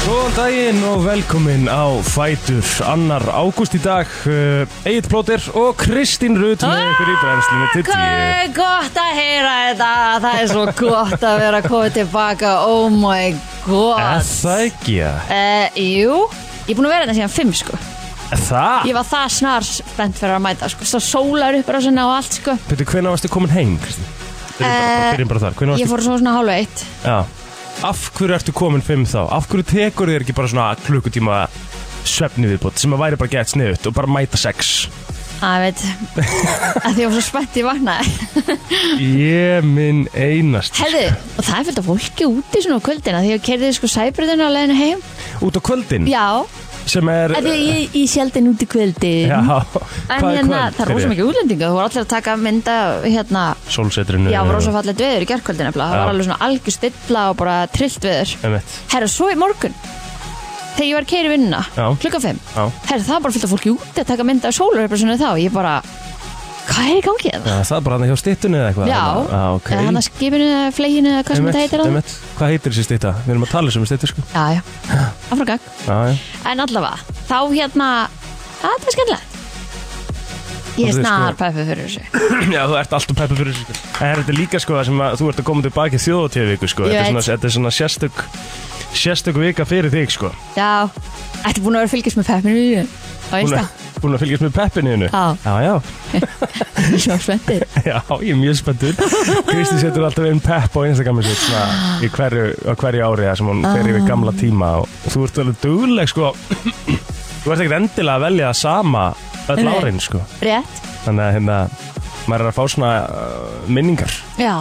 Góðan daginn og velkomin á Fætur annar ágúst í dag uh, Egil Plóter og Kristín Rut með ykkur í brennslunni til Hvað tíu er Ah, eh, gott að heyra þetta Það er svo gott að vera komið tilbaka Oh my Er god Það ekki, ja uh, Jú, ég er búin að vera þetta síðan 5 sko Er Það? Ég var það snar spennt fyrir að mæta sko Svo sólar upp rásinna og allt sko Pítur, hvenær varstu komin heim, Kristín? Byrjum bara, Eh, byrjum bara þar, hvenær Ég varstu? fór svona svona hálfa eitt Já Af hverju ertu komin fimm þá? Af hverju tekur þér ekki bara svona klukkutíma svefni viðbútt sem að væri bara gett sniðut og bara mæta sex? Það veit að Því ég var svo spennt í vaknaði Ég minn einast Herðu, og það er fyrir að fólki úti svona á kvöldina Því ég kerði sko sæbröðina á leiðinu heim Út á kvöldin Já, sem er að því að ég, ég sjaldan úti kvöldin Já, En hvað er hérna, kvöld? það er rosa mikið útlendinga, þú voru allir að taka mynda hérna, Sólsetrinu já, rosa fallet veður í gerkvöldin eflag, það Já. var alveg svona algjör stilla og bara trillt veður. Emmett Herra, svo í morgun, þegar ég var að keiri vinnuna, Já. klukka 5, Já. herra, það var bara fyllt af fólki úti að taka mynda af sólarrepressunni þá, ég bara, hvað er í gangi það? Já, það er bara hann hjá stittunni eða eitthvað Já, þarna. Já, ok eða hann að skipinu eða fleginu eða hvað sem þetta heitir á það. Einmitt. Hvað heitir þessi stitta? Við erum að tala sem stittu sko Já, já, afragag. Já, já En allavega, þá hérna, að, það er skemmtilegt. Ég Og þið er sko- snar pæfið fyrir þessu. Já, þú ert alltaf peppið fyrir þessu sko En þetta er líka sko það sem að þú ert að koma tilbaki þjóðutíðavíku sko Þetta er Ég veit. svona, þetta er svona sérstök Sérstök vika fyrir þig sko Já, ertu búin að vera að fylgjast með peppinu í þér? Á Búin einsta? að- Búin að fylgjast með peppinu innu Já. já, Ég er svo spenntið. já, ég er mjög spenntur Kristi setur alltaf einn pepp á Instagramið sitt svona í hverju, á hverju ári það sem hún fer yfir gamla tíma og þú ert alveg dugleg sko Þú ert ekkert endilega að velja það sama öll Nei. árin sko Rétt? þannig að hérna maður er að fá svona uh, minningar Já.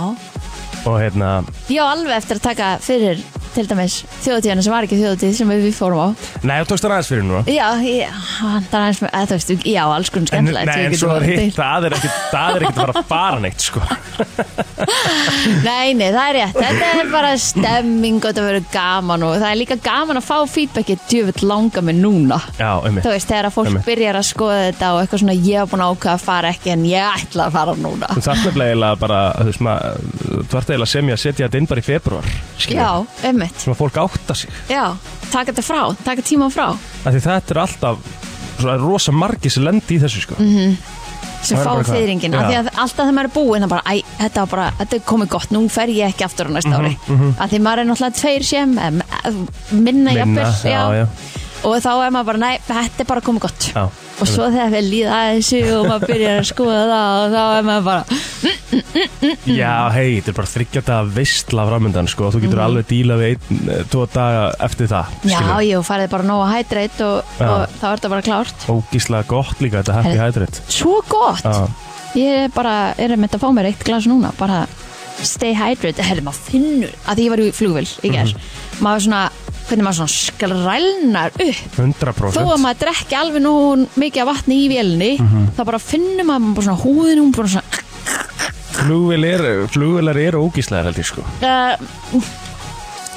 og hérna Ég á alveg eftir að taka fyrir, til dæmis, þjóðtíðana sem var ekki þjóðtíð sem við fórum á. nei, þú tókst hann aðeins fyrir núna Já, ég, það er eins með, eða þú veist, já, alls konar en, skemmtilegt. nei, sem ég en get svo er farið hitt til. það er ekkert það er ekkert að fara að fara neitt sko Nei, nei, það er rétt. Þetta er bara stemming og þetta verður gaman og það er líka gaman að fá feedbackið djöfitt langa mig núna. já, um Þú veist, þegar að fólk Einmitt. byrjar að skoða þetta og eitthvað svona, ég hef búin að ákvaða að fara ekki en ég ætla að fara núna. þú þarf nefnilega eiginlega bara þú veist maður þú ert eiginlega sem ég að setja þetta inn bara í februar skilur. Já, ummitt. sem að fólk átta sig Já, taka þetta frá, taka tíma frá af því þetta er alltaf svona rosa margi sem lendi í þessu sko Það sem er fá bara hvað- fyrringin Já. af því að alltaf þegar maður er búinn að bara, æ, þetta, var bara, þetta er komið gott, nú fer ég ekki aftur á næsta Mhm, ári af því maður er náttúrulega tveir sem em, minna jafnvel já, já, já, og þá er maður bara, nei, þetta er bara komið gott já. og svo þegar við líða að þessu og maður byrjar að skoða það og þá er maður bara, Já, hei, þetta er bara þryggja daga veistla framöndan, sko, þú getur alveg díla við einn, eh, tvo daga eftir það skilur. Mhm. já, ég farið bara nóg að hætreitt og, Já. og þá er þetta bara klárt ógíslega gott líka þetta happy Herri. hydrate svo gott Já. Ég er bara, er að mynda að fá mér eitt glas núna bara stay hydrated, herri maður finnur að því ég var í flugvél í gerð Mhm. maður er svona, hvernig maður svona skrælnar upp, 100% þó að maður drekki alveg nú mikið af vatni í vélni Mhm. þá bara finnur maður, maður bara svona húðin hún bara svona, flugvél er, flugvélar eru ógíslega held ég sko uh,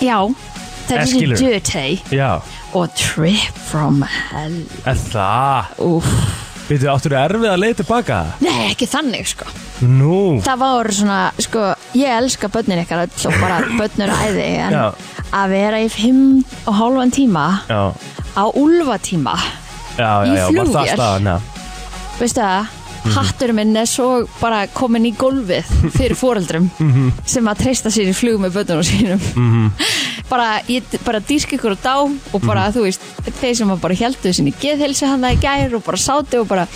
já það Eh, er þessi skilurðu? dirty já, og trip from hell en það Úf. Býttu, áttur þú erfið að leið tilbaka? nei, ekki þannig sko Nú, það voru svona, sko, ég elska börnin ykkar öll og bara börnur æði en Já. að vera í fimm og hálfan tíma já, á úlfatíma, já, já, Í já var það flugvél? staðan, já veistu það Mhm. hattur minn er svo bara komin í gólfið fyrir foreldrum Mhm. sem að treysta sér í flug með börnunum sínum bara, ég bara dýrk ykkur og dá og bara, Mhm. þú veist, þeir sem að bara heldu sinni geðhelsu hann það í gær og bara sátu og bara,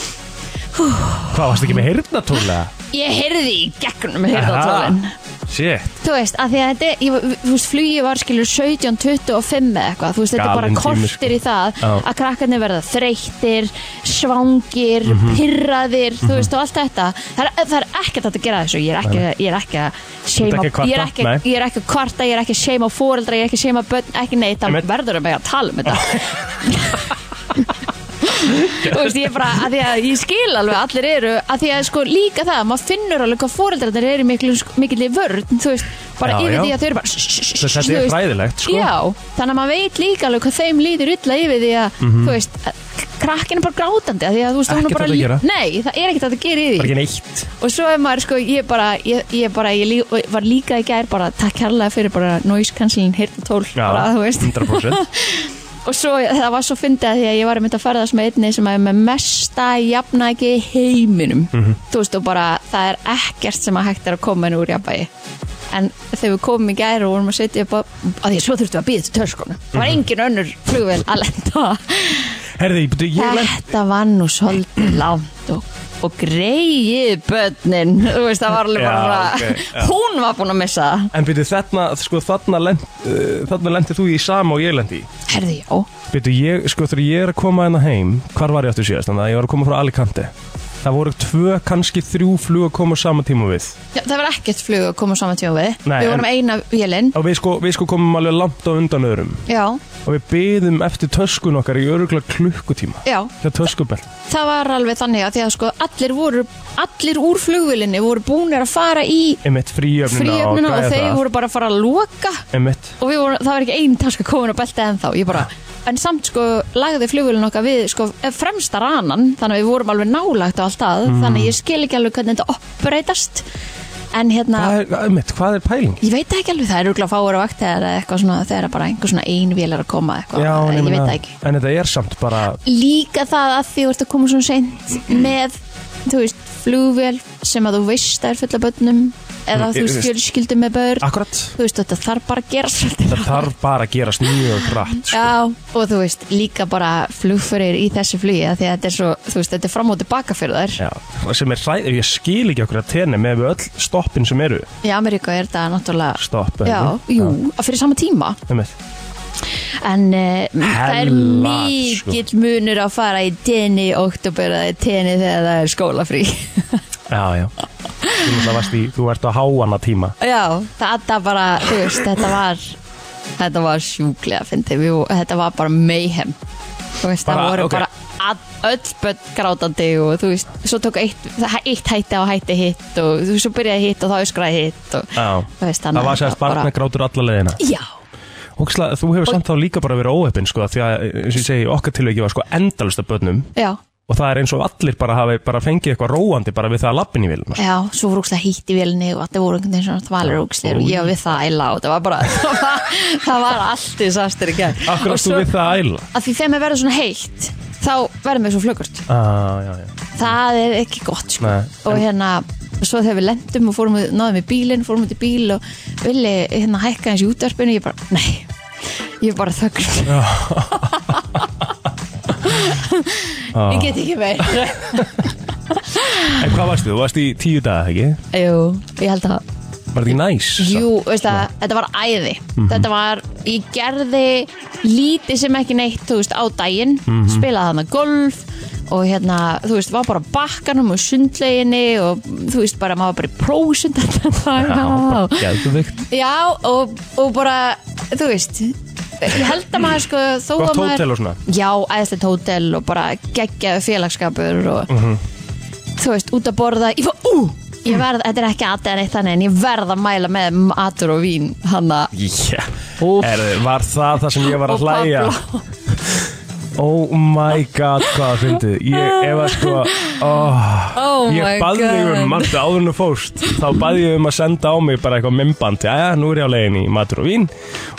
Hvað, varst ekki með heyrnatóla? ég heyrði í gegnum heyrðartólinn Shit, Þú veist, að því að þetta, er- ég, var- þú veist, flugi var skilur 17, 25 eða eitthvað, þú veist, þetta er bara Galinn tími, sko. kortir í það Já. að krakkarnir verða þreyttir, svangir, Mhm. pirraðir, þú veist, og allt þetta. Það er, það er ekkert hægt að gera þessu, ég er ekki, ég er ekki að ert seima, ekki að kvarta, ég, er ekki, nei. ég er ekki að kvarta, ég er ekki að seima fóreldra, ég er ekki að seima börn, ekki neitt, þá Einmitt. verður að mega að tala um þetta. Þú veist, ég er bara, að því að ég skil alveg að allir eru, að því að sko líka það, maður finnur alveg hvað fóreldrarnir eru miklu, mikilli vörn, þú veist, bara Já, yfir já. því að þau eru bara Þú þetta er fræðilegt sko Já, þannig að maður veit líka alveg hvað þeim líður illa yfir því að, þú veist, að krakkin er bara grátandi af því að þú veist hún Mhm. Ekkert er bara hægt að gera. nei það er ekkert hægt að gera í því bara ekki neitt og svo er maður sko ég bara ég, ég, bara, ég lí, var líka í gær bara takk kærlega fyrir bara noise cancelling hirtatól Já, bara þú veist 100% og svo það var svo fyndið að því að ég var mynd að ferðast með einni sem er með mesta jafnæki í heiminum Mhm. þú veist og bara það er ekkert sem að hægt er að koma henni úr jafnvægi en þegar við komum í gær og vorum að setja upp að af því að svo þurftum við að býða til törskunum það Mhm. var engin önnur flugvél að lenda Herði, ég, byrju, ég lent Þetta var nú svolítið lágt og, og greið börnin, þú veist það var alveg Já, bara ok, já. hún var búin að missa það En byrju, þarna, sko, þarna, lent, uh, þarna lendir þú í sama og ég lendi í Herði, já, Byrju, ég, sko, þegar ég er að koma hérna heim Hvar var ég aftur síðast? Þannig að ég var að koma frá Alicante Það voru tvö, kannski þrjú flug að koma á sama tíma við já það var ekkert flug að koma saman tjófið Nei, Við vorum eina vélinn Og við sko, við sko komum alveg langt á undan öðrum Já, Og við byðum eftir töskun okkar í örugla klukkutíma já, Hjá töskubel það var alveg þannig að því að sko allir voru, allir úr flugvélinni voru búinir að fara í Emitt fríöfnina og fríöfnuna og græða þeir það voru bara að fara að loka Emitt og við vorum, það var ekki einn taska komin á belti ennþá, ég bara en samt sko lagði flugvölin okkar við sko fremsta ranan, þannig að við vorum alveg nálagt á allt að, Mm. þannig að ég skil ekki alveg hvernig þetta oppreitast en hérna, Hvað er, einmitt, hvað er pæling? ég veit það ekki alveg það er rúglega fáur á vakt eða eitthvað svona þegar bara einhver svona ein vél er að koma eitthvað, en ég veit meina- það ekki En þetta er samt bara líka það að því þú ert að koma svona seint með, þú veist, flugvél sem að þú veist að er fulla bönnum Mm, ég- Ah. eða þú veist ég- fjölskyldum með börn Akkurat þú veist, þetta þarf bara að gera svolítið Það þarf bara að gerast mjög rætt sko. Já, og þú veist, líka bara flugfyrir í þessu flugi af því að þetta er svo, þú veist, þetta er fram og tilbaka fyrir þær Já, og sem er hræð, ég skil ekki okkur að tenni með öll stoppin sem eru Í Ameríku er þetta náttúrulega stopp Já, jú, að fyrir sama tíma einmitt. En uh, það er Hella, sko. mikill munur að fara í tenni oktober eða í tenni þegar það er skólafrí Já, já Þú náttúrulega varst í, þú ert á háanna tíma Já, þetta bara, þú veist, þetta var þetta var sjúklega fyndi við, þetta var bara mayhem þú veist, Bara, það voru ok. bara all, öll börn grátandi og þú veist, svo tók eitt, það- eitt hætti á hætti hitt og þú veist, svo byrjaði hitt og þá öskraði hitt og Já, þú veist, það þannig var sérst barna grátur alla leiðina Já, Óksla, Þú hefur samt þá líka bara verið óheppin sko, því að, eins og ég segi, okkar tilveiki var sko endalust af börnum já, og það er eins og allir bara hafi bara fengið eitthvað róandi bara við það að lappin í sko. vilum já, svo voru úkslega hitt í vélni og þetta voru einhvern veginn svona þvalur úkslega og ég var við það æla og það var bara það var, það var allt í sastir í gær Akkur og ástu svo, við það að æla að því þegar mér verður svona heitt þá verður mér svo flöggurt ah, já, já. það er ekki gott sko. Nei. og hérna, svo þegar við lendum og fórum, náðum í bílinn, fórum út í bíl og villi hérna hækka hans í útvarpinu ég bara, nei, ég er bara þöggur ég get ekki meir En hvað varstu? Þú varst í tíu daga, ekki? jú, ég held að Var þetta ekki næs? jú, veist að þetta var æði Mhm. þetta var, ég gerði lítið sem ekki neitt, þú veist, á daginn Mhm. spilaði hann að golf og hérna, þú veist, var bara á bakkanum og sundleginni og þú veist bara, maður var bara í prósund Já, gæðuvikt Já, og, og bara, þú veist, ég held að maður sko, þó Gott að maður... hótel og svona Já, æðislegt hótel og bara geggjaðu félagskapur og, Mhm. þú veist, út að borða, ég var, ú, Mm. ég verð, þetta er ekki aðeins eitt þannig, en ég verð að mæla með matur og vín, hanna, Já, Úff. Herðu, var það það sem ég var Og að hlæja? Oh my god, hvað það fyndið Ég, ef að sko oh, oh my Ég god. baði þig um, mannstu áðurinn og fóst Þá baði ég um að senda á mig bara eitthvað mymband Jæja, nú er ég á leiðin í matur og vín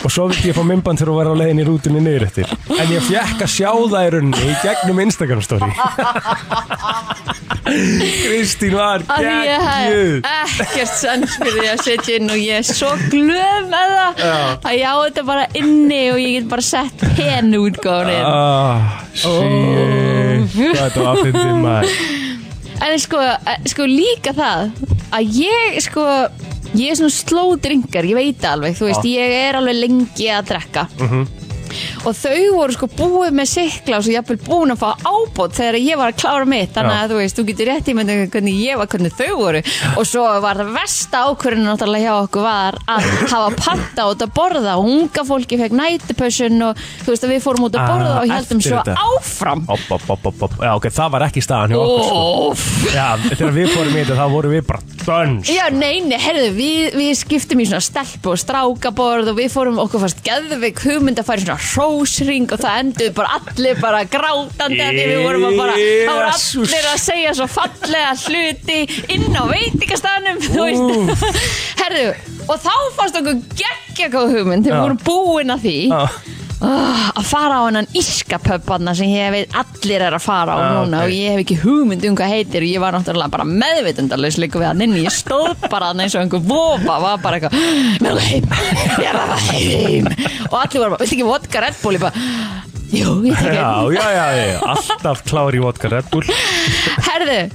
Og svo vildi ég fá mymband þegar þú var á leiðin í rútunni niður eftir En ég fekk að sjá það í runni Í gegnum Instagram story Kristín var að því ég geggjuð hef ekkert sens fyrir því að setja inn og ég er svo glöð með það að ég á þetta bara inni og ég get bara sett henn útgáðin Ah, Oh. shit Hvað þetta var að fyndið maður En sko, eh, sko líka það að ég sko ég er svona slow drinker, ég veit það alveg þú veist, ég er alveg lengi að drekka Mhm. og þau voru sko búið með sikla og svo jafnvel búin að fá ábót þegar ég var að klára mitt þannig Já. að þú veist, þú getur rétt í myndið hvernig ég var, hvernig þau voru og svo var það versta ákvörðin náttúrulega hjá okkur var að hafa panta út að borða og unga fólki fekk nætupössun og þú veist að við fórum út að Ah, borða og heldum eftir svo þetta. áfram Opp, opp, opp, opp, opp. Já, ok, það var ekki staðan hjá Oh. okkur sko. Óf Já, þegar við fórum í þetta þá vorum við bara dönns Já, nei, nei, herðu, við, við skiptum í svona stelp og strákaborð og við fórum okkur fast geðveik hugmynd að fara í svona bara hrósring og það endur bara allir bara grátandi af því við vorum að bara, þá voru Jesus. allir að segja svo fallega hluti inn á veitingastafnum, þú veist. Herðu, og þá fannst okkur geggja góð hugmynd, þegar Já. við vorum búin að því Já. Ah, að fara á hennan ískapöppanna sem ég veit allir er að fara á Ah, núna ok. og ég hef ekki hugmynd um hvað heitir og ég var náttúrulega bara meðvitundarlaus líka við hann inni, ég stóð bara hann eins og einhver vopa, var bara eitthvað mér er það heim, ég er það heim og allir voru bara, viltu ekki vodka Red Bull ég bara, jú, ég tek Já, einn já, já, já, alltaf klári í vodka Red Bull herðu,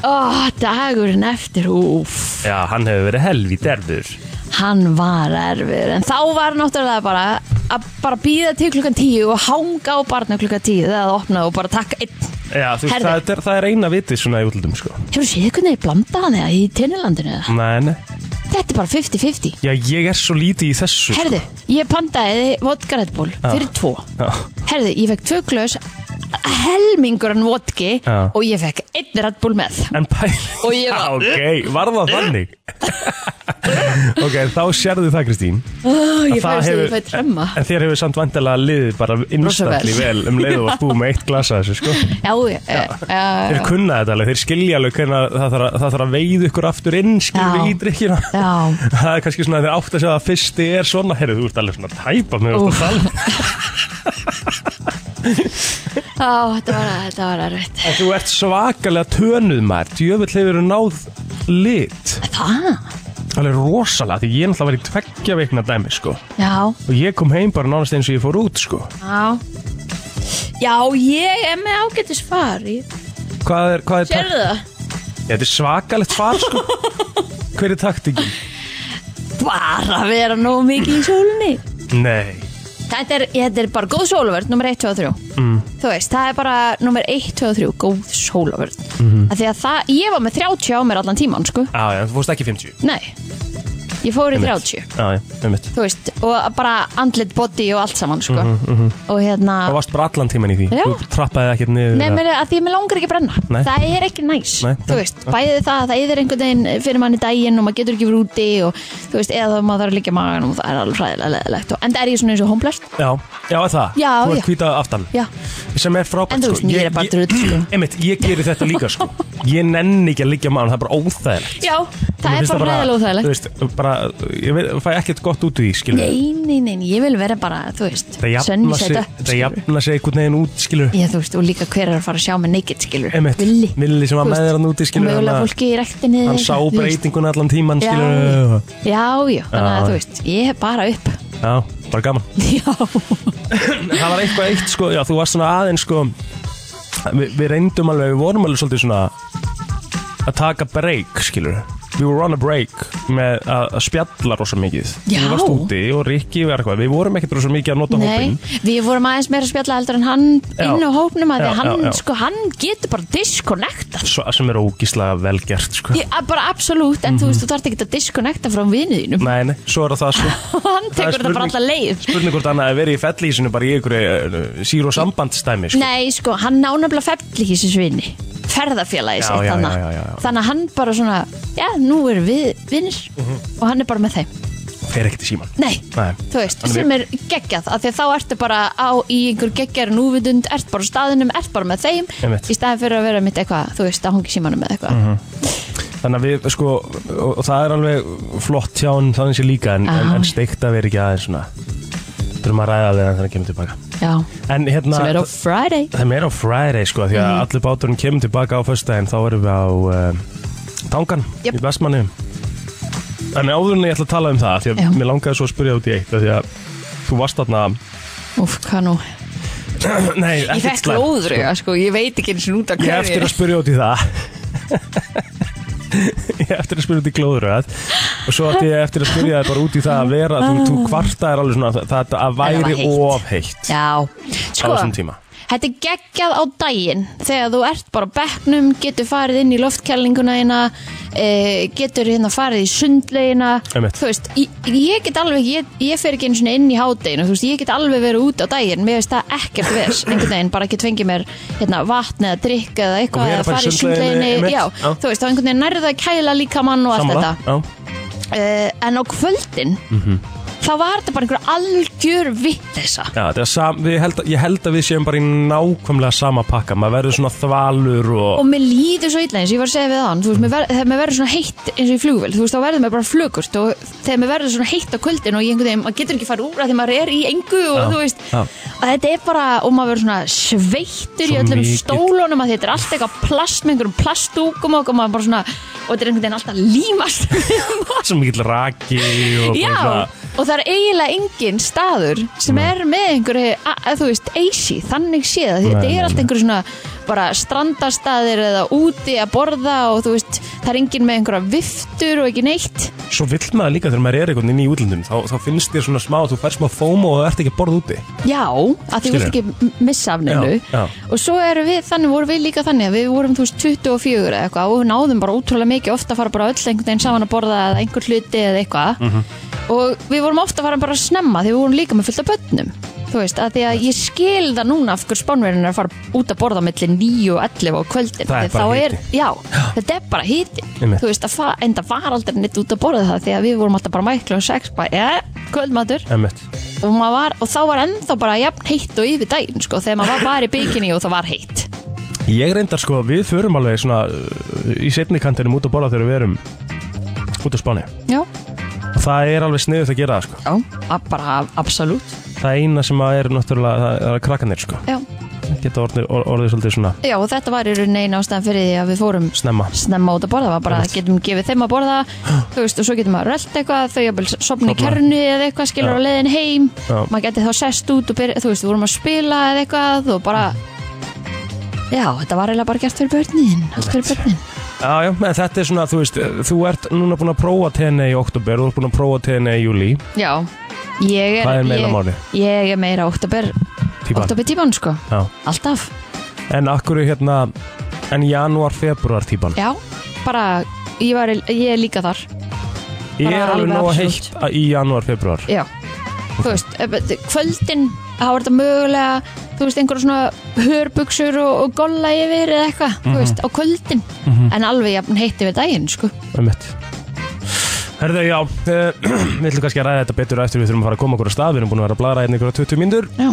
ó, dagurinn eftir, úf Já, hann hefur verið helvít erfur hann var erfur en þá var náttúrulega bara að bara býða til klukkan tíu og hanga á barna klukkan tíu þegar það opnaði og bara taka einn Já, þú veist, Herðu. það, er- það er eina vitið svona í útlutum, sko Hefur þú séð hvernig ég blanda hann eða í tinnilandinu eða? Nei, nei, Þetta er bara 50-50 já, ég er svo lítið í þessu sko. Herðu, ég pantaði vodka Red Bull fyrir tvo Já, Herðu, ég fekk tvö glös helmingur en vodki Já. og ég fekk einn Red Bull með en pæl Og ég Já, var- ok, var það þannig? ok, þá sérðu það, Kristín oh, Það Ég fæst að hefur- ég fætt trömma En þér hefur samt vandalega liðið bara innstætli vel um leið og að búið með eitt glasa þessu, sko Já, já, já, Þeir kunna þetta alveg, þeir skilja alveg hvernig það þarf að, það þarf að veið ykkur aftur inn skilur Já. í drikkina Já. Það er kannski svona að þeir átt að segja að fyrsti er svona Herru, þú ert alveg svona að tæpa með þetta tala já Þetta var, þetta var erfitt En þú ert svakalega tönuð maður Djöfull hefur þú náð lit Það? Alveg rosalega, því ég náttúrulega var í tveggja veikna dæmi, sko Já, Og ég kom heim bara nánast eins og ég fór út, sko já Já, ég er með ágætis far Ég- Hvað er, hvað er takt? Sérðu það? Þetta er svakalegt far, sko Hver er taktikinn? Bara vera nóg mikið í sólunni Nei Þetta er, þetta er bara góð sólavörn, nummer 1, 2 og 3 mm. Þú veist, það er bara nummer 1, 2 og 3, góð sólavörn Mhm. mm. Því að það, ég var með 30 á mér allan tíman, sko Á, já, þú fórst ekki 50 Nei, ég fór í 30 Á, já, um mitt Þú veist, og bara andlit body og allt saman, sko Og hérna, Mhm, Það varst bara allan tíman í því Já. Þú trappaði ekkert niður Nei, mér, að því að mér langar ekki að brenna Nei. Það er ekki næs Nei, Þú nei, veist, bæði það, að það yfir einhvern veginn fyrir manni daginn og maður getur ekki verið úti og þú veist, eða maður þarf að liggja í maganum og það er alveg hræðilega leðilegt og enda er ég svona eins og homblast Já, já er það Já, Þú já. ert hvítað aftan Já, Sem er frábært En þú veist, mér er bara drull, sko. Einmitt, ég gerir þetta líka sko Ég nenni ekki að liggja maður, það er bara óþægilegt Já það Mér er finnst bara hræðilega óþægilegt Þú veist, bara, ég veit, fæ ekkert gott út úr því, skilur Nei, nei, nei, ég vil vera bara, þú veist Það jafna sig, sunnisetta, það skilur. jafna sig einhvern veginn út, skilur Já, þú veist, og líka hver er að fara að sjá mig naked, skilur Einmitt, Villi Villi sem var með Þú veist, þér hann úti, Og skilur mögulega fólki í rektinni Hann sá breytinguna allan tíman, Já, skilur Já, já, þannig Já. að þú veist, ég er bara upp Já, bara gaman Já, það var eitthvað eitt sko, já þú varst svona aðeins sko vi, við reyndum alveg, við vorum alveg svolítið svona að taka break skilur We were on a break með að, að spjalla rosa mikið Já. Þú varst úti og Rikki var eitthvað Við vorum ekkert rosa mikið að nota nei, hópin við vorum aðeins meira að spjalla heldur en hann Já. inn á hópnum að Já, því að hann, já, já. sko, hann getur bara disconnecta Svo, sem er ógíslega vel gert sko Ég, að- bara absolutt, en þú veist, þú þarft ekki að disconnecta frá vinnu þínum Mhm. Nei, nei, svo er það sko og hann Það er tekur þetta bara spurning- alla leið Spurning hvort hann hafi verið í fellísinu bara í einhverju uh, síru og sambandstæmi sko. Nei, sko, hann nánafla felli í þessu vinni ferðafélagi Já, sitt já, þannig já, já, já. þannig að hann bara svona já, nú erum við vinnir og hann er bara með þeim Fer ekkert í síman Nei, Mhm. Nei. þú veist, Hann er sem er geggjað af því að þá ertu bara á í einhver geggjar núvitund, ert bara á staðinum, ert bara með þeim Einmitt. Mhm. í staðin fyrir að vera mitt eitthvað þú veist, að hungi símanum með eitthvað Þannig að við, sko, og, og það er alveg flott hjá hann þannig sé líka en, en, Já. en steikt að vera ekki aðeins svona þurfum að ræða við hann þegar hann kemur tilbaka Já, En hérna, sem er á Mhm. Friday það er meira á Friday, sko því að allur báturinn kemur tilbaka á föstudaginn þá erum við á uh, Tangan Jöp. í Vestmanni En áðurinn ég ætla að tala um það því að Já. mér langaði svo að spyrja út í eitt af því að þú varst þarna Úf, hvað nú? Nei, Ég ekkert fekk slæmt, lóður, sko. sko, ég veit ekki eins og út af Ég hef eftir hverju að spyrja út í það Ég hef eftir að spyrja út í glóðuröð Og svo ætti ég eftir að spyrja þér bara út í það að vera Þú, þú kvarta er alveg svona að það að Ah. var væri heitt. of heitt Já, Á sko þessum tíma Þetta er geggjað á daginn þegar þú ert bara á bekknum, getur farið inn í loftkjælninguna eina, e, getur hérna farið í sundlegina, Einmitt. þú veist, ég, ég get alveg, ég, ég fer ekki einu svona inn í hádeginu, þú veist, ég get alveg verið út á daginn, mér veist það ekkert ves, einhvern veginn, bara ekki tvengi mér hérna vatn eða drikk eða Og eitthvað, vera bara eða í farið í sundlauginni, sundleginu, einmitt, já, já. þú veist, þá einhvern veginn nærðu að kæla líka mann og allt Sammála? þetta. Já. Mhm. Uh, en á E, kvöldin þá var þetta bara einhver algjör vittisa Já, þetta er sam, við held, ég held að við séum bara í nákvæmlega sama pakka Maður verður svona þvalur og, og mér líður svo illa eins og ég var að segja við hann veist, mér ver, þegar mér verður svona heitt eins og í flugvél þú veist þá verður mér bara flugust og þegar mér verður svona heitt á kvöldin og ég einhvern veginn maður getur ekki farið úr af því maður er í engu og Já, þú veist já. og þetta er bara og maður verður svona sveittur Svo í öllum mikill. stólunum að þetta er allt eitthvað plast með einhverjum plastúkum og maður bara svona og þetta er einhvern veginn alltaf límast Svo mikill raki og bara Já, og það er eiginlega engin staður sem er með einhverju, a- að, þú veist, AC, þannig séð að þetta Nei, nei, er allt nei. einhverju svona bara strandastaðir eða úti að borða og þú veist, það er engin með einhverja viftur og ekki neitt. Svo vill maður líka þegar maður er einhvern veginn í útlöndum þá, þá finnst þér svona smá, þú fær smá fómo og þú ert ekki að borða úti Já, að því Skilur. vilt ekki m- missa af neinu Já, já. og svo erum við, þannig vorum við líka þannig að við vorum þú veist 24 eða eitthvað og náðum bara ótrúlega mikið ofta að fara bara öll einhvern veginn saman að borða eða einhver hluti eða eitthvað Mhm. og við vorum ofta að fara bara að snemma því við vorum líka með fullt af börnum þú veist, að því að ég skil það núna af hverju spánverðin er að fara út að borða milli 9 og 11 á kvöldin Það er Því bara þá hiti. Já, þetta er bara hiti Einmitt. Þú veist, að fa- enda var aldrei neitt út að borða það því að við vorum alltaf bara mækla og sex bara, ja, kvöldmatur Emmett og, maður var, og þá var ennþá bara jafn heitt og yfir daginn sko, þegar maður var bara í bikini og það var heitt Ég reyndar sko, við förum alveg svona uh, í setni kantinum út að borða þegar við erum út á Spáni já, og það er alveg sniðut að gera það sko já að bara absolutt Það eina sem að er náttúrulega, það það er krakkanir sko já. Geta orðið, or- orðið svolítið svona já, og þetta var í rauninni eina ástæðan fyrir því að við fórum snemma snemma út að borða, var bara að getum gefið þeim að borða þú veist, og svo getum maður rölt eitthvað þau jafnvel sopna í Sofna. kernu eða eitthvað skilur á leiðin heim, Já. maður geti þá sest út og byrja, þú veist, við vorum að spila eða eitthvað og bara já, þetta var eiginlega bara gert fyrir börnin allt fyrir börnin, Já, já, en þetta er svona, þú veist, þú ert núna búin að prófa TNA í oktober, þú ert búin að prófa TNA í júli, já ég er, Hvað er meira ég, máli? ég er meira óttaber típa. Oktober tíman sko, Já, alltaf en akkur er hérna, en janúar, februar típan. Já, bara, ég, var, ég er líka þar Ég er bara alveg alveg nóg heitt absolutt. að- í janúar, februar. Já, þú veist, eh, bet- kvöldin þá er þetta mögulega, þú veist, einhverja svona hörbuxur og, og golla yfir eða eitthvað, Mhm. þú veist, á kvöldin en alveg jafn heitti við daginn, sko Ömmett. Herðu, já, uh, við ætlum kannski að ræða þetta betur á eftir við þurfum að fara að koma okkur á stað, við erum búin að vera að blara hérna ykkur á 20 mínútur, Já,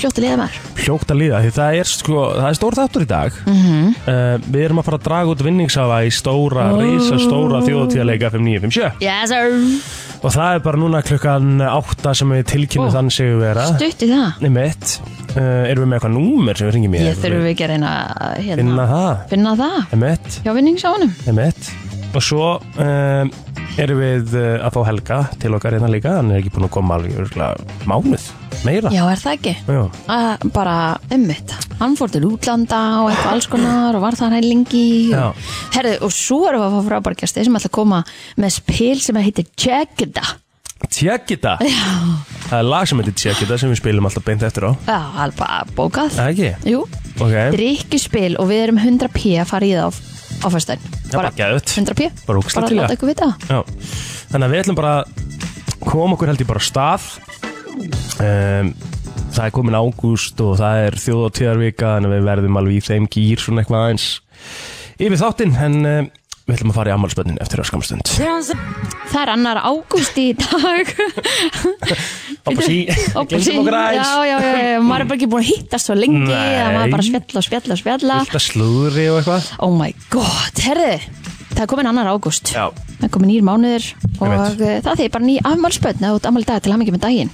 fljótt að liða maður hljókt að líða, því það er, sko, það er stór þáttur í dag. Mhm. Uh, við erum að fara að draga út vinningsafa í stóra, Oh. risastóra þjóðtíðarleika 5957. Yes, sir Og það er bara núna klukkan 8 sem við tilkynum Ó. þann sigur vera Stutt í það Nei mitt uh, Erum við með eitthvað númer sem við ringjum í Ég þurfum ekki að reyna að Finna hérna, það finna það Nei mitt, hjá vinningsáunum nei mitt Og svo um, erum við uh, að fá Helga til okkar hérna líka Hann er ekki búin að koma alveg örgulega mánuð Meira Já, er það ekki? Já. að bara ummitt hann fór til útlanda og eitthvað alls konar og var það hann lengi Já. og, herðu, og svo erum við að fá frábargjast sem ætla að koma með spil sem heitir Jaggeda Tjekkita Það er lag sem heitir Tjekkita sem við spilum alltaf beint eftir á já, alveg bókað Það ekki? jú, Ok, drikkispil og við erum 100p að fara í það á, á föstudaginn. Já, bara geðveikt. 100p, Bara ógeðslega bara til í það. láta ykkur vita Já, þannig að við ætlum bara að koma okkur held ég bara af stað um, Það er komin ágúst og það er þjóð og tíðarvika Þannig að við verðum alveg í þeim gýr svona eitthvað aðeins Yfir þáttinn, en um, við ætlum að fara í ammálspönnin eftir öskamstund það er annar ágúst í dag Hoppa sí, Oppa glemdum okkur já, aðeins já, já, já, maður er bara ekki búin að hitta svo lengi Nei. að maður bara spjalla og spjalla og spjalla Þetta slúðri og eitthvað Oh my god, herðu Það er komin annar ágúst Já. Það er komin nýr mánuður og Einmitt. eh, það þýðir bara ný afmálspöld eða út afmæli dag til hamingi með daginn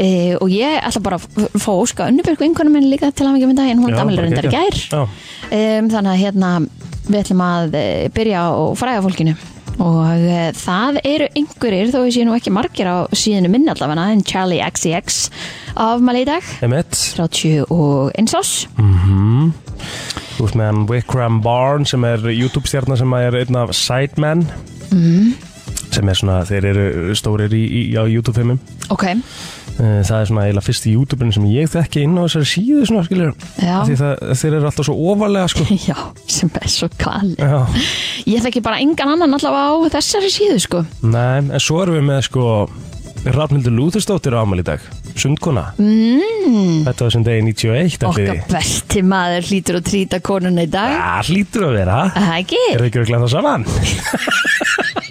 e, og ég ætla bara að f- fá að óska unnubjörg vinkonum minn líka til hamingi með daginn hún Já, er afmæli bara reyndar í geggjað. gær Já. um, þannig að hérna við ætlum að eh, byrja á fræga fólkinu og eh, það eru einhverjir þó ég sé nú ekki margir á síðinu minn allavega en Charlie XCX afmæli í dag Emmett, 31 ás Mm. Mhm. þú ert með hann Wickram Barn sem er YouTube-stjarnar sem er einn af Sidemen mm. Mhm. sem er svona, þeir eru stórir í, í, á YouTube-filmum ok, Eh, Það er svona eiginlega fyrsti YouTuberin sem ég þekki inn á þessari síðu svona skilur Já. Af Því það, þeir eru alltaf svo ofalega sko já, sem er svo kallið Já, Ég þekki bara engan annan allavega á þessari síðu sko nei, en svo erum við með sko Rafnildur Lúðurstóttir á ámæli í dag Sundkona mm. Þetta var sem degi 91 ætli Hmm. Okkar því. besti maður hlýtur að trýta konuna í dag Það hlýtur að vera Er Það ekki, Er það ekki örugglega það saman?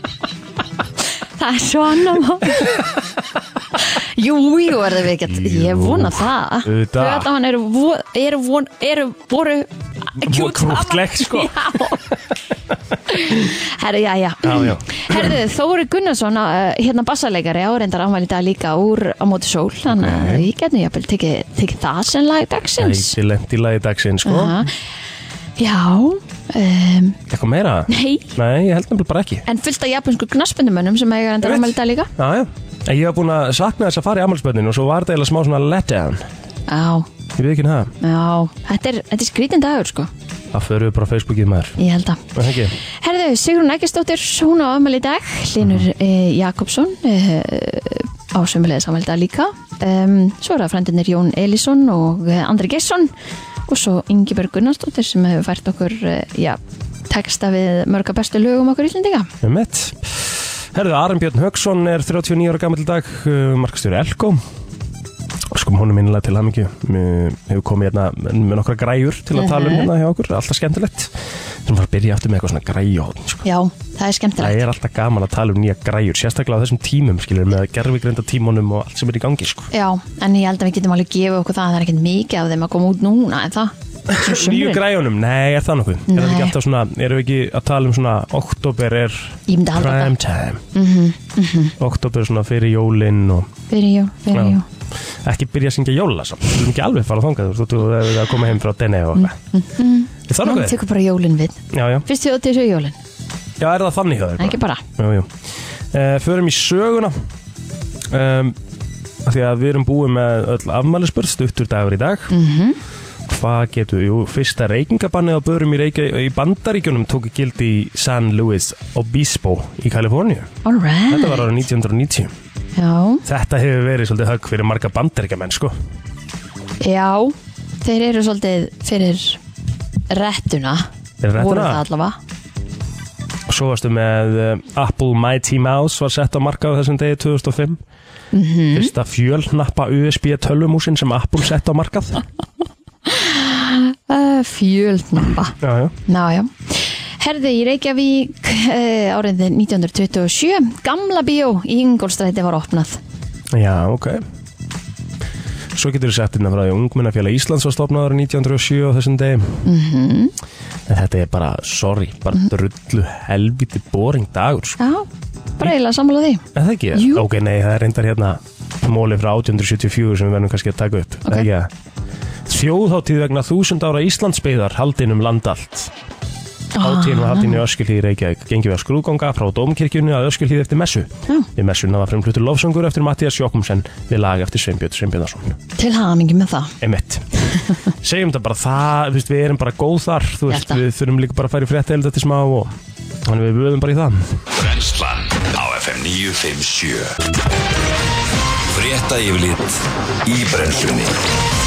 það er svo annar mál Jú, jú, er það viðgætt Ég Jú, vona það auðvitað. Föðamann eru, vo- eru, von- eru voru kjút krúttleg, saman. sko. Já Herru, já, já Já, já. Herðu, Þóri Gunnarsson, uh, hérna bassarleikari áreindar ámæli í dag líka úr á móti sól Þannig að Ok. við getum jafnvel tekið, tekið það sem lag dagsins Æti lemt í lagi dagsins, sko. Aha. Já um, Eitthvað meira? Nei, Nei, ég held nefnilega bara ekki. en fullt af japansku knaspindumönnum sem eiga reyndar Ég veit. ámæli í dag líka Já, já. En ég var búin að sakna þess að fara í ammálspöndinu og svo var þetta eiginlega smá svona letdown. Já, Ég veit ekki það. já, þetta er, þetta er skrítin dagur sko, Það förum við bara á Facebookið maður. ég held að Er það Ekki. Herðu, Sigrun Ægistóttir, hún á afmæli í dag Linur mm. Jakobsson eh, á sömulegis afmæli í dag líka um, Svo eru það frendinir Jón Elísson og eh, Andri Gesson og svo Ingiberg Gunnarsdóttir sem hefur fært okkur eh, já, texta við mörga bestu lögum okkur íslendinga Um mitt. Herðu, Aron Björn Högsson er 39 ára gammal í dag, uh, markastjóri Elko. Skum honum minnilega til hamingju. Mér hefur komið hérna með nokkra græjur til að tala um Mhm. hérna hjá okkur. Alltaf skemmtilegt. Sem var að byrja aftur með eitthvað svona græjóðn, sko. Já, það er skemmtilegt Það er alltaf gaman að tala um nýja græjur, sérstaklega á þessum tímum, skilur, með gerfigreinda tímunum og allt sem er í gangi, sko. Já, en ég held að við getum alveg gefið okkur það að það er ekkert mikið af þeim að koma út núna en það, svo Nýju sumrin. græjunum, nei, er það nokkuð? Er þetta Nei. ekki alltaf svona, erum við ekki að tala um svona, oktober er Ég myndi halda Mhm, prime time. Mm Oktober er svona fyrir jólinn og það fyrir jól, fyrir Já. jól ekki byrja að syngja jólasamt. Þú erum ekki alveg fara þangað, þú veist, þú erum að koma heim frá Dene og eitthvað. Mhm, Er það Nú nokkuð? tekur bara jólin við Já, já. Fyrst þjóð til þessu jólin, Já, er það þannig hjá þér? bara? ekki bara Jú, jú. Uh, förum í söguna um, af Því að við erum búið með öll afmælisbörð Stuttur dagur í dag -hmm. Mhm. Hvað getur við? Jú, fyrsta reykingabannið á börum í, reykja, í bandaríkjunum Tóku gildi í San Luis Obispo í Kaliforníu All right Þetta var ára 1990 Já, Þetta hefur verið svolítið högg fyrir marga bandaríkjamenn sko já, þeir eru svolítið fyrir rettuna Fyrir réttuna? Voru það allavega Svo varstu með um, Apple Mighty Mouse var sett á markað á þessum degi 2005 Mhm. -hmm. Fyrsta fjölnappa USB tölvumúsin sem Apple sett á markað uh, Fjölnappa Já, já Ná, já Herði í Reykjavík uh, árið 1927 Gamla bíó í Ingolstræti var opnað Já, ok Svo getur þú sett inn að frá því að Ungmennafélag Íslands var stofnaður árið 1907 á þessum degi Mhm. En þetta er bara, sorry, bara drullu helviti boring dagur sko. Já, bara eiginlega sammála því Er það ekki? Jú. Ok, nei, það er reyndar hérna móli frá 1874 sem við verðum kannski að taka upp Ok. okay. ja. Þjóðháttíð vegna þúsund ára Íslandsbyðar haldin um land allt Hátíðin var haldin í Öskilíð í Reykjavík Gengjum við að skrúðganga frá Dómkirkjunni að Öskilíð eftir messu Já. Við messuna var frumflutur lofsöngur eftir Mattias Jókumsen við lag eftir Sveinbjörn Sveinbjörnarsson Ah, Til hamingi með það Emmett Segjum þetta bara það, þú veist, við erum bara góð þar Þú veist, Hjarta. við þurfum líka bara að færi frétt eða til smá og þannig við vöðum bara í það Brenslan á FM 957 Frétta yfirlit í brennslunni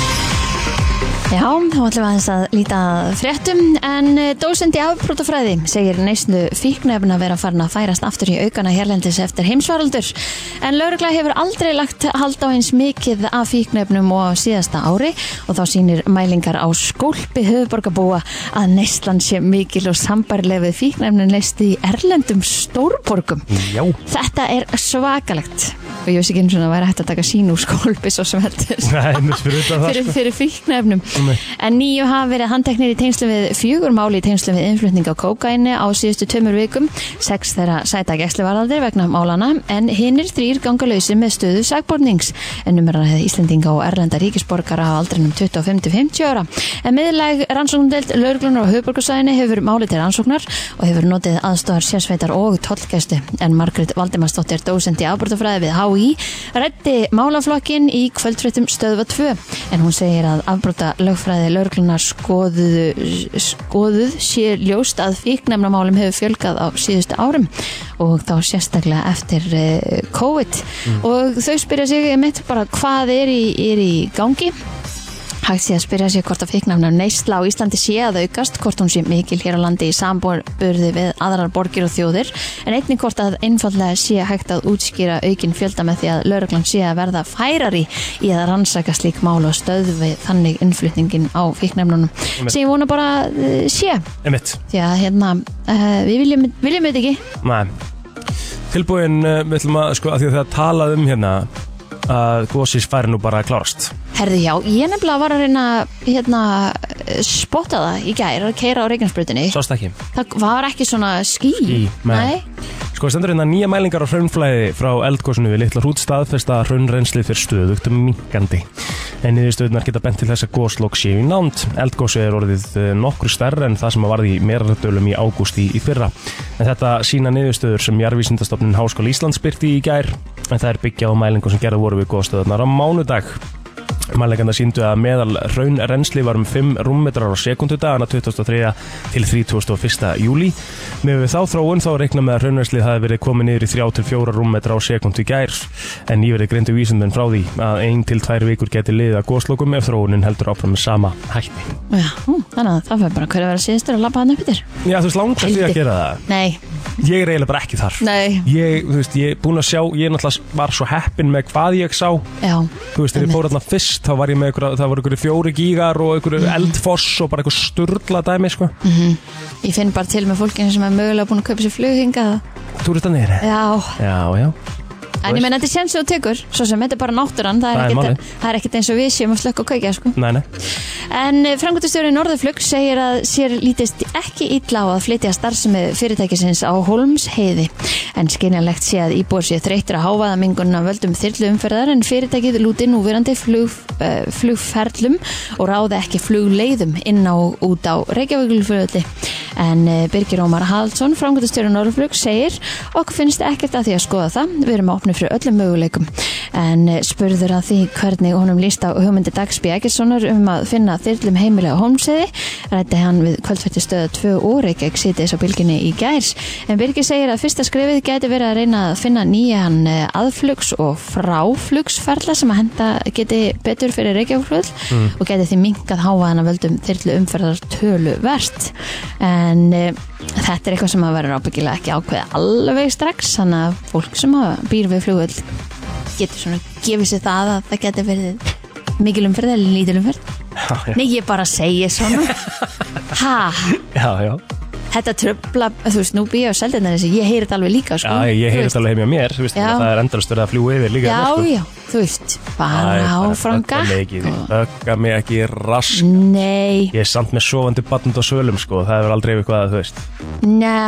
Já, þá ætlum við aðeins að líta að fréttum en eh, dósend í afbrótafræði segir neyslu fíknefn að vera farin að færast aftur í aukana hérlendis eftir heimsvaraldur en laurugla hefur aldrei lagt hald á eins mikið af fíknefnum og á síðasta ári og þá sýnir mælingar á skólpi höfuborgabúa að neyslan sé mikil og sambarleg við fíknefnin neyslu í erlendum stórborgum Já, Þetta er svakalegt og ég veist ekki eins og það væri hægt að taka sín úr skólpi svo sem þetta er það er mjög fyrir utan það fyrir, sko. fyrir fíknefnum Nei. en nýju hafa verið handteknir í tengslum við fjögur máli í tengslum við innflutning á kókaini á síðustu tömur vikum sex þeirra sæta gæsluvaraldir vegna málana en hinnir þrýr ganga lausir með stöðu sagbornings en um numeraræði Íslendinga og erlenda ríkisborgara á aldrinum 25-50 ára en miðlæg rannsóknumdelt laurglunar á höfuborgarsæðinni hefur máli til rannsóknar og hefur notið aðstofar sérsveitar og tollgæstu en Margrét Valdimarsdóttir dósend í afbrotafræði við HÍ reddi málaflokkin í kvöldfréttum stöðva 2 en hún segir að afbrota lögfræði laurglunar skoðuð, skoðuð sé ljóst að fíknemnamálum hefur fjölgað á síðustu árum og þá sérstaklega eftir eh, COVID og þau spyrja sig mitt bara hvað er í, er í gangi Hægt sé að spyrja sér hvort að fíknafna neysla á Íslandi sé að aukast, hvort hún sé mikil hér á landi í samborburði við aðrar borgir og þjóðir, en einnig hvort að einfallega sé hægt að útskýra aukin fjölda með því að lauruglan sé að verða færari í að rannsaka slík mál og stöðu við þannig innflutningin á fíknafnunum, sem ég vona bara eh, sé, Emmett, því að hérna, uh, við viljum, viljum þetta ekki, eh, næ Tilbúin, uh, við ætlum að, sko, að því að það er talað um hérna að gósis færi nú bara að klárast Herði já, ég nefnilega var að reyna hérna, eh, spotta það í gær að keira á Reykjanesbrutinni Sást ekki Það var ekki svona ský Ský, nei. Sko stendur hérna nýja mælingar á hraunflæði frá eldgósinu við litla hrút staðfesta að hraunrenslið fyrir stöðugt minkandi. En niðurstöðunar geta bent til þess að góslokk séu í nánd. Eldgósi er orðið eh, nokkru stærra en það sem að varði í merardölum í ágústi í fyrra. En þetta sína niðurstöður sem Jarvísindastofnun Háskóla Íslands byrti í gær. En það er byggjað á mælingum sem gerða voru við góstöðunar á mánudag. Mæleikanda síndu að meðal raunrennsli var um 5 rúmmetrar á sekundu dagana 23. til 31. júli. Með við þá þróun þá reikna með að raunrennsli hafi verið komið niður í 3-4 rúmmetrar á sekundu í gær en nýverið grindu vísindun frá því að 1-2 vikur geti liðið að góðslokum ef þróunin heldur áfram með sama hætti. Já, ú, þannig að það fyrir bara hverju að vera síðastur að labba hann upp yfir Já, þú veist, langt eftir að Heldi. gera það. Nei, Ég er eiginlega bara ekki þar. nei, Ég, þú veist, ég er búin að sjá, ég náttúrulega var svo heppin með hvað ég sá já Þú veist, þegar ég fór alltaf fyrst þá var ég með ykkur, það voru ykkur fjóri gígar og ykkur eldfoss og bara ykkur sturla dæmi, sko. Ég finn bara til með fólkinu sem er mögulega búin að kaupa sér flug hingað Túristanir. Já, Já, já. en ég menn þetta er séns og tekur Svo sem þetta er bara náttúran Það Það er er, málið. ekkert, það er ekkert eins og við séum að slökka og kveikja sko. Nei, nei. En framkvæmtastjóri Norðurflug segir að sér lítist ekki illa á að flytja starfsemi fyrirtækisins á Holmsheiði. En skynjanlegt sé að íbúar sé þreyttir að háfaða mingunna völdum þyrluumferðar en fyrirtækið lúti núverandi flug, uh, flugferlum og ráði ekki flugleiðum inn á út á Reykjavíkulflöðli. En eh, Birgir Ómar Haldsson, framkvæmtastjóri Norðurflug, segir okkur finnst ekkert að því að skoða það. Við erum opnið fyrir öllum möguleikum. En eh, spurður að því hvernig honum líst á hugmyndi Dags B. Eggerssonar um að finna þyrlum heimilega hómsiði rætti hann við kvöldfættistöða 2 og Reykjavík sítiðs á bylginni í gærs en Birgir segir að fyrsta skrefið gæti verið að reyna að finna nýjan eh, aðflugs og fráflugsferla sem að henda geti betur fyrir Reykjavíkflöð og geti því minkað hávaðan að völdum þyrlu umferðar tölu verst en eh, þetta er eitthvað sem að vera ábyggilega ekki ákveða alveg strax þannig að fólk sem að býr við flugvöld getur svona gefið sér það að það getur verið mikil umferð eða lítil umferð já. Nei, ég bara segi svona Ha, Já, já. þetta tröfla þú veist, nú býja á seldinnar þessi ég heyri þetta alveg líka sko, Já, ég, ég heyri Þú veist, þetta alveg heim hjá mér, þú veist, Já. það er endalast verið að fljúa yfir líka. sko. Já, já, þú veist, bara áfram Það er gakk Mm. ekki, og- ökka mig ekki rask. Nei, Ég er samt með sofandi batnund á sölum, sko, það hefur aldrei eitthvað að, þú veist. ná,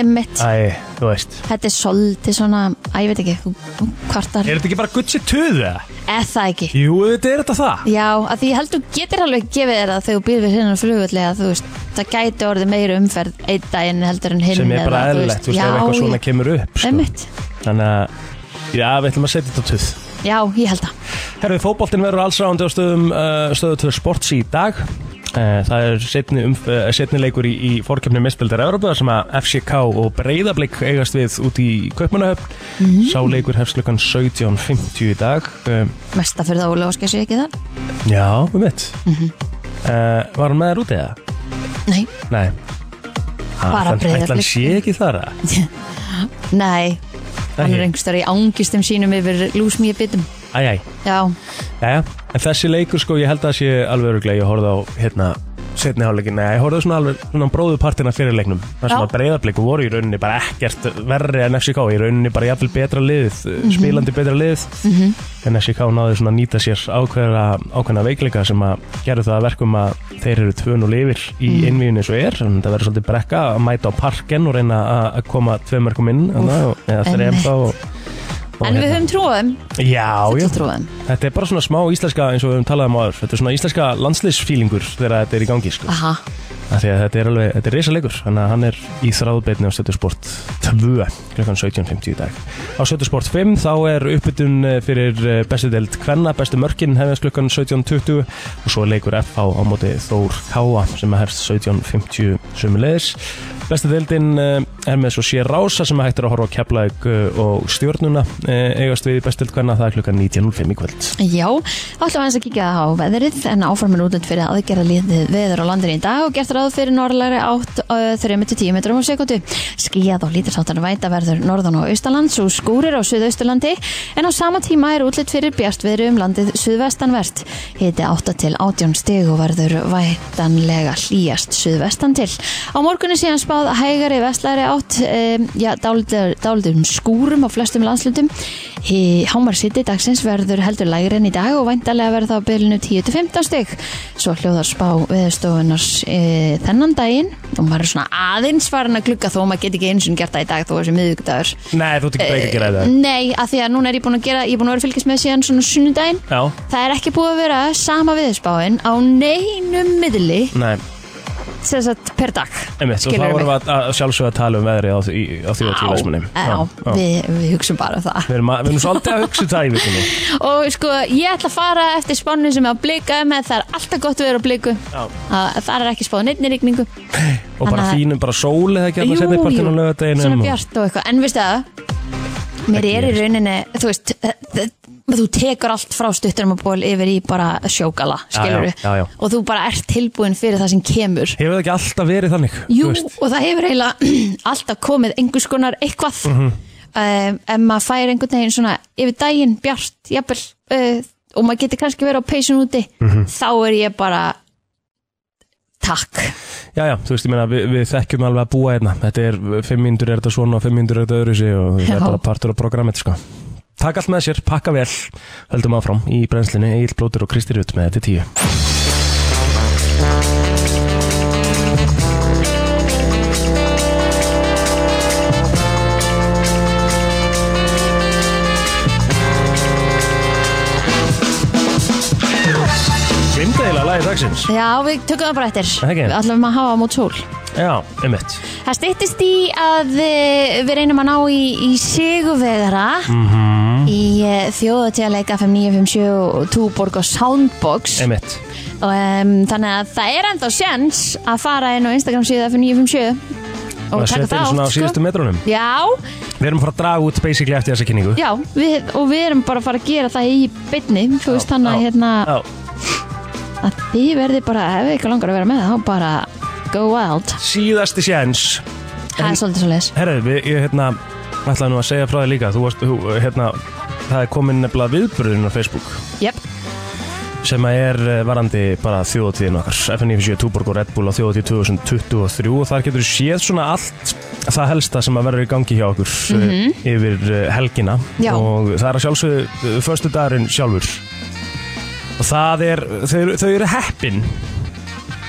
emmitt Æ, þú veist. Þetta er svolítið svona, að ég veit ekki þú- þú kvartar, Er þetta ekki bara gutsi tuða? eða það ekki Jú, þetta er þetta það. Já, að því ég held þú getur alveg gefið þér að þegar þú býr við hinnan flugvöldlega, þú veist, það gæti orðið meiri umferð einn daginn heldur en hinn Sem er bara eða, eðlilegt, þú veist, ef já, eitthvað svona já, kemur upp, sko. einmitt. Þannig að, já, við ætlum að setja þetta á tuð. Já, ég held það. Herfið, fótboltinn verður allsráðandi á stöðum uh, stöðu 2 sports í dag uh, Það er setni, um, uh, setni leikur í, í fórkjöfni mistbildar Európa þar sem að FCK og Breiðablík eigast við út í Kaupmannahöfn Sá leikur hefst klukkan 17.50 í dag uh, Mesta fyrir það Óla Óskar sé ekki það. Já, um mitt Mhm. uh, Var hann með þér út eða? Nei, Nei Ha, þann- Bara ætli hann Breiðablik. sé ekki þar að? nei, hann er Ekki. einhverstað í angistum sínum yfir lúsmíu bitum. Æ, æ, Já, Jæja, en þessi leikur sko, ég held að það sé alveg öruglega, ég horfði á hérna setni hálfleikin, nei, ég horfði á svona alveg svona bróðupartina fyrir leiknum, þar sem Já. að breyðabliku voru í rauninni bara ekkert verri en FCK, í rauninni bara jafnvel betra lið, eh, Mhm. spilandi betra lið, en FCK náði svona að nýta sér ákveða, ákveðna veikleika sem að gerðu það að verkum að þeir eru tvön og lifir í Mhm. mm. innvíðinu svo er, en það verður svolítið brekka að mæta á parken og reyna að- að koma tvö mörgum inn, þarna, og- eða þrejum einmitt. þá og, og en við hérna. höfum trúaðum, Já, já, fulla trúaðum. Þetta er bara svona smá íslenska eins og við höfum talað um áður Þetta er svona íslenska landsliðsfílingur þegar þetta er í gangi sko. Aha, Af því að Þetta er alveg, þetta er reysalegur Þannig að hann er í þráðbeitni á Stöðusport 2 klukkan 17.50 í dag Á Stöðusport 5 þá er uppbytun eh, fyrir eh, bestu deild Kvenna, bestu mörkin hefðast klukkan 17.20 og svo er leikur FH á móti Þór Káa sem að hefst 17.50 sumulegis Bestu deildin eh, er með svo sér rása sem að hægt er að horfa á keflaug og stjórnuna eh, eigast við í bestu deild Kvenna, það er klukkan 19.05 í kvöld já, þá ætlum við aðeins að kíkja á veðrið en áformin útlönd fyrir aðgerða lítið veður á landinu í dag og gert ráð fyrir norðlæri átt uh, 3-10 metrum á sekundu. Skíjað og lítilsáttan væta verður norðan og austalands og skúrir á suðausturlandi en á sama tíma er útlönd fyrir bjart veður um landið suðvestanvert. Hiti 8 til 18 stig og verður vætanlega hlýjast suðvestan til. Á morgunni síðan spáð að hægari vestlæri átt um, já, dálítið dálítið um skúrum á flestum landslutum Hámar City dagsins verður heldur lægri enn í dag og væntalega verður það á bylunu 10-15 stygg svo hljóðar spá viðstofunars e, þennan daginn og maður er svona aðeins farin að glugga þó maður geti ekki eins og gert það í dag þó þessi miðvíkudagur Nei, þú ert ekki breyka að gera þetta Nei, af því að núna er ég búin að gera ég er búin að vera að fylgjast með síðan svona sunnudaginn Já, Það er ekki búið að vera sama viðspáin á neinum miðli nei, sem sagt per dag einmitt Og þá Skilurðu vorum mig? við að- að sjálfsögða að tala um veðri á því á því að Á, tílasmunni já, við, við hugsaum bara um það Við erum, að, við erum svolítið að hugsa um það í vikunni Og sko, ég ætla að fara eftir spánu sem er á blika með það er alltaf gott við erum á bliku Já. Að- Það er ekki spáð neittni rigningu Og bara Þannig að- fínum, bara sólið ekki að setja partinn á lögadeginum svona bjart og eitthvað En veistu það, mér Ekki er í ég, sko. rauninni, þú veist eh, eh, Þú tekur allt frá stuttunum og ból yfir í bara sjókala, Já, skilur já, já, já. Og þú bara ert tilbúin fyrir það sem kemur Hefur það ekki alltaf verið þannig? Jú, Þú veist? og það hefur eiginlega alltaf komið einhvers konar eitthvað mm Mhm. ef maður fær einhvern veginn svona yfir daginn, bjart, jafnvel uh, og maður getur kannski verið á peysun úti Mhm. þá er ég bara takk Já, já, þú veist, ég meina, við, við þekkjum alveg að búa hérna Þetta er, fimm mínútur er þetta svona og fimm mínútur er þetta öðru sig og þetta Já. er bara partur af programmet, sko Takk allt með sér, pakka vel, höldum áfram í brennslinni, Egil Blótur og Kristi Rut með þetta tíu Vindeilega lagi dagsins Já, við tökum það bara eftir Ekki? Við ætlum að hafa á mót sól Já, einmitt Það styttist í að eh, við reynum að ná í, í Sigurvegara Mhm. -hmm. í þjóðatíðarleika 5957 og Túborg og Soundbox Einmitt og um, þannig að það er ennþá sjens að fara inn á Instagram síðu F957 og að taka setja inn þátt svona á sko. síðustu metrunum Já, Við erum að fara að draga út basically eftir þessa kynningu já, við, og við erum bara að fara að gera það í beinni, þú veist þannig að hérna, já. að þið verði bara, ef ykkur langar að vera með þá bara go wild, Síðasti séns það er svolítið svo leis Herðu, við, ég hérna ætlaði nú að segja frá þig líka Þú varst, þú, hérna Það er komin nefnilega viðburðurinn á Facebook Jöp, sem að er eh, varandi bara þjóðatíðin okkar FNF7, Túborg og Red Bull á þjóðatíð 2023 og þar getur séð svona allt það helsta sem að verður í gangi hjá okkur mm yfir eh, helgina Mhm. Já. og það er að sjálfsögðu förstu dagurinn sjálfur og það er, þau, eru- þau eru heppin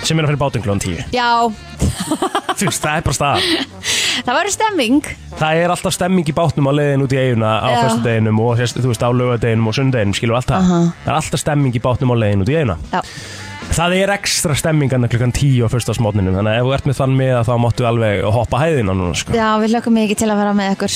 sem er að fyrir bátum klón 10 já, þú veist, það er bara stað það verður stemming það er alltaf stemming í bátnum á leiðin út í eiguna á Já. förstu deginum og sérst- þú veist á lögadeginum og sundeginum skilu allt það, það er alltaf stemming í bátnum á leiðin út í eiguna Já, Það er ekstra stemmingana klukkan 10 á fyrsta smótninum Þannig að ef þú ert með þann með þá máttu alveg hoppa hæðina núna sko. já við lökum mikið til að vera með ykkur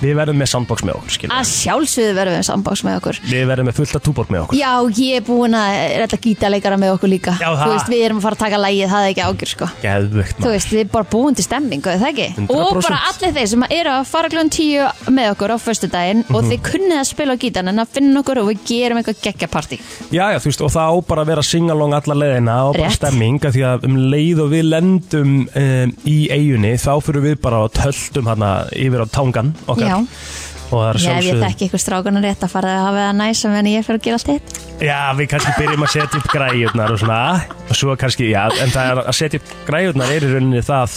Við verðum með sandbox með okkur skilur. Að sjálfsögðu verðum við sambáks með ykkur Við verðum með fullta túborg með okkur Já, ég er búin að redda gítaleikara með okkur líka Já, Þú það. veist, við erum að fara að taka lægið, það er ekki ágjur sko Geðvögt þú maður veist, við erum bara búin til stemmingu, er það ekki? 100%. Og bara allir þeir sem eru að fara klón 10 með okkur á föstudaginn og Mhm. þið kunnið að spila á gítan en að finna okkur og við gerum eitthvað geggjapartí. Já, já, þú veist, og það á bara að vera singalong alla leiðina og bara Rétt. stemming af því að um leið og við lendum um, í eigunni þá fyrir við bara og töltum hana yfir á tangan okkar Já. og það er Já, ef ég sjálfsögðu þekki ykkur strákunar rétt að fara að hafa það næs en ég fer að gera allt hitt. Já, við kannski byrjum að setja upp græjurnar og svona og svo kannski, já, en það er að setja upp græjurnar er í rauninni það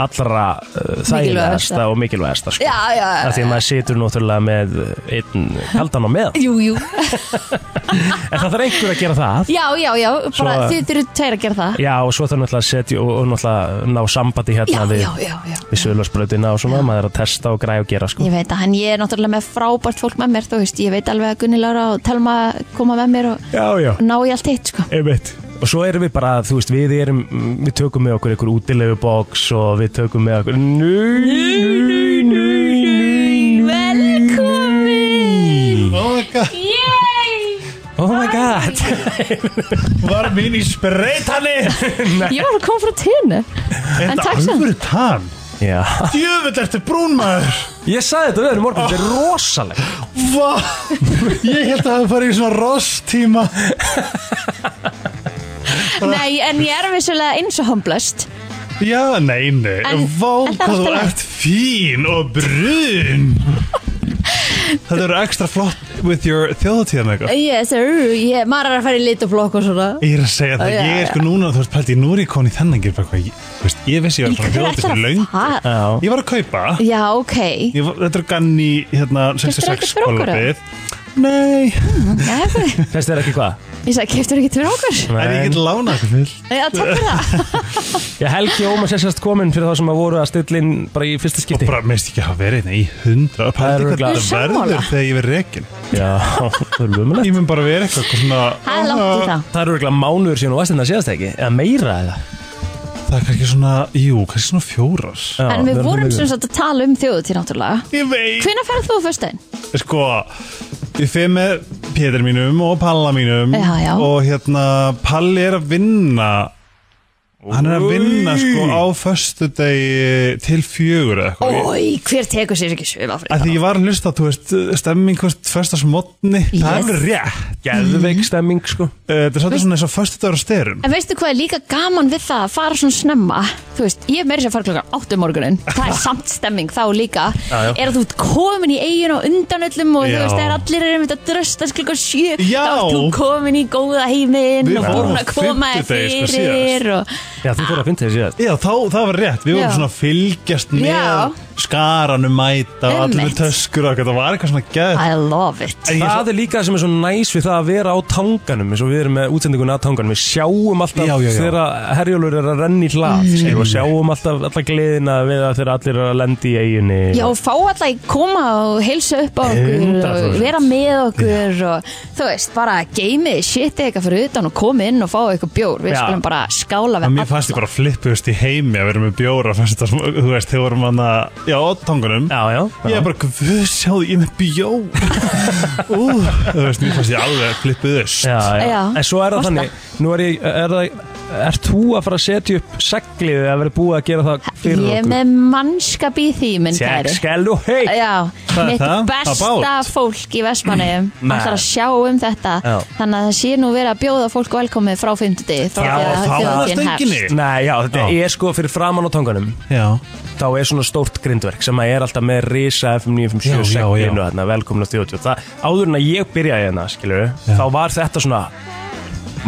allra uh, þægilegasta og mikilvægasta sko. Já, já, af því að maður situr náttúrulega með uh, einn kaldan á meðan Jú, jú. en það þarf einhver að gera það Já, já, já, bara Svo- þið þurfum tveir að gera það. Já, og svo þarf náttúrulega að setja og, og náttúrulega ná sambandi Já, hérna við, já, já, já. við sölursbröðina og svona, maður er að testa og græja og gera sko. Ég veit að, en ég er náttúrulega með frábært fólk með mér, þú veist, ég veit alveg að Gunni Lára og Telma koma með mér og Já, já, ná í allt hitt, sko. Einmitt. Og svo erum við bara, þú veist, við erum, við tökum með okkur einhver útilegu box og við tökum með okkur Nú, nú, nú, nú, Velkomin! Oh my god, Oh my god var minn í spreytani Ég var að koma frá tenni. En Þetta takk samt. alvöru tann Já, Djöfull ertu brún maður ég sagði þetta við erum morgun, þetta er rosalegt Vá, ég held að það hafi farið í svona rostíma Nei, en ég er vissulega eins og homblast Já, nei, nei En- Vá, en það er hvað allt í þú lagi. ert fín og brún Þetta eru ekstra flott with your þjóðatíðan eitthvað Yes, sir, yeah, maður er að fara í lituflokk og svona Ég er að segja það, Já, já, ég er já. sko núna, þú veist, pælti, nú er ég komin í þennan gyrpa eitthvað, ég, þú veist, ég vissi ég var að fara að Hver bjóða ætlar þessu að löng. fara? Já, Ég var að kaupa, Eh. Já, ok ég var, þetta er gann í, hérna, Keyptirðu ekkert 66 fyrir okkur, eða? kollabið. Nei, Nei, það- þess er ekki hvað Ég sagði, keftur ekki fyrir okkur en ég get lánað þetta fyrir. Já, takk fyrir það Ég Helgi Ómars er sérst komin fyrir þá sem að voru að stilla inn bara í fyrsta Og skipti bara, meðst ekki að hafa verið, nei, í hundra, pælti er hvað örugglega- þetta Sammála. verður þegar ég verið rekin. Já, það er lumulegt Ég mun bara verið eitthvað, eitthvað svona, Það er langt í aha, það Það eru eiginlega mánuður síðan og varst þetta síðast ekki Eða meira eða það er kannski svona, jú, kannski svona fjórar. Já, En við það er vorum mikið. sem sagt að tala um þjóðutíð náttúrulega Ég veit. Hvenær ferð þú á föstudaginn? Sko, ég fyrir með Pétur mínum og Palla mínum Já, já. og hérna, Palli er að vinna hann er að vinna sko á föstudegi til fjögur eða eitthvað Ég- Ói, hver tekur sér ekki svifafrí? að því ég var að hlusta, þú veist, stemming hvert föstasmotni, yes. Yes. Mhm. það er alveg rétt Geðveik stemming sko Eh, þetta er svolítið svona eins og föstudagur á styrum En veistu hvað er líka gaman við það að fara svona snemma Þú veist, ég er meira sér að fara klokkan 8 um morgunin Það er samt stemming þá líka já. Er að þú ert komin í eigin og undan öllum Og Já. þú veist, þegar allir eru einmitt að dröstast klukkan 7 Já. Þá ert þú komin í góða heiminn Við Og fórum búin á að koma þér fimmtudegi, sko, fyrir og... Já, þú fór að finna þér síðast Já, þá, það var rétt, við vorum Já. svona að fylgjast með Já. skaranum mæta, allir Einmitt. með töskur og eitthvað, það var eitthvað svona gæð I love it Það er líka það sem er svo næs við það að vera á tanganum eins og við erum með útsendingun að tanganum Við sjáum alltaf Já, já, já. þegar að Herjólfur er að renna í hlað mm. og sjáum alltaf alltaf gleðina við að þegar allir er að lenda í eiginni Já, og fá alltaf að koma og heilsa upp á okkur Hundra og prósent. vera með okkur og þú veist, bara geymið shit eitthvað fyrir utan og koma inn og fá eitthvað bjór við Já. skulum bara skála En við mér fannst ég bara flippuðust í heimi að vera með bjóra fannst þetta, sm- þú veist, þegar vorum hann að já, á tangunum, já, já, ég er bara guð, sjáðu, ég er með bjó Ú, þú veist, mér fannst ég alveg flippuðust já, já. Já. En svo er það Varst þannig Nú er ég, er það, ert þú að fara að setja upp seglið eða verið búið að gera það fyrir Ég er okkur? með mannskap í því, minn Tjekk, kæri skell og heik Já, Hvað er mitt það? besta About? fólk í Vestmanniðum Man. ætlar að sjá um þetta Já. þannig að það sé nú verið að bjóða fólk velkomið frá 50 frá Já, því að þá var þjóðhátíðin hefst. stönginni Nei, já, þetta Já. er sko fyrir framan á tanganum Já, þá er svona stórt grindverk sem að er alltaf með risa FM 957 Já, já, já. seglinu þarna, velkomin á 30 það, áður en að ég byrjaði hérna, skilur þá var þetta svona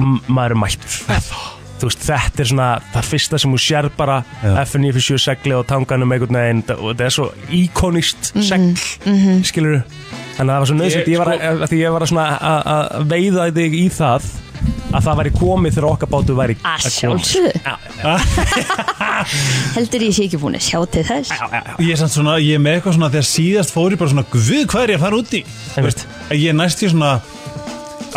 m- maður er mættur þú veist, þetta er svona það fyrsta sem hún sér bara FM 957 segli og tanganum einhvern veginn og þetta er svo íkonist segl mm skilur þannig að það var svo nöðsynnt Ég- sko ég, var að, að því ég var að svona að- að veiða þig í það að það væri komið þegar okkar bátu væri Að sjálfsögðu, Já, heldur ég sé ekki búin að sjá til þess já, já, já. ég er samt svona, ég er með eitthvað svona þegar síðast fór ég bara svona, guð, hvað er ég að fara út í Þú veist, að ég er næst í svona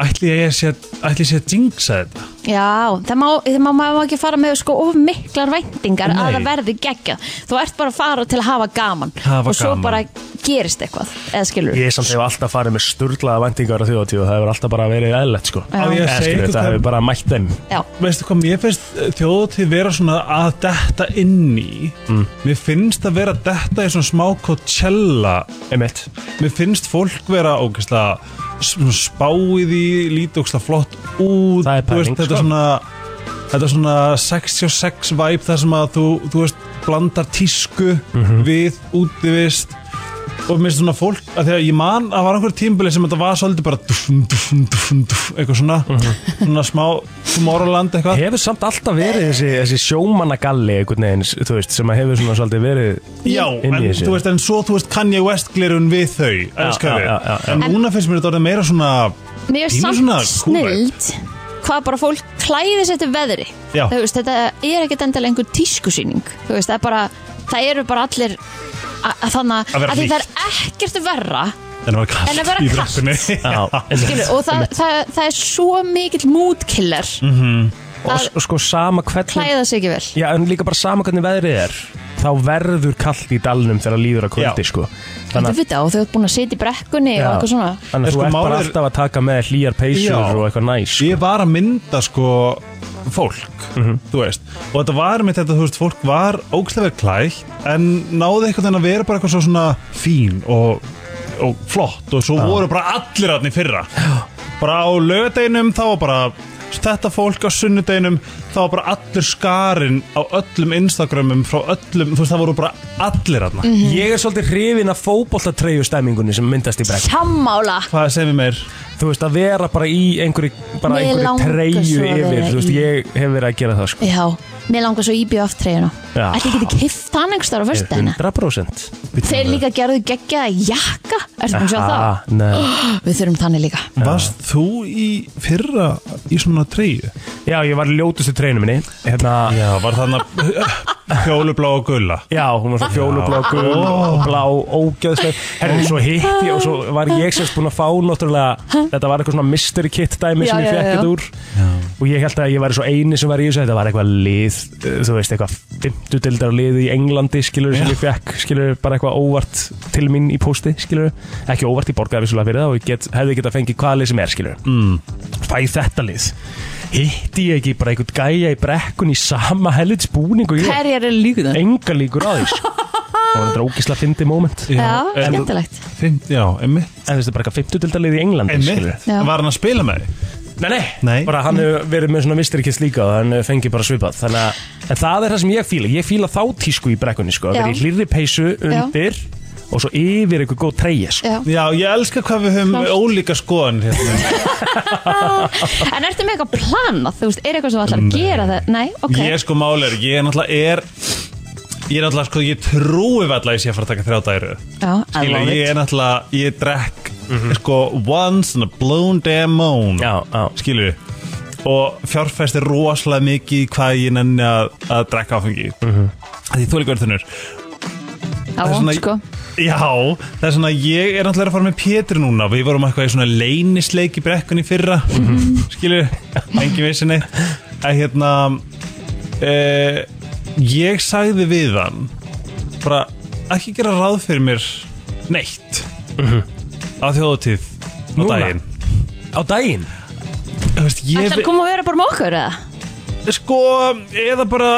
ætli ég sé að, ætli ég sé að jinxa þetta Já, það má, það má, maður má ekki fara með sko of miklar væntingar Nei. að það verði geggja. Þú ert bara að fara til að hafa gaman Hafa og svo gaman. bara gerist eitthvað, eða skilur. Ég samt hefur alltaf farið með sturglaða vendingar á þjóðatíu og það hefur alltaf bara verið eðlert sko Á ég að Eða, segja skilur, ykkur Það hvað- hefur bara mætt þeim Já, Veistu hvað, mér finnst þjóðatíð vera svona að detta inn í Mm. Mér finnst að vera að detta í svona smá Coachella Einmitt Mér finnst fólk vera ógeðslega svona spáið í, lítið ógeðslega flott út Það er þú pæling, Þetta sko. er svona, þetta er svona 66 vibe þar sem að þú, þú veist, blandar tísku Mhm. við útivist og mér finnst svona fólk, að þegar ég man að var einhver tímbili sem þetta var svolítið bara dufn, dufn, dufn, dufn, eitthvað svona Mhm. svona smá Tomorrowland eitthvað Hefur samt alltaf verið þessi, þessi sjómannagalli einhvern veginn, s- þú veist, sem að hefur svona svolítið verið Já, Inn en í þessu. þú veist, en svo þú veist Kanye West glerun við þau, elskar já, við já, já, já. En núna finnst mér þetta orðið meira svona mér er Pínu samt svona cool vibe. snild hvað bara fólk klæðis eftir veðri. Já. Þú veist, þetta er ekkert endalega einhver tískusýning. Þú veist, það er bara, það eru bara allir að, að þannig Að vera að því það hlýtt. er ekkert verra En að vera kalt En að vera í kalt. brekkunni Já, skilur, og það, það, það er svo mikill mútkiller og, að s- og sko sama hvernig klæða sig ekki vel. Já, en líka bara sama hvernig veðrið er Þá verður kallt í dalnum þegar líður að kvöldi Já. sko Þú Þannig að veit það og þau ert búin að sitja í brekkunni og Já. eitthvað svona Þannig að Sko, þú ert bara málið er- alltaf að taka með hlýjar peysur Já. og eitthvað næs sko. Ég var að mynda sko fólk, þú veist og þetta var mitt þetta, þú veist, fólk var ógstlega vel klætt en náði eitthvað en að vera bara eitthvað svo svona fín og, og flott og svo voru bara allir aðni fyrra bara á lögdeinum þá var bara þetta fólk á sunnudeginum það var bara allur skarinn á öllum Instagramum frá öllum, þú veist það voru bara allir aðna Ég er svolítið hrifin af fótboltatreyju stemmingunni sem myndast í brekk Sammála hvað segir við meir? Þú veist, að vera bara í einhverju, bara Mig einhverju langar treyju svo að yfir vera Þú veist, í- ég hef verið að gera það sko Já, mér langar svo íbjöf aftreyjuna Já. Ætli ég geti kift hann einhvers þar á fyrstæðina 100% hérna. Þeir líka gerðu geggja jakka Ertu búin að sjá það? Ah, nei. Við þurfum þannig líka Varst þú í fyrra í svona treyju? Já, ég var í ljótustu treynu minni Hérna, Já, var þannig að fjólublá og gulla Já, hún var svo fjólublá, gul og blá, ógeðsleg Ah. Herri, svo hitt ég og svo var ég sérst búin að fá náttúrulega Þetta var eitthvað svona mystery kit dæmi sem Já, ég já, fekk já. þetta úr Og ég held að ég væri svo eini sem var í þessu Þetta var eitthvað lið, eh, þú veist, eitthvað Fimmtudildar lið í Englandi, skilur sem ég fekk Skilur bara eitthvað óvart til mín í pósti, skilur Ekki óvart í borgaði vissulega fyrir það Og ég get, hefði getað fengið hvaða lið sem er, skilur Fæ þetta lið Hitti ég ekki bara einhvern gæja í brekkun í sama helvits búning og ég Hverjar er líka það? enga líkur á því sko. það var þetta ógisla fyndi moment en Já, en- skemmtilegt Fimm- Já, emmi þú veist, það er bara eitthvað 50 í Englandi skilur. Já. Var hann að spila með þig? nei, nei, Nei. bara hann hefur verið með svona misterikist líka og hann hefur fengið bara svipað þannig að en það er það sem ég fíla, ég fíla þá tísku í brekkunni sko, að Já. vera í hlýrri peysu undir og svo yfir eitthvað góð treyja sko. Já. Já, ég elska hvað við höfum Klárt. ólíka skoðan hérna. En ertu með eitthvað planað? Þú veist, er eitthvað sem þú ætlar að gera það? Nei, ok Ég er sko málir, ég er náttúrulega er Ég er náttúrulega sko, ég trúi valla að ég sé að fara að taka þrjá dæru Já, I Skilja, love ég it er náttúrulega, ég drekk sko once in a blown damn moon Mhm. Já, já. skilju og fjárfæst er rosalega mikið í hvað ég nenni að, að drekka áfengi mm Mhm. -hmm. því þú er líka verið þunnur Það er svona- sko Já, það er svona, ég er náttúrulega að fara með Pétur núna Við vorum eitthvað í svona leynisleik í brekkunni í fyrra Skilur, engin vissi neitt Að hérna e, Ég sagði við hann Bara, ekki gera ráð fyrir mér Neitt Á þjóðatíð Á Núna? daginn á daginn Þú veist, ég, Ætlar að koma að vera bara með okkur eða? Sko, eða bara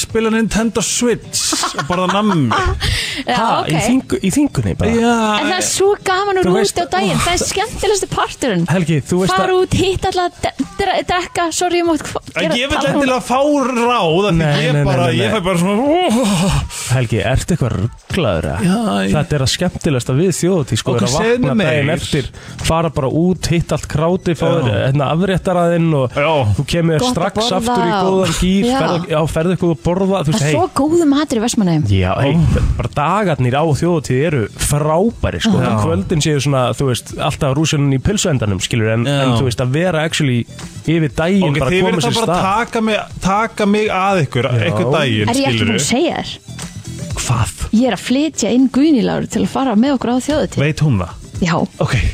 spila Nintendo Switch Og borða nammi Já, ha, í, ok þingu, í þingunni bara Já, En það er svo gaman að Þú vera veist- úti á daginn Það er skemmtilegstu parturinn Helgi, þú veist Fara út, hitt alltaf, drekka Sorry, ég mátt hva- En gera- ég vil tala um- endilega fá ráð af því Nei, nei, ég nei, bara, nei, nei. ég fæ bara svona oh, Helgi, ertu eitthvað rugglaður Já, ég- Þetta er að skemmtilegsta við þjóðutí sko, Ok, er að segðu vakna mér. daginn eftir fara bara út, hitt allt kráti fá Já. þér hérna, afréttaraðinn og Já. þú kemur þér Gott að strax borða aftur í og- góðan gýr Já. ferð, já, ferðu eitthvað að borða þú Það veist, er hei svo góðu matur í Vestmanheim Já, hey, bara dagarnir á þjóðutíð eru frábæri sko, Já. kvöldin séu svona, þú veist, alltaf rúsunum í pilsuendanum skilur, en, Já. en þú veist, að vera actually yfir daginn Ok, bara þið að verður koma sér það bara stað taka mig, taka mig að ykkur Já. einhvern daginn, Er ég ekki búin að skilur segja þér? Hvað? Ég er að flytja inn Guðniláru til að fara með okkur á þjóðutíð Veit hún það? Já, Ok, okay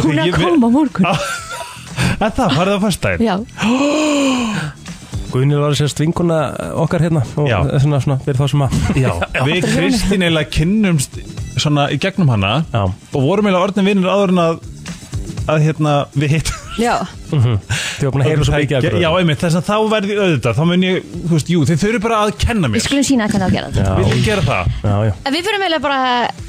hún er ég að ve- koma á morgun En það, farið á fyrstæðin Já, Guðnir var sérst vinkuna okkar hérna og Já. svona, svona, fyrir þá sem að Já, Við Kristín eiginlega kynnumst svona í gegnum hana Já. og vorum eiginlega orðin vinnir áður en að að hérna við hitt já, Þið var búin að heyra svo mikið af Já, hverju. einmitt, þess að þá verði auðvitað þá mun ég, þú veist, jú, þið þurfi bara að kenna við mér skulum sína hvernig á að gera þetta Vil ég gera það? Já, já. En við fyrir meðlega bara,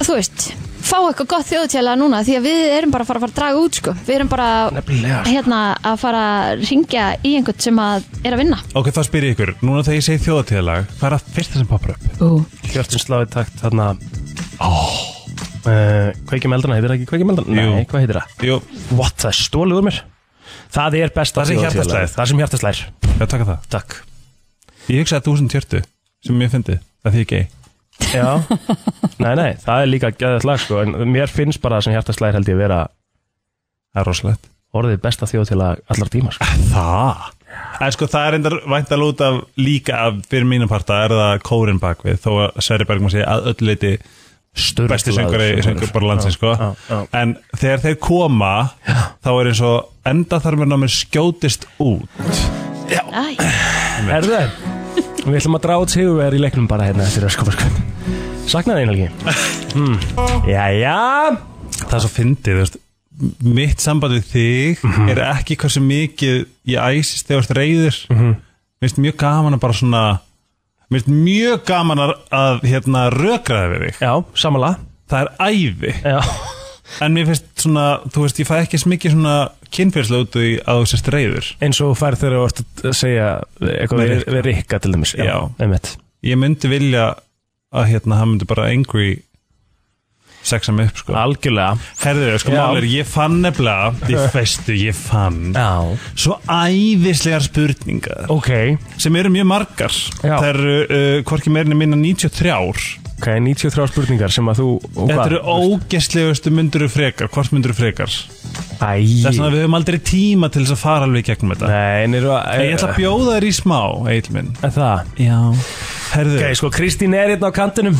þú veist fá eitthvað gott þjóðutjálega núna því að við erum bara að fara að fara að draga út sko. við erum bara Nefnilega, sko. hérna, að fara að ringja í einhvern sem að er að vinna Ok, þá spyr ég ykkur, núna þegar ég segi þjóðatíðalag hvað er að fyrsta sem poppar upp? uh. Hjörtun sláði takt þarna uh, Kveikjum eldana, heitir það ekki kveikjum eldana? Jú. Nei, hvað heitir það? Jú, What, það er stólið úr mér Það er besta Það sem þjóðhátíðarlag. hjartaslagið. Það sem hjartaslæðir ég taka það Takk Ég hugsaði að þúsund hjörtu sem ég fyndi að því ég gei Já, nei, nei, það er líka gæðið lag sko En mér finnst bara það sem hjartaslæðir held ég vera Það er rosalegt Orðið besta þjóð til að allar tíma sko Það? En sko það er endar vænt að lúta af, líka af fyrir mínu parta er það kórin bakvið þó að Sverri Bergman sé að öll leiti Sturlaður besti söngur í söngvari. söngur bara landsins sko Já, já, já. en þegar þeir koma þá er eins og endaþarmurinn á mér skjótist út Æ, Herðu, við ætlum að draga út sigurvegar í leiknum bara hérna eftir öskum sko Saknar einhalgi mm. Jæja það er svo fyndið, þú veist mitt samband við þig er ekki hversu mikið ég æsist þegar þú ert reyður mm -hmm. minnst mjög gaman að bara svona minnst mjög gaman að, að hérna rökraða við þig, Já, samanlega það er æði Já, en mér finnst svona, þú veist, ég fæ ekki eins mikið svona kynfyrslega út í að þú sérst reyður eins og þú færð þegar þú ert að segja eitthvað Með við, Rikka. við Rikka til dæmis Já. einmitt ég myndi vilja að hérna, hann myndi bara angry sexa mig upp sko algjörlega herðu, sko Já. málir, ég fann nefnilega ég feistu, ég fann já svo æðislegar spurningar ok sem eru mjög margar Já. það eru uh, hvorki meirinni minna 93 ár ok 93 spurningar sem að þú og þetta hvað? eru ógæstlegustu mynduru frekar hvort mynduru frekar það er svona æ að við höfum aldrei tíma til þess að fara alveg í gegnum þetta nei en eru að en ég ætla að bjóða þér í smá, Egil minn Er það já herðu, ok sko Kristín er hérna á kantinum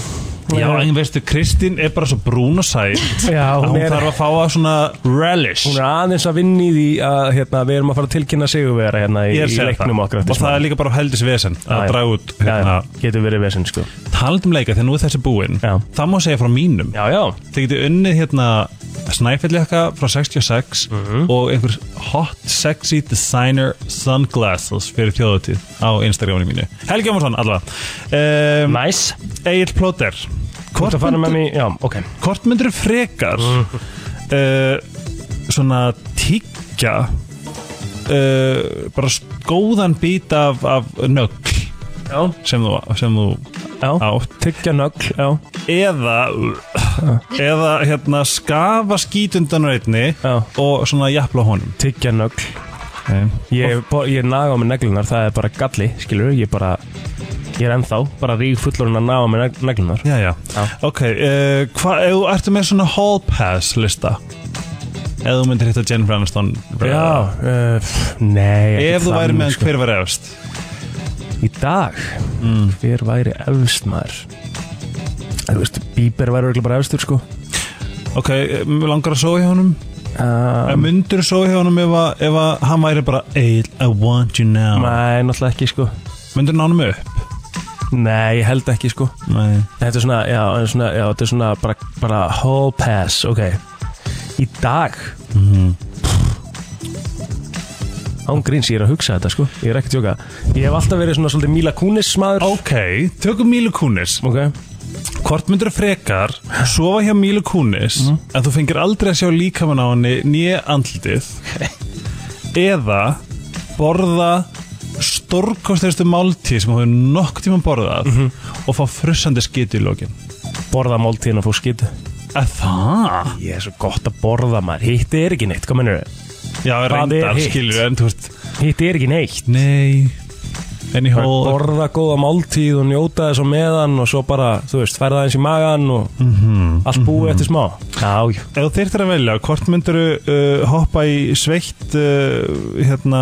já, en veistu, Kristín er bara svo brún og sæt já að hún hún er þarf að fá að svona relish hún er aðeins að vinni í því að hérna, við erum að fara að tilkynna sigurvera hérna í, Ég er að í segja leiknum það. okkar og það er líka bara heldis vesen að já. draga út hérna, hérna, getur verið vesinn sko talandum leika þegar nú er þessi búinn Já. það má segja frá mínum já já þið getið unnið hérna snæfelljaka frá 66 Mhm. og einhver hot sexy designer sunglasses fyrir þjóðutíð á Instagraminu mínu Helgi Ómarsson allavega um, nice Egil Plóter þú ert hvort, að fara með Mhm. myndu, mér já ok hvort myndur frekar uh, svona tíkja uh, bara s- góðan bít af, af nögl já sem þú, sem þú já átt tyggja nögl já eða eða hérna skafa skít undan reytni Já. og svona jafla honum tyggja nögl okay. Ég, bo- ég naga á mig neglunar, það er bara galli, skilur ég bara, ég er ennþá bara rík fullorinn að naga á mig neg- neglunar já, já. Já. ok, uh, hvað, ef þú ertu með svona hall pass lista ef þú myndir hitta Jennifer Aniston Já, uh, pff, nei ekki sko. ef þú þannig, væri með hann hver var efst Í dag, Mm. hver væri efst maður? Þú veist, Bieber væri örugglega bara efstur sko ok, eh, mig langar að sofa hjá honum uh, um, myndir sofa hjá honum ef, að, ef að hann væri bara Eil, I want you now Nei, náttúrulega ekki sko myndir hann honum upp Nei, ég held ekki sko Nei. Þetta er svona, já, en svona, já þetta er svona bara, bara whole pass, ok Í dag mm Án gríns, ég er að hugsa þetta sko Ég er ekki að tjóka Ég hef alltaf verið svona svolítið Mila Kunis maður ok, tökum Mílu Kunis Ok Hvort myndur frekar sofa hjá Mílu Kunis en þú fengir aldrei að sjá líkamann á henni nýja andlitið eða borða stórkostuðustu máltíð sem þú hefur nokk tíma borðað og fá frussandi skiti í lókin Borða máltíðin og fór skýtu að það? hérna Ég er svo gott að borða maður Hitti er ekki neitt, hvað mennur þau? Já, Hvað er reyndar hitt? skilur en þú veist Hitti er ekki neitt nei enni Bara hól Borða góða máltíð og njóta þess á meðan og svo bara, þú veist, færða eins í magan og allt búið eftir smá Mhm. Já, já. ef þú þyrftir að velja hvort myndur uh, hoppa í sveitt uh, hérna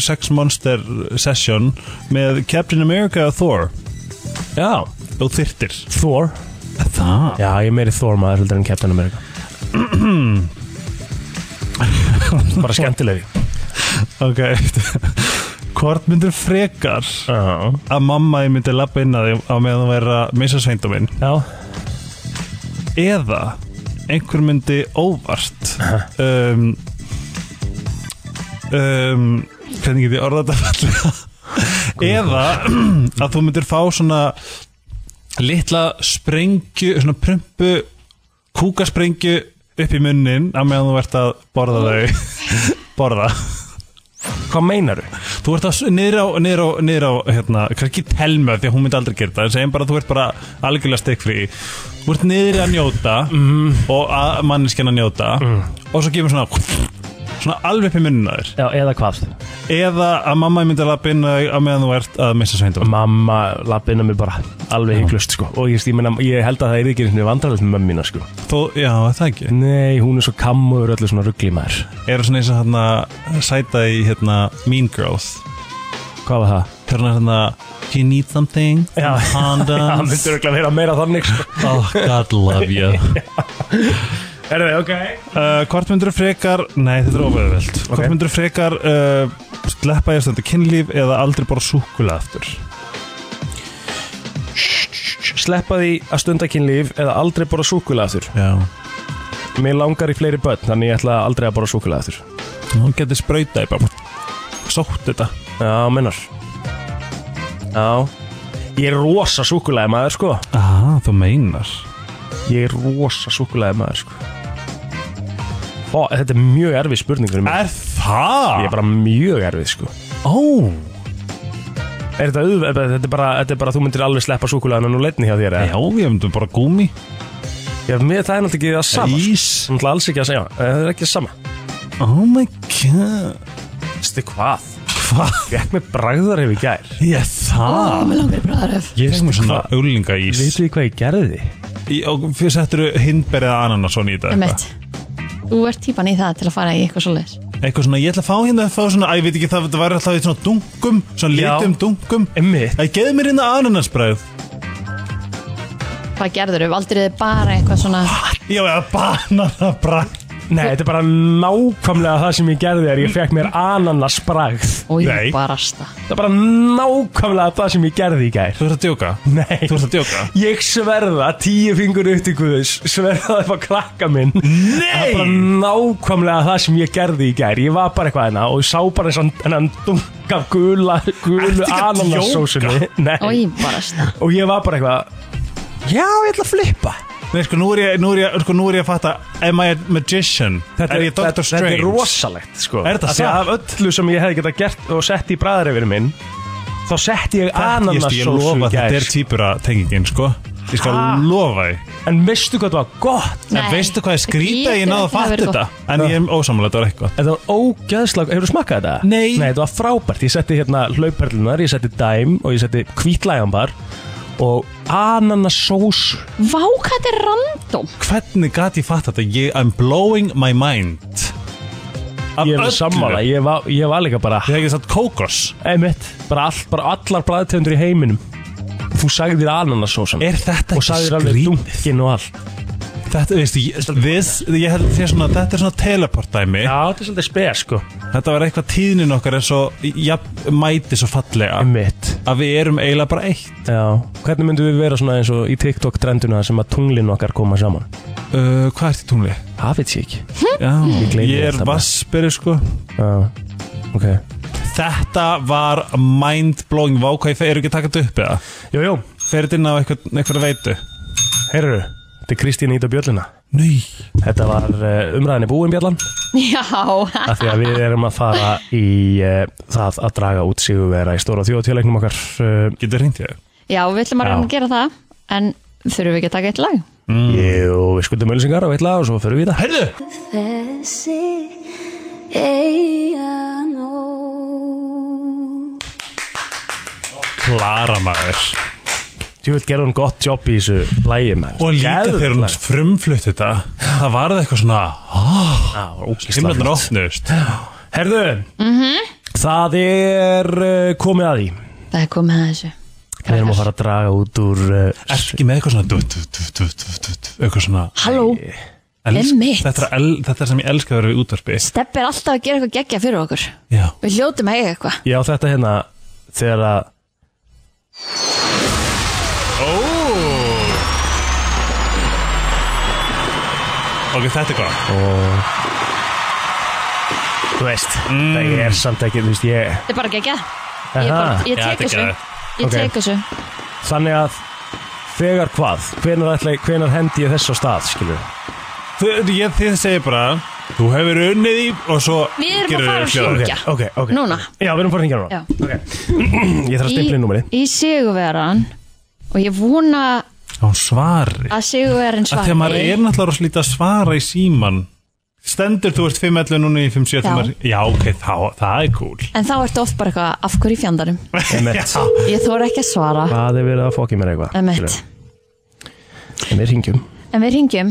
sex monster session með Captain America og Thor já Þú þyrtir Thor Það? Já, ég er meiri Thor maður heldur en Captain America Bara skemmtilegri Ok Hvort myndir frekar Já, að mamma ég myndi labba inn að því á meðan þú væri að missa sveindum minn já. eða einhver myndi óvart um, um, hvernig get ég orða þetta fallega eða að þú myndir fá svona litla sprengju svona prumpu kúkasprengju upp í munnin á meðan þú ert að borða þau borða Hvað meinaru? Þú ert að s- niður á, niður á, niður á hérna, kannski telma því að hún myndi aldrei gera það en segjum bara að þú ert bara algjörlega stikfri Þú ert niður að njóta Mhm. og að manneskjan að njóta Mm. og svo gefur svona svona alveg upp í munna þér Já, eða hvað? eða að mamma myndi að lappa inn á þig á meðan þú ert að missa Mm. sveindum Mamma lappina mig bara alveg hygglust sko Og ég, veist, ég, meina, ég held að það er ekki einhvern veginn vandrarlegt með mömmina sko Þú, já, er það ekki Nei, hún er svo kammuður öllu svona ruggli maður Eru svona eins og hérna sæta í hérna Mean Girls Hvað var það? Þegar hann er hérna Do you need something? Já. Já, Condoms? myndir örugglega vera meira þannig sko oh, God love you Er það, ok Uh, hvort myndur frekar, nei þetta er óveðveld Ok. Hvort myndur frekar uh, sleppa ég stundu kynlíf eða aldrei bara súkula aftur Sleppa því að stunda kynlíf eða aldrei bara súkulega aftur Já Mér langar í fleiri börn, þannig ég ætla aldrei að bara súkulega aftur Hún getur sprauta í bara Sótt þetta Já, minnar Já Ég er rosa súkulæði maður sko Ah, þú meinar Ég er rosa súkulæði maður sko Ó, þetta er mjög erfið spurning fyrir mig Er það? Ég er bara mjög erfið sko Ó Er þetta auðvitað, þetta, er bara- þetta er bara, þú myndir alveg sleppa súkulaðinu og leitni hjá þér eða? Já, ég myndi bara gúmi Já, mér það er náttúrulega ekki það sama sko. Ís Það er alls ekki að segja, Eh, það er ekki sama Oh my god Vistu hvað? Hvað? Gekk með bragðar hefur gær Ég það Mér langar í bræðaröf Ég Fengum við svona auglingais Veitu því hvað ég gerði? Í- Og fyrir settur hindberið eða ananas svona í þetta Emmett Þú ert típan í það til að fara í eitthvað svoleiðis Eitthvað svona, ég ætla að fá hérna að fá svona Æ, ég veit ekki, það það væri alltaf í svona dunkum Svona Já. litum dunkum Emmitt Æ, geðu mér hérna ananasbræð Hvað gerður þau? Valdir þau bara eitthvað svona Já, eða bananabræð Nei, þetta er bara nákvæmlega það sem ég gerði er ég fekk mér ananasbragð Og Nei. ég bara rasta Það er bara nákvæmlega það sem ég gerði í gær Þú ert að djóka? Nei Þú ert að djóka? Ég sverða tíu fingur upp til Guðs Sverða upp á krakka minn Nei Það er bara nákvæmlega það sem ég gerði í gær Ég var bara eitthvað hérna og ég sá bara eins og hann dunk af gula, Ertu gulu ekki að ananassósunni Nei Og ég bara rasta Og ég var bara eitthvað Já, ég ætla að flippa Nei, sko, nú er ég, nú er ég, sko, nú er ég að fatta Am I a magician? er ég Dr. Strange? Þetta er rosalegt sko Er þetta Af því að Af öllu sem ég hefði geta gert og sett í bræðarefinu minn Þá sett ég Þetta- sko, ég- Ég ananassósu lofa í að þetta er gær týpura tengingin, sko Ég skal Ha? lofa því En veistu hvað það var gott? En veistu hvað ég Þetta skrýta að ég getur náðu að ekki hafa fatta verið þetta En ég er ósamlega, þetta var eitthvað Þetta var ógæðslega, hefur þú smakkað þetta? Nei. Nei, þetta var frábært, ég setti hérna hlauperlunar, ég setti dæm og ég setti kvítlægambar og ananassós Vá, hvað þetta er random Hvernig gat ég fatta þetta? Ég, I'm blowing my mind Af Ég var öllu. sammála, ég var, ég var líka bara Ég hef ekki satt kókos einmitt, bara, all, bara allar bræðtegundur í heiminum Þú sagðir ananassósan Er þetta og ekki sagðir alveg skrýt? dunkin og allt Þetta, veistu, ég, this, ég held þér svona Þetta er svona teleport-dæmi Já, þetta er svolítið spes sko Þetta var eitthvað tíðnin okkar er svo ja, Mæti svo fallega Einmitt Að við erum eiginlega bara eitt Já, hvernig myndum við vera svona eins og í TikTok-trenduna sem að tunglin okkar koma saman? uh, Hvað ert í tungli? Það veit ég ekki. Já, gleymi ég er þetta bara. vassberi sko Já, ok. Þetta var mind-blowing Vá, hvað ég fe- eru ekki að taka þetta upp eða? Jú, jú, Ferið inn á eitthvað, eitthvað veitu heyrðu, þetta er Kristín Ída Bjöllina. Nei Þetta var uh, umræðinni búin Bjallan, Já, af því að við erum að fara í uh, það að draga út sigurvera í stóra þjóðtjóðleiknum okkar. Uh, Getur hringt ég? já við ætlum að reyna Já. að gera það En þurfum við ekki að taka eitt lag? Mm. Jú, við skuldum ölsingar og eitthvað og svo förum við í það. Herðu! Þessi eigin og Klara maður Jú, við gerum gott jobb í þessu lægi með. Og líka þegar hún frumflutt þetta Það varð eitthvað svona Himmelnar opnust Herðu, það er uh, komið að því. Það er komið að þessu Við erum að fara að draga út úr uh, Er ekki með eitthvað svona du, du, du, du, du, du, du, Eitthvað svona Halló, elsk, Einmitt. þetta, er el, þetta er sem ég elska að vera við útvarpi Steppi er alltaf að gera eitthvað geggja fyrir okkur Já Við hljótum að eiga eitthvað Ég á þetta hérna þegar að Ok, þetta er gott Þú veist, Mm. það er samt ekki, þú veist, ég Þetta er bara geggja Ég, bara, Aha. ég tek Já, þetta er þessu geggja. Ég Ok. tek þessu Þannig að þegar hvað, hvenar, ætla, hvenar hendi ég þess á stað, skilur Þið, ég, þið segir bara Þú hefur unnið í og svo Við erum að gerirðu fara að hljóð. syngja. Já. ok, ok Núna. Já, við erum bara að hringja núna Já. Ég þarf að stimpla inn númeri í sigurveran Og ég vona Að Hún svari að sigurverin að Þegar maður er svari náttúrulega rosa lítið að svara í síman Stendur þú ert 5.11 núna í 5.7 Já. Já, Já ok, þá, það er cool En þá ertu oft bara eitthvað af hverju í fjandarum Emmett, Ég þóra ekki að svara hvað er verið að fokki mér eitthvað Emmett skilurðu? En við hringjum En við ringjum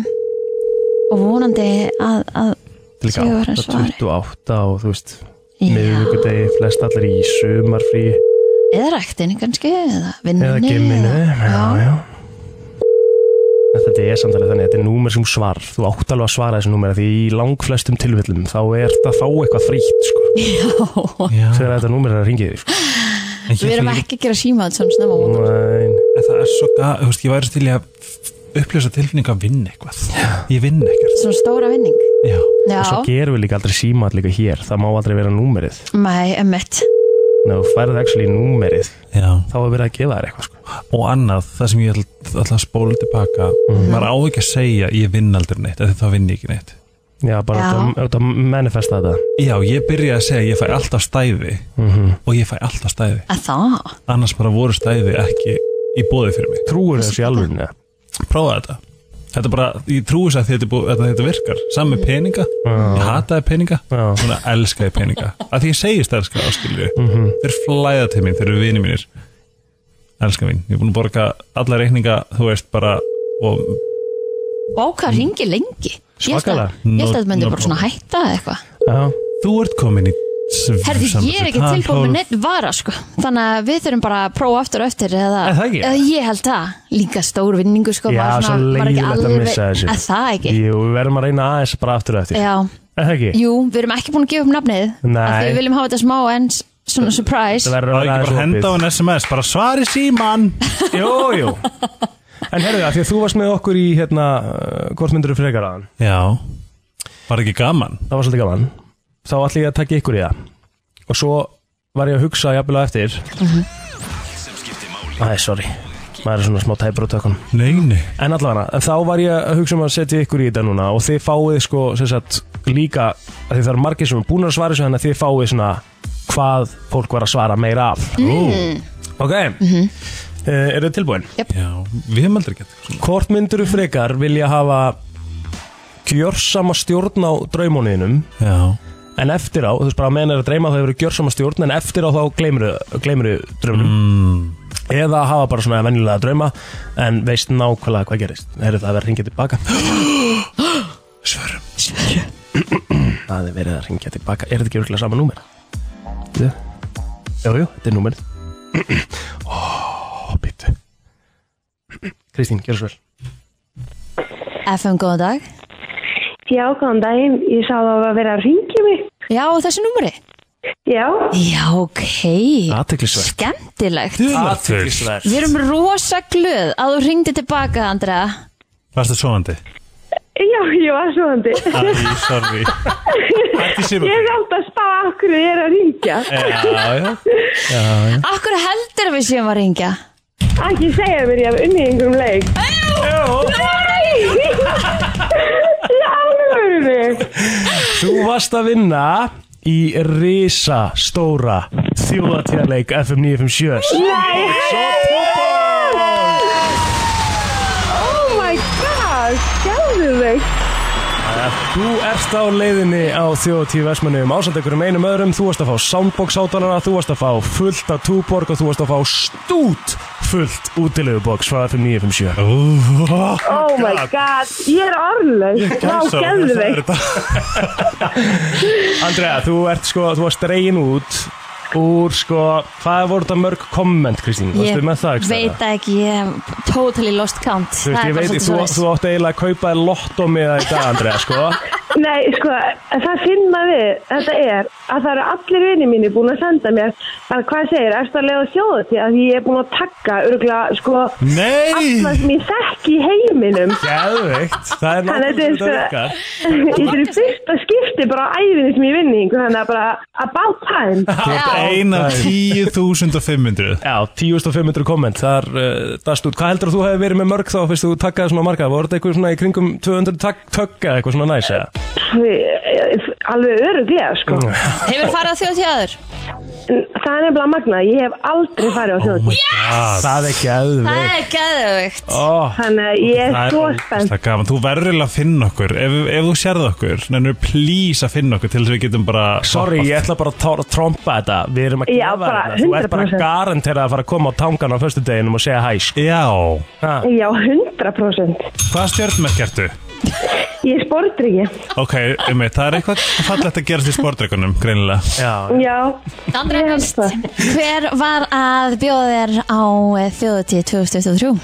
Og vonandi að, að Til líka Sigurvegarar 8, svari. 28 og þú veist Já. miðvikudegi, flest allir í sumarfrí Eða ræktinni kannski Eða eða vinnunni gimminu Já, Já. já En Þetta er samtalið þannig, þetta er númer sem svar Þú átt alveg að svara þessu númer af Því í langflestum tilfellum þá er það þá eitthvað frítt sko. Já. Þegar þetta númer er að ringið því sko. En ég Við erum ætla ekki að gera símað svona snemma á morgun. Nein. En það er svo gaf, þú veist, ég væri svo til í að upplösa tilfinninga að vinna eitthvað ég vinn ekkert Svona stóra vinning já. Já, Og svo gerum við líka aldrei símat líka hér Það má aldrei vera númerið mæ, emmett Ná, þú færið actually númerið Já. Þá er verið að gefa þér eitthvað sko. og annað, það sem ég Mhm. ætla, ætla að spóla tilbaka maður á ekki að segja ég vinn aldrei neitt af því þá vinn ég ekki neitt Já, bara Já. út að- út að manifesta þetta Já, ég byrja að segja að ég fæ alltaf stæði og ég fæ alltaf stæði Að það? annars bara voru stæði ekki í bóði fyrir mig Trúur þessu í alvörinu Prófa þetta Þetta er bara, ég trúi þess að þetta, er búið- að þetta virkar Samme peninga, ég hataði peninga Já. Núna elskaði peninga Af því ég segist elska áskilju mm Þeir flæða til mín, þeir eru vini mínir Elska mín, ég er búin að borga Alla reikninga, þú veist bara Og Vá, hvað ringi lengi Ég held að- Mm. Svakalega. ég held að No- þetta myndi no bara svona problem. hætta eða eitthvað Já, þú ert komin í Herði, ég er ekki tilbúin með með neitt vara sko. Þannig að við þurfum bara að prófa aftur og eftir eða, Er það ekki? eða ég held það Líka stór vinningu sko, Já, maður svo maður ekki leiðilegt að alveg- missa þessu. Að það ekki Jú, við verðum að reyna aðeins bara aftur og eftir Já, Er það ekki? jú, við erum ekki búin að gefa upp nafnið Nei. af því Við viljum hafa þetta smá en s- svona surprise Það verður Það að er vera ekki bara að henda á aðeins en SMS, bara svari síman opið Jú, jú En herðu, af því að þú varst með okkur í hérna uh, Hvort myndur þú frekar aðan? Já, var ekki gaman það var svolítið gaman þá ætla ég að taka ykkur í það og svo var ég að hugsa jafnilega eftir Mhm. Æ, sorry maður er svona smá tæpur á tökum Nei, nei en allavega, en þá var ég að hugsa um að setja ykkur í þetta núna og þið fáið sko sem sagt, líka, af því það eru margir sem er búin að svara þessu, þannig að þið fáið svona hvað fólk var að svara meira af mm. ok mm -hmm. eru þið tilbúin? Já, við hefum aldrei gett svona Hvort myndur þú frekar vilja hafa kjörsama stjórn á draumuniðinum Já, en eftir á, þú veist bara að menn er að dreyma þá hefur gjörsama stjórn en eftir á þá gleymur þau draumnum eða hafa bara svona venjulega drauma en veist nákvæmlega hvað gerist Heyrðu, það verið að ringja tilbaka svörum það er verið að ringja tilbaka er þetta ekki örgulega sama númer? Jú, jú, jú, þetta er númerið ó, býttu Kristín, gjör svo vel FM, góðan dag Já, góðan daginn. Ég sá það að vera að ringja mig. Já, á þessu númeri Já, Já, ok aðteklisverð Skemmtilegt aðteklisverð Við erum rosa glöð að þú ringdi tilbaka, Andrea Varstu svoandi? já, ég var svoðandi. Æ, sorry Ekki síma Ég átt að spá af hverju ég er að ringja. Já, já Akkur heldur að við séum að ringja Ekki segja mér ég hef unnið í einhverjum leik. Nei! Í alvörunni. Þú varst að vinna í risa stóra þjóðatíðarleik FM 957 Nei, hei! Oh my god, sjáðu mig. Þú ert á leiðinni á þjóðtíð versmannum ásamt einhverjum einum öðrum Þú varst að fá soundbox átalana, þú varst að fá fullt af túborg og þú varst að fá stút fullt útilegubox frá FM 957 Oh my god, ég er orðleg. Vá, sjáðu mig. Andrea, þú ert sko, þú varst reyin út úr sko, hvað voru þetta mörg komment Kristín? Varstu með það? Ég veit það ekki, ég hef totally lost count Þú veist, Það er ég veit, bara svolítið þú, svoleiðis. þú átti eiginlega að kaupa lottómiða í dag, Andrea, sko. Nei, sko, það finna við, þetta er, að það eru allir vinni mínir búin að senda mér að hvað segir, erstu að leiða sjóðu til að ég er búin að taka örgulega, sko, alla Nei sem ég þekki í heiminum. Geðveikt, það er Þannig að náttúrulega þetta er þetta svo- virkar. Þetta er í fyrsta skipti bara á ævinni sem ég vinn í, einhver, þannig að bara about time. Þú ert ein af 10.500 Já, 10.500 komment, þar uh, dast út. Hvað heldur þú hefði verið með mörg þá fyrst þú takkaði svona marga? Voru þetta eitthvað svona í kringum 200 tak tökka eitthvað svona næs eða? Pff, Alveg öruglega, sko. Hefur farið á þjóð til aður? En Það er nefnilega magnað, ég hef aldrei farið á sjóðu til. Það er ekki Það aðveg. er geðvögt Ó, Þannig að ég er svo spennt. ógeðslega gaman, þú verður eiginlega að finna okkur Ef, ef þú sérðu okkur, nennur please að finna okkur Til þess að við getum bara sorry, ég ætla bara að tá- að trompa þetta. Við erum að Já, gefa bara þetta. Þú ert bara 100%. garanterað að fara að koma á tangan á förstu deginum og segja hæ. sko. Já, Ha, Já, 100%. hvað stjörnmerk ertu? Ég sportir ekki. Ok, um það er eitthvað fallegt að gerast í sportreikunum, greinilega Já, Já, Andra Ég held Kvist, það. hver var að bjóða þér á eh, þjóðutíð 2023?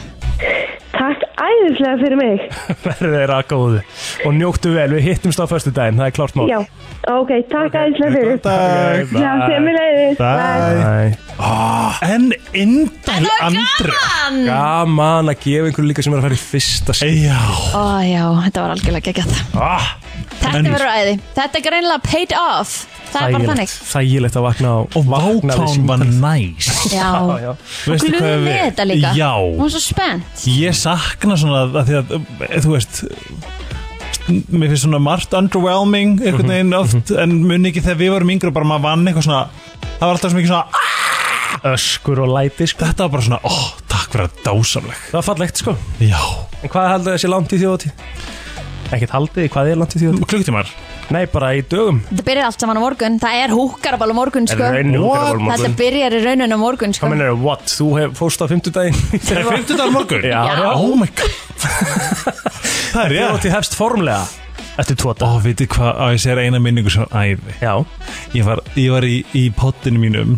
takk æðislega fyrir mig. verður þeirra góðu. Og njóttu vel, við hittumst á förstu degin, það er klárt mál. Já, ok, takk æðislega fyrir. Dag Já, sem við leiðis. Æ, Ah, En indæl andri Gaman að gefa einhverju líka sem er að fara í fyrsta skil. Já Ó já, þetta var algjörlega geggjað Ah, Þetta Önnur. verður æði, þetta er greinlega paid off Það er bara þannig Þægilegt að vakna á Og vakna við vákán var símtal. næs Já, Já, já. og Veistu hvað glöðum við við- þetta líka Já Hún var svo spennt Ég sakna svona að því að, eh, þú veist mér finnst svona margt underwhelming einhvern veginn Mhm, oft en muni ekki þegar við varum yngri og bara maður vann eitthvað svona það var alltaf svo mikið svona "Ah!" öskur og læti sko. þetta var bara svona, ó, takk fyrir að dásamleg Það var fallegt sko já, En hvað haldið þessi langt í þjóðatíð? Ekkert haldið, hvað er langt í þjóðatíð? klukktímar Nei, bara í dögum Þetta byrjar allt saman á morgun, það er húkarabal á morgun sko. raunin húkarabal á morgun. Þetta byrjar í rauninu á morgun sko. Hvað mennir það, what? Þú hef fóst á fimmtudaginn er fymtudagur morgun? Já, já. oh my god það er rétt Þjóðatíð hefst formlega Eftir tvo dag Ó, vitið hvað, á ég segir eina minningu sem æði Já, Ég var, ég var í, í pottinu mínum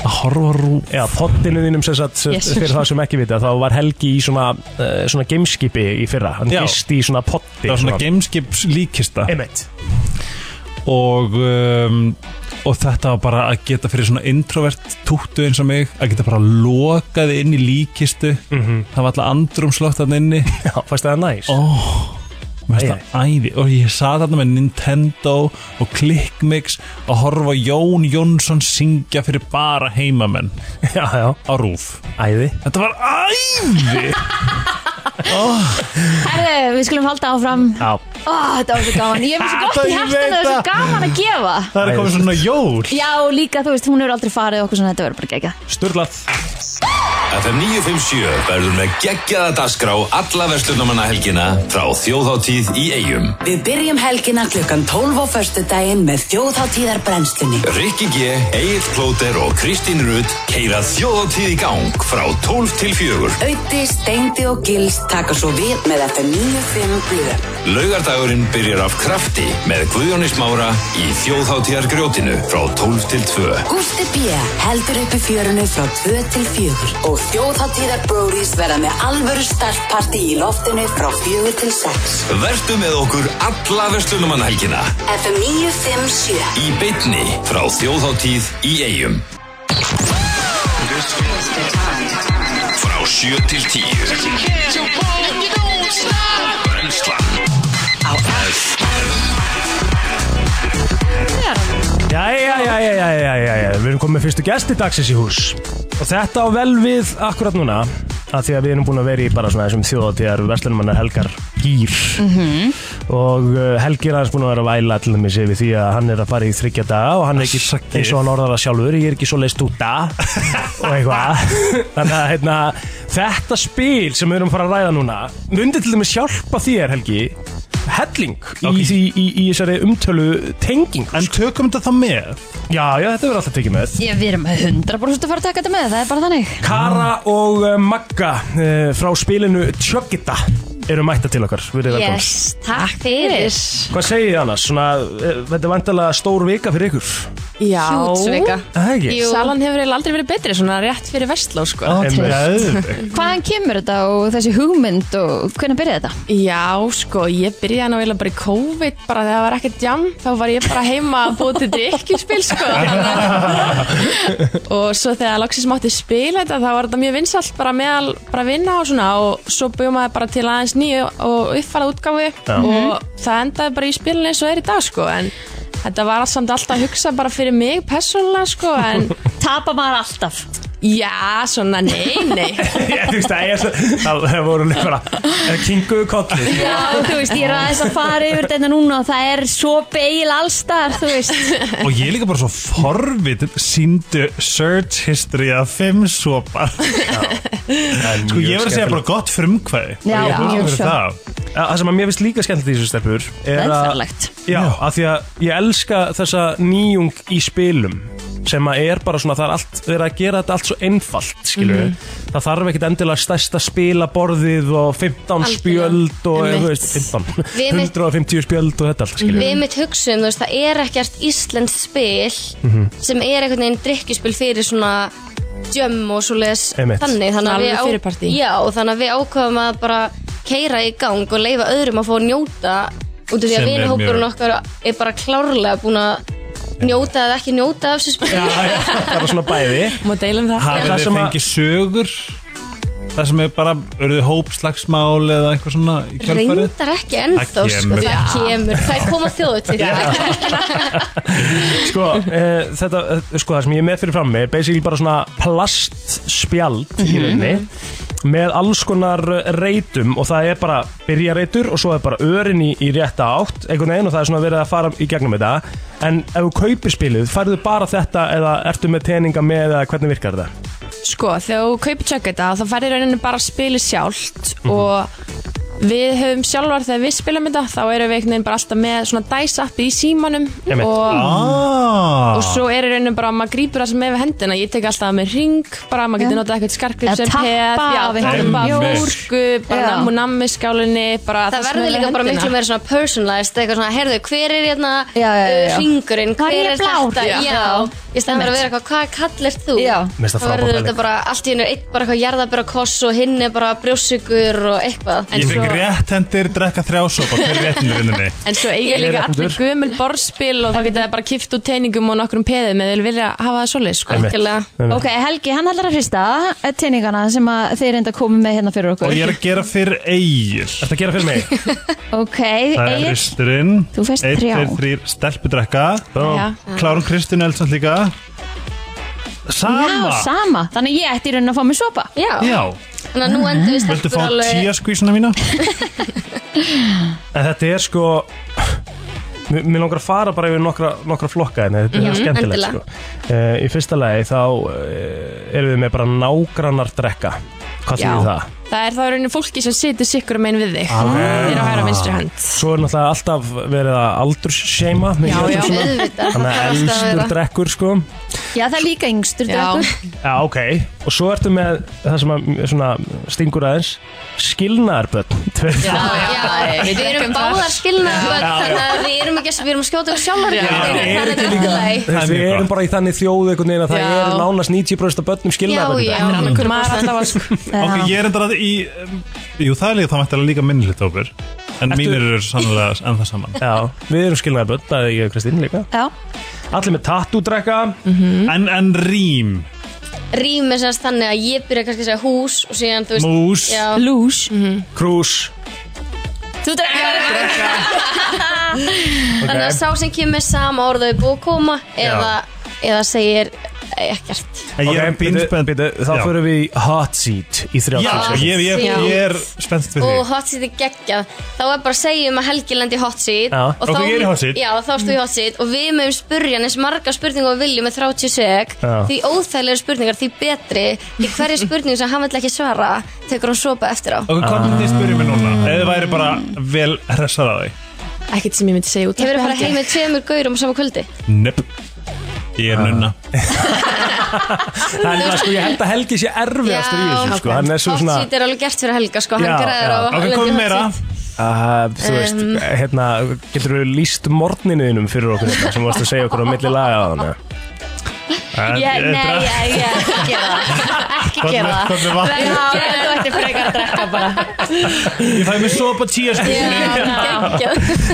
að horfa á rúf já, pottinu þínum sem sagt sem, Yes. Fyrir það sem ekki vita, þá var Helgi í svona uh, Svona gameskipi í fyrra Hann Já. gist í svona potti Það var svona gameskips líkista Einmitt og, um, og þetta var bara að geta fyrir svona introvert túttu eins og mig að geta bara lokaði inn í líkistu það var alltaf andrumslótt þarna inni Já, fæst það næs Ó, mér Æi. finnst það æði og ég saði þarna með Nintendo og Clickmix að horfa á Jón Jónsson syngja fyrir bara heimamenn Já, já, á rúf æði Þetta var æði Herðu, við skulum halda áfram Já, Ó, Þetta var svo gaman, ég hef svo gott í Ég veit hjartan og það er svo það. gaman að gefa Það er komið svona jól Já, líka, þú veist, hún hefur aldrei farið og okkur svona, þetta verður bara gegja sturlað FM 957 verður með geggjaða dagskrá alla verslunumanna helgina frá þjóðháttíð í eigum. Við byrjum helgina klukkan 12 á föstudaginn með þjóðháttíðar brennslunni. Rikki G, Egil Klóter og Kristín Rutt keira þjóðháttíð í gang frá 12 til 4. Öyti, Steindi og Gils taka svo við með FM 95 blöð. Laugardagurinn byrjar af krafti með Guðjónis Mára í þjóðháttíðar grjótinu frá 12 til 2. Gústi B. heldur uppi fjörunu frá 2 til 4 og þjóðháttíðar bróðis verða með alvöru startparti í loftinu frá 4 til 6. Vertu með okkur alla verslunumanna helgina FM 957 í beinni frá þjóðháttíð í eigum. Frá 7 til 10. Brennslan á Jæja, jæja, jæja, jæja, jæja, við erum komið með fyrstu gesti dagsins í hús Og þetta á vel við akkurat núna að Því að við erum búin að vera í bara svona þessum þjóðatíðar Vestlunumannar Helgar Gýr Mhm. -hmm. Og uh, Helgi er aðeins búin að vera að væla til þessi við því að hann er að fara í þryggja daga Og hann er ekki Afsakið. eins og hann orðar það sjálfur Ég er ekki svo leist út að Og eitthvað Þannig að hérna, þetta spil sem við erum að fara að ræða núna Mundi til dæmis hjálpa þér Helgi Helling í, Ok. því, í, í þessari umtölu tengingu En tökum þetta þá með Já, já, þetta verður alltaf tekið með Ég, við erum 100% að fara að taka þetta með, það er bara þannig Kara og uh, Magga uh, frá spilinu Tjöggita eru mætta til okkar, verið velkomin Yes, takk fyrir Hvað segið þið annars? Svona, uh, þetta er vandalega stór vika fyrir ykkur Já, Hjútsvika. Það ekki? Jú. Salan hefur eiginlega aldrei verið betri, svona rétt fyrir vestló, sko. Emmi, Hvaðan kemur þetta og þessi hugmynd og hvernig byrjaði þetta? Já, sko, ég byrjaði nú eiginlega bara í COVID, bara þegar það var ekkert jam, þá var ég bara heima að búa til drikkjuspil, sko. og svo þegar loksins mátti spila þetta, þá var þetta mjög vinsalt, bara meðal, bara vinna og svona, og svo bjóð maður bara til aðeins nýju og uppfæra útgáfu og það endaði bara í spilinu eins og er í dag, sko, en þetta var samt alltaf að hugsa bara fyrir mig persónulega, sko, en Tapa maður alltaf já, svona, nei, nei. Ég, þú veist, það er svo Það það voru líka bara eh, Kinguðu kolli Já, þú veist, ég er aðeins að fara yfir þetta núna og það er svo beil allstar, þú veist Og ég er líka bara svo forvit Sýndu search history að fimm sopar Sko ég verður að segja bara gott frumkvæði Já, Ég er mjög fyrir svo. það. Eh, Það sem að mér finnst líka skemmtilegt í þessu stelpur er að- Velferðlegt Já, af því að ég elska þessa nýjung í spilum sem að er bara svona, það er allt það er að gera þetta allt svo einfalt, skilju Mhm. það þarf ekkit endilega stærsta spilaborðið og 15 Algjörlega. spjöld og, Einmitt. þú veist, 15 Við mitt- 150 spjöld og þetta allt, skilju Við mitt hugsuðum, þú veist, það er ekkert Íslands spil sem er einhvern veginn drikkjuspil fyrir svona djömm og svo les Einmitt. þannig þannig að, Alveg við á, fyrirpartí. já, þannig að við ákvaðum að bara keira í gang og leifa öðrum að fá að njóta út af því Sem að er vinahópurinn mjög- okkar er bara klárlega búin að njóta eða ekki njóta af þessu spil Já, já, það er svona bæði Má deilum það? Það Hafið þið sem að- fengið sögur Það sem er bara, eru þið hópslagsmál eða eitthvað svona í kjálfarið? reyndar ekki ennþá Það sko, kemur. það kemur, það koma þjóðu til Sko, e, þetta, e, sko, það sem ég er með fyrir frammi er basically bara svona plastspjald í rauninni með alls konar uh, reytum og það er bara byrja reytur og svo er bara örin í, í rétta átt einhvern veginn og það er svona verið að fara í gegnum þetta en ef þú kaupir spilið, færðu bara þetta eða ertu með teninga með eða hvernig virkar þetta? Sko, þegar þú kaupir tjöggeta þá færði rauninni bara að spila sjálft Mhm. og við höfum sjálfar þegar við spilum þetta þá erum við einhvern veginn bara alltaf með svona dice appi í símanum Einmitt. og, Ah. og svo er í rauninni bara að maður grýpur það sem er við hendina ég tek alltaf með ring, bara maður getur notað eitthvað Eða skarkrip sem tappa peð, já, af einhverjum tappa af bjór. gúrku, bara Já. nammu nammi skálinni bara Það sem er verður við líka bara hendina. miklu meira svona personalized eitthvað svona, heyrðu, hver er hérna Já, já, já, já. uh, hringurinn, Hvað er hver ég er blár? þetta Já. já, í stæðan bara að vera eitthvað, hvað kall er þú? Já. Mér finnst það Það frábær verður pæling. þetta bara allt í hennu eitt bara eitthvað jarðabera koss og hinn er bara brjósugur og eitthvað En Ég fekk svo- Sko, rétt hendir drekka þrjásopa Hver réttin er inninni? En svo eiga líka allir gömul borðspil og það geta bara kipt úr teiningum og nokkrum peðum eða þeir vilja hafa það svoleið sko. Einmitt. Einmitt. Ok, Helgi, hann ætlar að hrista eh, teiningana sem að þeir reynda að koma með hérna fyrir Og okkur ég er að gera fyrir eigir Þetta gera fyrir mig Ok, Það er Egil, risturinn Þú fékkst Einn, þrjá. tveir, þrír, stelpudrekka Já. Klárum Kristinn Eldsson líka já, Sama sama Þannig að ég ætti í raunin að fá mig sopa Já, Já, þannig að nú endur við viltu stelpur fá alveg tíja skvísuna mína? En þetta er sko Mér mér langar að fara bara yfir nokkra, nokkra flokka en þetta er skemmtilegt Mhm, endilega. sko. uh, Í fyrsta lagi þá uh, erum við með bara nágrannar drekka Hvað Já. þýðir það? Það er þá í rauninni fólki sem situr sikkur um einn við þig ah. Þeir eru að hæra vinstri hönd Svo er náttúrulega alltaf verið að aldursseima Já, já. auðvitað Þannig að Það er alltaf að elstur vera. drekkur sko Já, það er líka yngstur drekkur Já, ok Og svo ertu með það sem að, svona, stingur aðeins Skilnaðarbönn Tveir- Já, Já, við erum báðar skilnaðarbörn þannig að við erum ekki að við erum að skjóta okkur sjálfar í beinið, Eru þannig ekki líka- að það er Þú veist, Það er Við mjög erum gott. bara í þannig þjóð einhvern veginn að það Já. eru nánast 90% af börnum skilnaðarbönn Já, já. Maður er alltaf að sko Ok, ég er endur að í um, Jú, það er líka, það mætti alveg líka minnilegt hópur En mínir eru sannlega ennþá saman Já, við erum skilnaðarbönn, það er ég og Kristín líka Já, Allir með tattúdrekka Mm. En, en rím, rými sérst þannig að ég byrja kannski að segja hús og síðan þú veist mús já, lús Mhm. Krús Þú drekkur þannig að sá sem kemur sama orðu búið að koma eða, eða segir ekkert En ég er bínspenn Þá Já. förum við í hot seat í Já, 30 ég, ég, ég, Já. er spennt fyrir og því hot seat er geggjað þá er bara að segja um að Helgi lendi í hot seat Já. og Ok, þá, ég er í hot seat. já, þá ertu í hot seat og við mögum spurja eins marga spurningar og viljum með 30 seg Já. því óþægilega spurningar því betri því hverja spurning sem hann vill ekki svara tekur hann sopa eftir á Ok, hvað myndi þið spyrja mig núna? Ah. Ef þið væri bara vel hressar að því Ekkert sem ég myndi segja út hefur að fara heim með tveimur gaurum á sama kvöldi Nöpp Ég Ah. er nunna Það er það sko, ég held að Helgi sé erfiðastur í Já, þessu sko ok. Hann er svo hot svona, seat er alveg gert fyrir Helga sko, Já, hann græðir já. á að Ok, lendi í komum hot meira seat. uh, þú veist, Um. hérna Getur við líst morgninuðinum fyrir okkur þetta sem varst að segja okkur á milli laga á hana Ég, nei, ég, ég, ekki gera það Ekki gera það Eh, Hvernig var Já, Þú ættir frekar að drekka bara Ég fæ mér sopa sko. tíja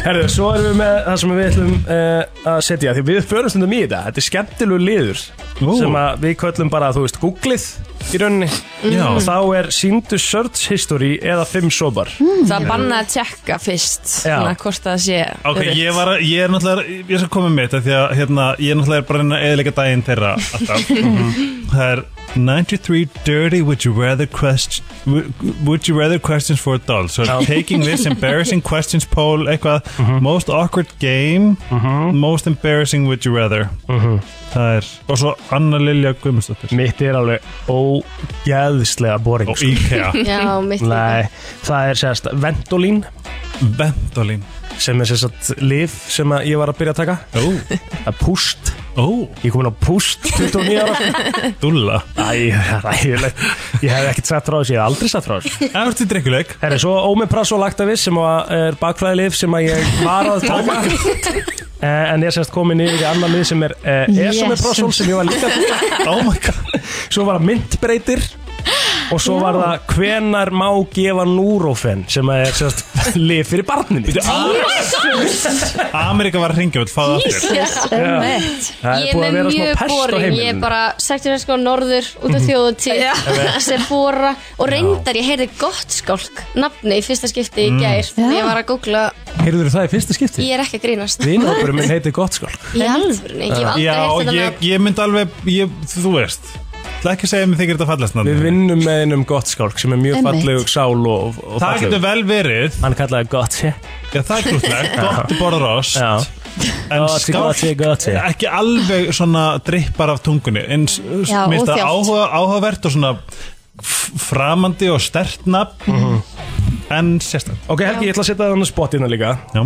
Herðu, svo erum við með það sem við ætlum uh, að setja Því við förum stundum í þetta, þetta er skemmtilegu liður Ú. Sem að við köllum bara, þú veist, googlið í rauninni Já. Og þá er síndu search history eða fimm sobar Það banna að tjekka fyrst Já. Svona hvort það sé Ok, ég, var, að- ég er náttúrulega, ég skal koma með þetta því að hérna, ég er náttúrulega bara að reyna að eðilega daginn þeirra alltaf Mhm. Það er 93 dirty would you rather quest, would you rather questions for adults so taking this embarrassing questions poll eitthvað, most awkward game most embarrassing would you rather það er, og svo Anna Lilja Guðmundsdóttir Mitt er alveg ógeðslega boring sko. og IKEA, Já, mitt líka Nei, það er sérst Ventolin Ventolin sem er sérst liv sem að ég var að byrja að taka Ó, Það er púst, ó, ég er komin á púst 29 ára dúlla Æ, ræðilegt Ég hef ekkert sagt frá þessu, ég hef aldrei sagt frá þessu Það er til drikkuleik Herri, svo Omeprazol Lactavis sem að er bakflæðilif sem að ég var að taka Eh, En ég er sérst komin yfir í annan lið sem er eh, Esomeprazol sem ég var líka að taka Oh my god Svo var það myndbreytir Og svo var það hvenar má gefa núrófen sem að er sérst lif fyrir barninni Amerika var að ringja, vil fá það aftur Það er Ég búið er að vera með svona mjög pest á boring, ég er heimilinu Mhm. bara 16 sko norður út af þjóðutíð sem bóra og reyndar ég heyrði gott skálk nafni í fyrsta skipti Mm. í gær þegar ég var að googla, Heyrður það í fyrsta skipti? ég er ekki að grínast Vinhópurum minn heiti Gottskálk í alvörunni, ég hef aldrei Já, heyrt þetta ég, nafn ég myndi alveg, ég, þú veist ætla ekki að segja að mér þykir þetta fallast Við nafn. vinnum með einum gott skálk sem er mjög Einmitt. falleg sál og, og Það falleg getur vel verið Hann kallaði gott Já, það er grútlegt, gott að borða rost Já, En Gott, skálk gott, gott. Ekki alveg svona drippar af tungunni En s- s- Já, mér finnst það óþjált. áhuga, áhugavert og svona f- Framandi og stert nafn Mhm. En sérstaklega Ok, Helgi, ég ætla að setja það á spottina líka Já.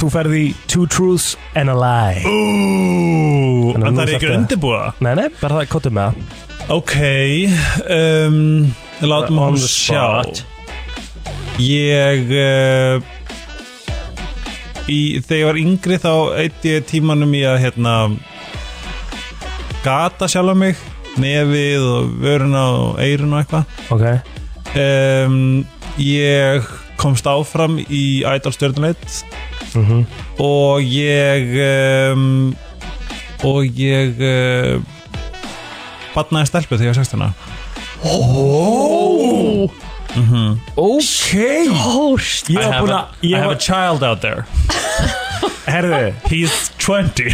Þú ferði Two Truths and a Lie Ú, Þannig að en það nú er ekki þarftu- undirbúða Nei, nei, bara það kottum með það Ok um, Látum On hún the sjá spot. Ég uh, í, Þegar ég var yngri þá eitti ég tímanum í að hérna gata sjálf mig nefið og vöruna og eirun og eitthvað Ok, um, Ég komst áfram í Idol stjörnuleit Mhm. og ég um, og ég uh, batnaði stelpu þegar ég var 16 ára. okay. Hórst Ég var búin að ég var- child out there Herðu, He's 20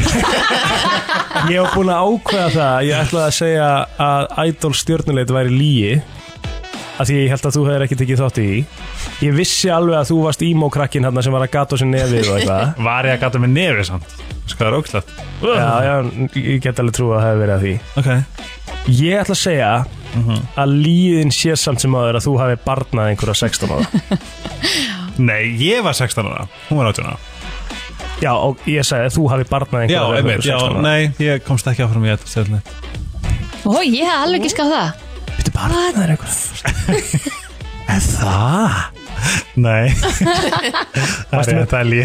ég var búin að ákveða það Ég ætlaði að segja að Idol stjörnuleit væri líi Af því ég held að þú hefur ekki tekið þátt í því. Ég vissi alveg að þú varst ímókrakkin hérna sem var að gata á sér nefið og eitthvað Var ég að gata með nefið samt Skal það er ógslagt Já, já, ég get alveg trú að það hefur verið að því Ok Ég ætla að segja að líðin sé samt sem áður að þú hafi barnað einhverja 16 ára Nei, ég var 16 ára Hún var 18 ára Já, og ég sagði að þú hafi barnað Já, einhverja einmitt Já, nei, ég komst ekki áfram í þetta stjórnlega Ó, ég hef alveg ekki skáð það Þetta barnað er einhverja En það? Nei Það er þetta lí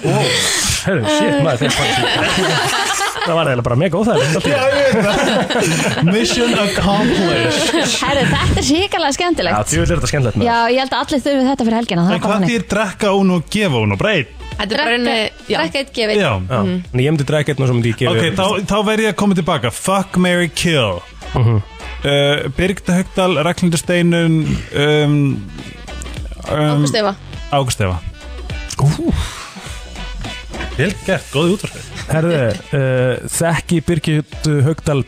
Herru, shit, maður þeir fannst Það var eiginlega bara mega óþægilegt Já, Mission accomplished Herru, þetta er síkarlega skemmtilegt því vil þetta skemmtilegt maður Já, ég held að allir þurfi þetta fyrir helgina Það er En bara hvað hannig þýr drekka hún og gefa hún og breyt? Þetta er bara Drekka, einu drekka eitt gefið Já Já, en ég myndi drekka einn og svo myndi ég gefa Ok, þér- þá, þá verð ég að koma tilbaka Fuck, Mary kill uh, Birgitta Högdal, Ragnhildur Steinun um, um, Ágúst Eva Águst Eva Vel gert, góði útvarfið Herðu, uh, þekki Birgit Haugdal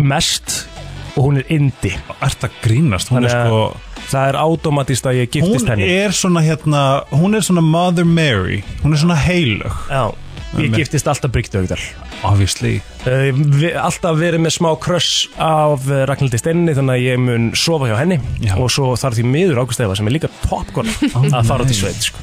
mest og hún er indi Ert að grínast, hún er Þannig sko að- Það er automatist að ég giftist Hún henni er svona hérna Hún er svona Mother Mary Hún er svona heilög Já, ég Einmitt. giftist alltaf Brygt Haugdal Obviously Uh, vi- alltaf verið með smá kröss af uh, Ragnhildi Steinni þannig að ég mun sofa hjá henni Já. og svo þarf því miður Ágúst Efa sem er líka popcorn að fara út í sveit sko.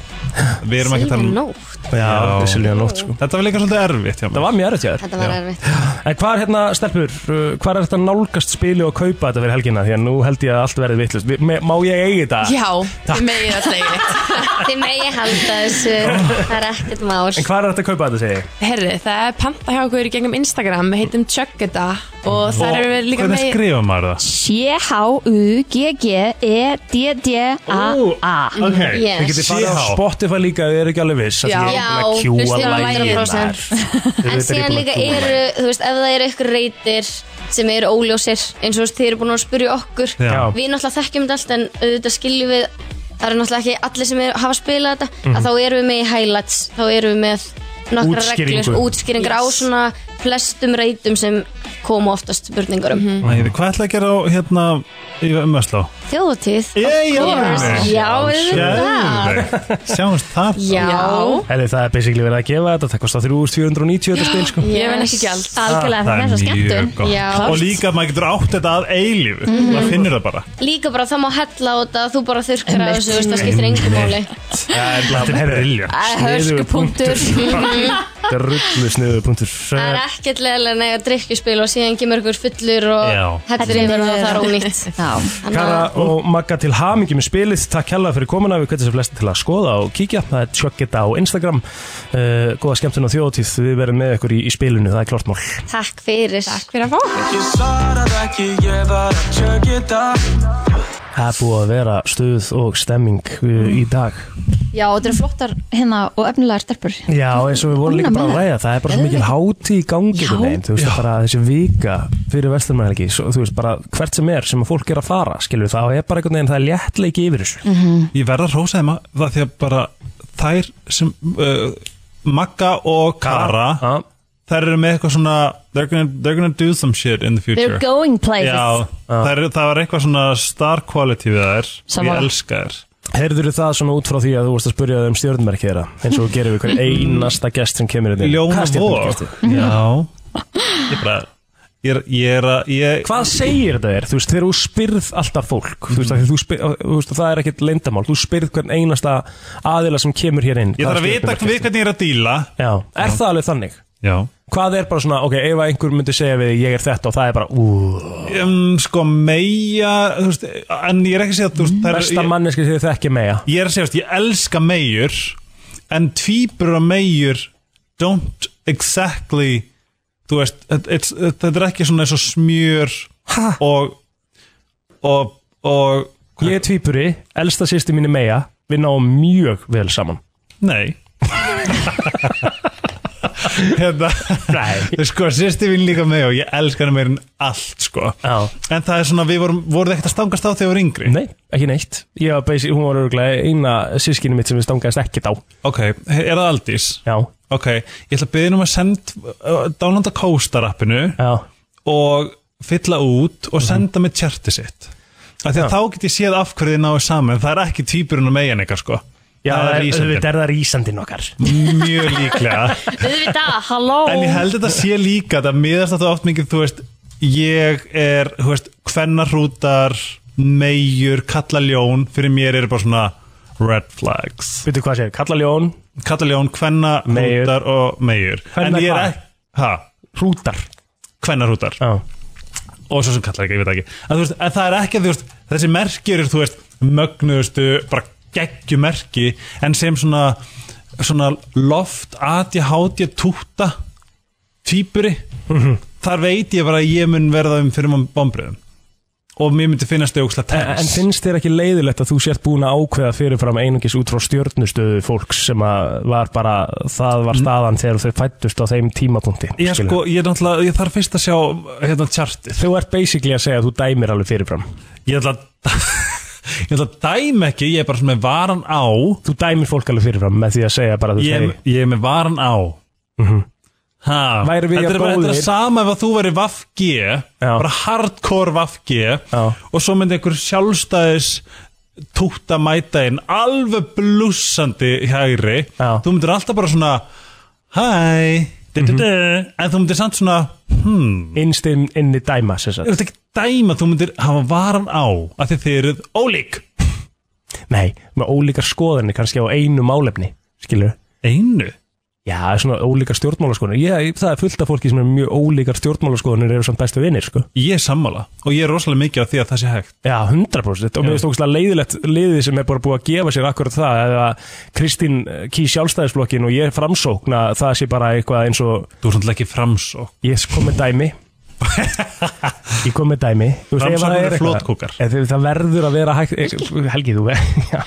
Við erum ekki að tala um- nótt Já, vissulega nótt sko. Þetta var líka svolítið erfitt hjá Það mér var mjög erfitt hjá þér Þetta var Já. erfitt En hvað er hérna, stelpur, uh, hvað er þetta nálgast spili og kaupa þetta fyrir helgina því að nú held ég að allt verði vittlust Má ég eigi þetta? Já, þið megið að segja þetta. Þið megi halda þessu Það er ekkert mál En hvað er þetta að kaupa þetta segi? ég? Herri, það er panta hjá okkur í gengum Instagram Við heitum Chuggeta Og þar erum við líka Hvernig með skrifa maður það? E C-H-U-G-G-E-D-D-A-A Ok, Yes. þið getið farið Á á Spotify líka, þið eru ekki alveg viss af því Já. ég er búin að Já, queua hlustið á lagið 100%. þar. Þið veit að ég En er síðan búin að líka queua eru, þú veist, ef það eru ykkur reytir sem eru óljósir, eins og þú veist, þið eru búin að spyrja okkur Já. Já. Við náttúrulega þekkjum þetta allt en auðvitað skiljum við það eru náttúrulega ekki allir sem er, hafa spilað þetta að þá erum við með í highlights, þá erum við með nokkra Útskýringu. reglur, útskýringar á svona flestum reytum sem koma oftast spurningar um mm -hmm. Æri, hvað ætla að gera á hérna í Mösló? Þjóðatíð Ég, já, Yes. Já, auðvitað Sjáumst það Já, Herri, það er basically verið að gefa þetta, það kostar 3490 þetta spil sko. Ég vinn ekki gjald Algjörlega, það er svo skemmtum gott Já. Og líka að maður getur átt þetta að eilífu Maður finnir það bara líka bara það má hella á þetta þú bara þurrkar á Einmitt. þessu, þú veist, það skiptir engum máli Þetta er herri Hörku punktur Drullu sniðu punktur Það er ekkert leðilega að neyja drikkjuspil og síðan kemur ykkur fullur og Já. hellir yfir og það er ónýtt. Já Þannig Kara að og Magga til hamingi með spilið Takk hella fyrir komuna Við hvernig sem flesti til að skoða og kíkja Það er tjöggeta á Instagram uh, Góða skemmtun á þjóðtíð Við verðum með ykkur í, í spilinu Það er klart mál Takk fyrir. Takk fyrir að fá okkur Ég svarar ekki, ég var að tjökja það Það er búið að vera stuð og stemming uh, í dag Já, þetta eru flottar hérna og efnilegar stelpur Já, eins og við vorum líka Núna bara að meira. ræða Það er bara svo mikil háti í gangi einhvern veginn, Þú veist bara þessi vika fyrir vestlumælgi Þú veist bara hvert sem er sem að fólk er að fara Skilur það er bara einhvern veginn Það er léttleiki yfir þessu Ég verð að rósa þeim að það því að bara þær sem uh, Magga og Kara Já. þær eru með eitthvað svona they're gonna, they're gonna do some shit in the future They're going places. Já, þær, það var eitthvað svona star quality við þær Sammála. Ég elska þær Heyrður það svona út frá því að þú vorst að spurja þau um stjórnmerkið þeirra eins og þú gerir við hver einasta gest sem kemur hérna inn Ljóna Vog Já Ég bara Ég er, ég er að ég... Hvað segir þetta þér? Þú veist, þegar þú spyrð alltaf fólk þú veist, af því þú spyr, þú veist, það er ekkert leyndamál þú spyrð hvern einasta aðila sem kemur hér inn Ég þarf að Hvað er vita stjörnumerkið við hvernig ég er að díla Já, er það alveg þannig? Já Hvað er bara svona, ok, ef að einhver myndi segja við þig, ég er þetta og það er bara, úúú um, Sko meia þú veist, En ég er ekki að segja að þú veist, þær- Besta ég- manneski sem þið þekki meja Ég er að segja, veist, ég elska meyjur En tvíbur og meyjur Don't exactly Þú veist, þetta it's- þetta er ekki svona eins og smjör ha? Og Og, og Ég er tvípuri, elsta sýsti mín er meja Við náum mjög vel saman Nei Hérna Nei Sko, sýsti mín líka með og ég elska hana meir en allt, sko Já En það er svona, við vorum, voruð ekkert að stangast á þegar við vorum yngri Nei, ekki neitt Ég var basic, hún var örgulega eina sískinu mitt sem við stangaðist ekkert á Ok, er það Aldís? Já Ok, ég ætla að byrja um að senda uh, Downlanda Coaster-appinu Og fylla út Og senda mér tjarti sitt Af því að Já. þá get ég séð af hverju þið náðu saman Það er ekki týpurinn og megin eitthvað, sko Já, það er, ísandinn. auðvitað er það rísandinn okkar Mjög líklega Auðvitað, halló En ég held þetta sé líka Það miðast þetta oft mikið, þú veist Ég er, þú veist, hvennarhrútar Meyjur, kallaljón Fyrir mér eru bara svona red flags Veitu hvað séu, kallaljón Kallaljón, hvennarhrútar og meyjur En Hvenær ég hvað? er ekki Hrútar Hvennarhrútar Já Og svo sem kallar ekki, ég veit ekki En, þú veist, en það er ekki, að, þú veist, þessi merkjur eru, Þú veist, mögnuðustu, bara geggju merki En sem svona Svona loft, atja, hátja, túta Týpuri Mhm. þar veit ég bara að ég mun verða um fyrir bombriðum og mér myndi finnast þau ógslag En, en tens finnst þér ekki leiðilegt að þú sért búin að ákveða fyrirfram einungis út frá stjörnustöðu fólks sem að var bara, það var staðan þegar þau fættust á þeim tímapunkti ég, skilurðu? sko, ég, náttúrulega- ég þarf fyrst að sjá hérna tjartið Þú ert basically að segja að þú dæmir alveg fyrirfram ég ætla að ég ætla að dæma ekki, ég er bara svona með varan á Þú dæmir fólk alveg fyrirfram með því að segja bara þú ég, segir er- ég er með varan á ha, Værum við þetta er jafn bara þetta góðir? er sama ef að þú væri Vafg bara hardcore Vafg og svo myndi einhver sjálfstæðis tótt að mæta inn alveg blussandi hægri Já. þú myndir alltaf bara svona hæ du, Mhm. du, du, en þú myndir samt svona hmm, innstinn inni dæma sem þú sagt. ert ekki dæma, þú myndir hafa varan á að þið þið eruð ólík Nei, með ólíkar skoðanir kannski á einu málefni skilur Einu? Já, svona ólíkar stjórnmálaskoðanir Ég, það er fullt af fólki sem er mjög ólíkar stjórnmálaskoðanir eru samt bestu vinir sko. ég er sammála og ég er rosalega mikið á því að það sé hægt Já, 100% og mér finnst ógustlega leiðilegt liðið sem er bara búið að gefa sér akkurat það eða Kristín eh, kýr sjálfstæðisflokkin og ég er framsókn að það sé bara eitthvað eins og þú er svona ekki framsók ég kom með dæmi ég kom með dæmi Þú veist, ef það Framsókn er eru eitthvað- flotkúkar. ef þið- það verður að vera hægt eh, Helgi þú já,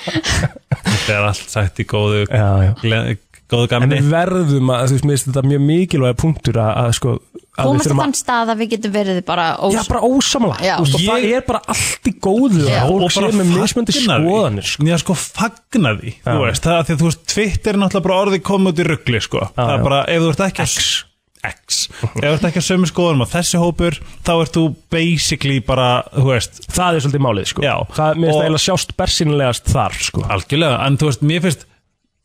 þetta er allt sagt í góðu já, já. gle- góðu en gamni við verðum að þú veist, mér finnst þetta mjög mikilvæg punktur að, að sko að við Komast á þurfum þann stað að við getum verið bara ós... Já, bara ósamla Já. og það Ég- er bara allt í góðu Já. að fólk og sé bara með mismöndi fagnar því. skoðanir sko. Já, sko, fagna því, þú veist, það er því að þú veist, Twitter er náttúrulega bara orðið komið út í ruggli, sko. það já. er bara, ef þú ert ekki að... X. Ef þú ert ekki að sömu skoðanum á þessi hópur, þá ert þú basically bara, þú veist, það er svolítið málið sko. Já. það mér finnst Og- það eiginlega sjást bersinlegast þar sko. algjörlega, en þú veist, mér finnst,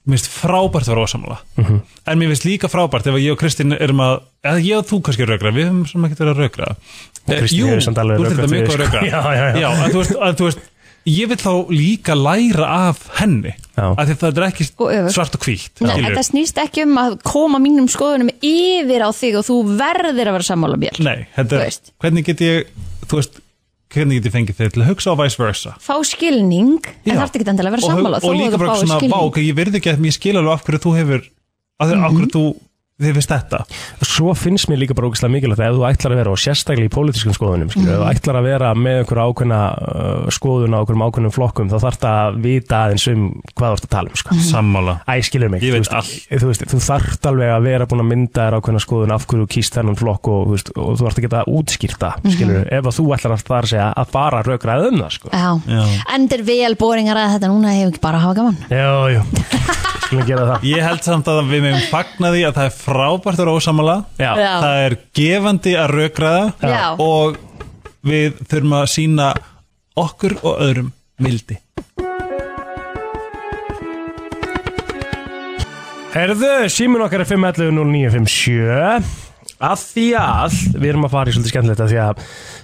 mér finnst frábært að vera ósamlega. Mhm. En mér finnst líka frábært ef að ég og Kristín erum að, eða ég og þú kannski rögra, við höfum sem ekki verið að rögra. Og Kristín hefur samt alveg þú ert rökrað þetta mjög fyrir góð því, rögra. sko. Já, já, já. en þú veist, að, þú veist, ég vil þá líka læra af henni, Já. af því það er ekki Og öfugt. svart og hvítt. Nei, skilurðu. þetta snýst ekki um að koma mínum skoðunum yfir á þig og þú verðir að vera sammála mér Nei, þetta Þú er, veist. hvernig get ég þú veist, hvernig get ég fengið þig til að hugsa og vice versa Fá skilning, en Já. þarf ekki endilega að vera sammála og, og líka bara svona, vá, ok, ég verði ekki að mér skil alveg af hverju þú hefur af, mm af Mhm. hverju þú, þið veist þetta svo finnst mér líka bara ógæslega mikilvægt að ef þú ætlar að vera og sérstaklega í pólitískum skoðunum skilur, ef þú Mhm. ætlar að vera með einhverja ákveðna uh, skoðun á einhverjum ákveðnum flokkum þá þarf það að vita aðeins um hvað þú ert að tala um sko. Mhm. Sammála Æ, skilur mig, Ég þú veit veist, allt. þú, veist, þú þarft alveg að vera búin að mynda þér ákveðna skoðun af hverju þú kýst þennan flokk og, þú veist, og þú ert að geta útskýrta Mhm. skilur, ef að þú ætlar að þar segja að bara rökraða um það sko. Já. Já. Endir vel bóringar að þetta núna hefur ekki bara að hafa gaman Jú, jú Skulum gera það Ég held samt að við meðum fagna því að það er frábært að vera ósamala Já. Já. Það er gefandi að rökraða Já. Og við þurfum að sína okkur og öðrum vildi Herðu, símin okkar er 511-0957 Að því að Við erum að fara í svolítið skemmtilegt að því að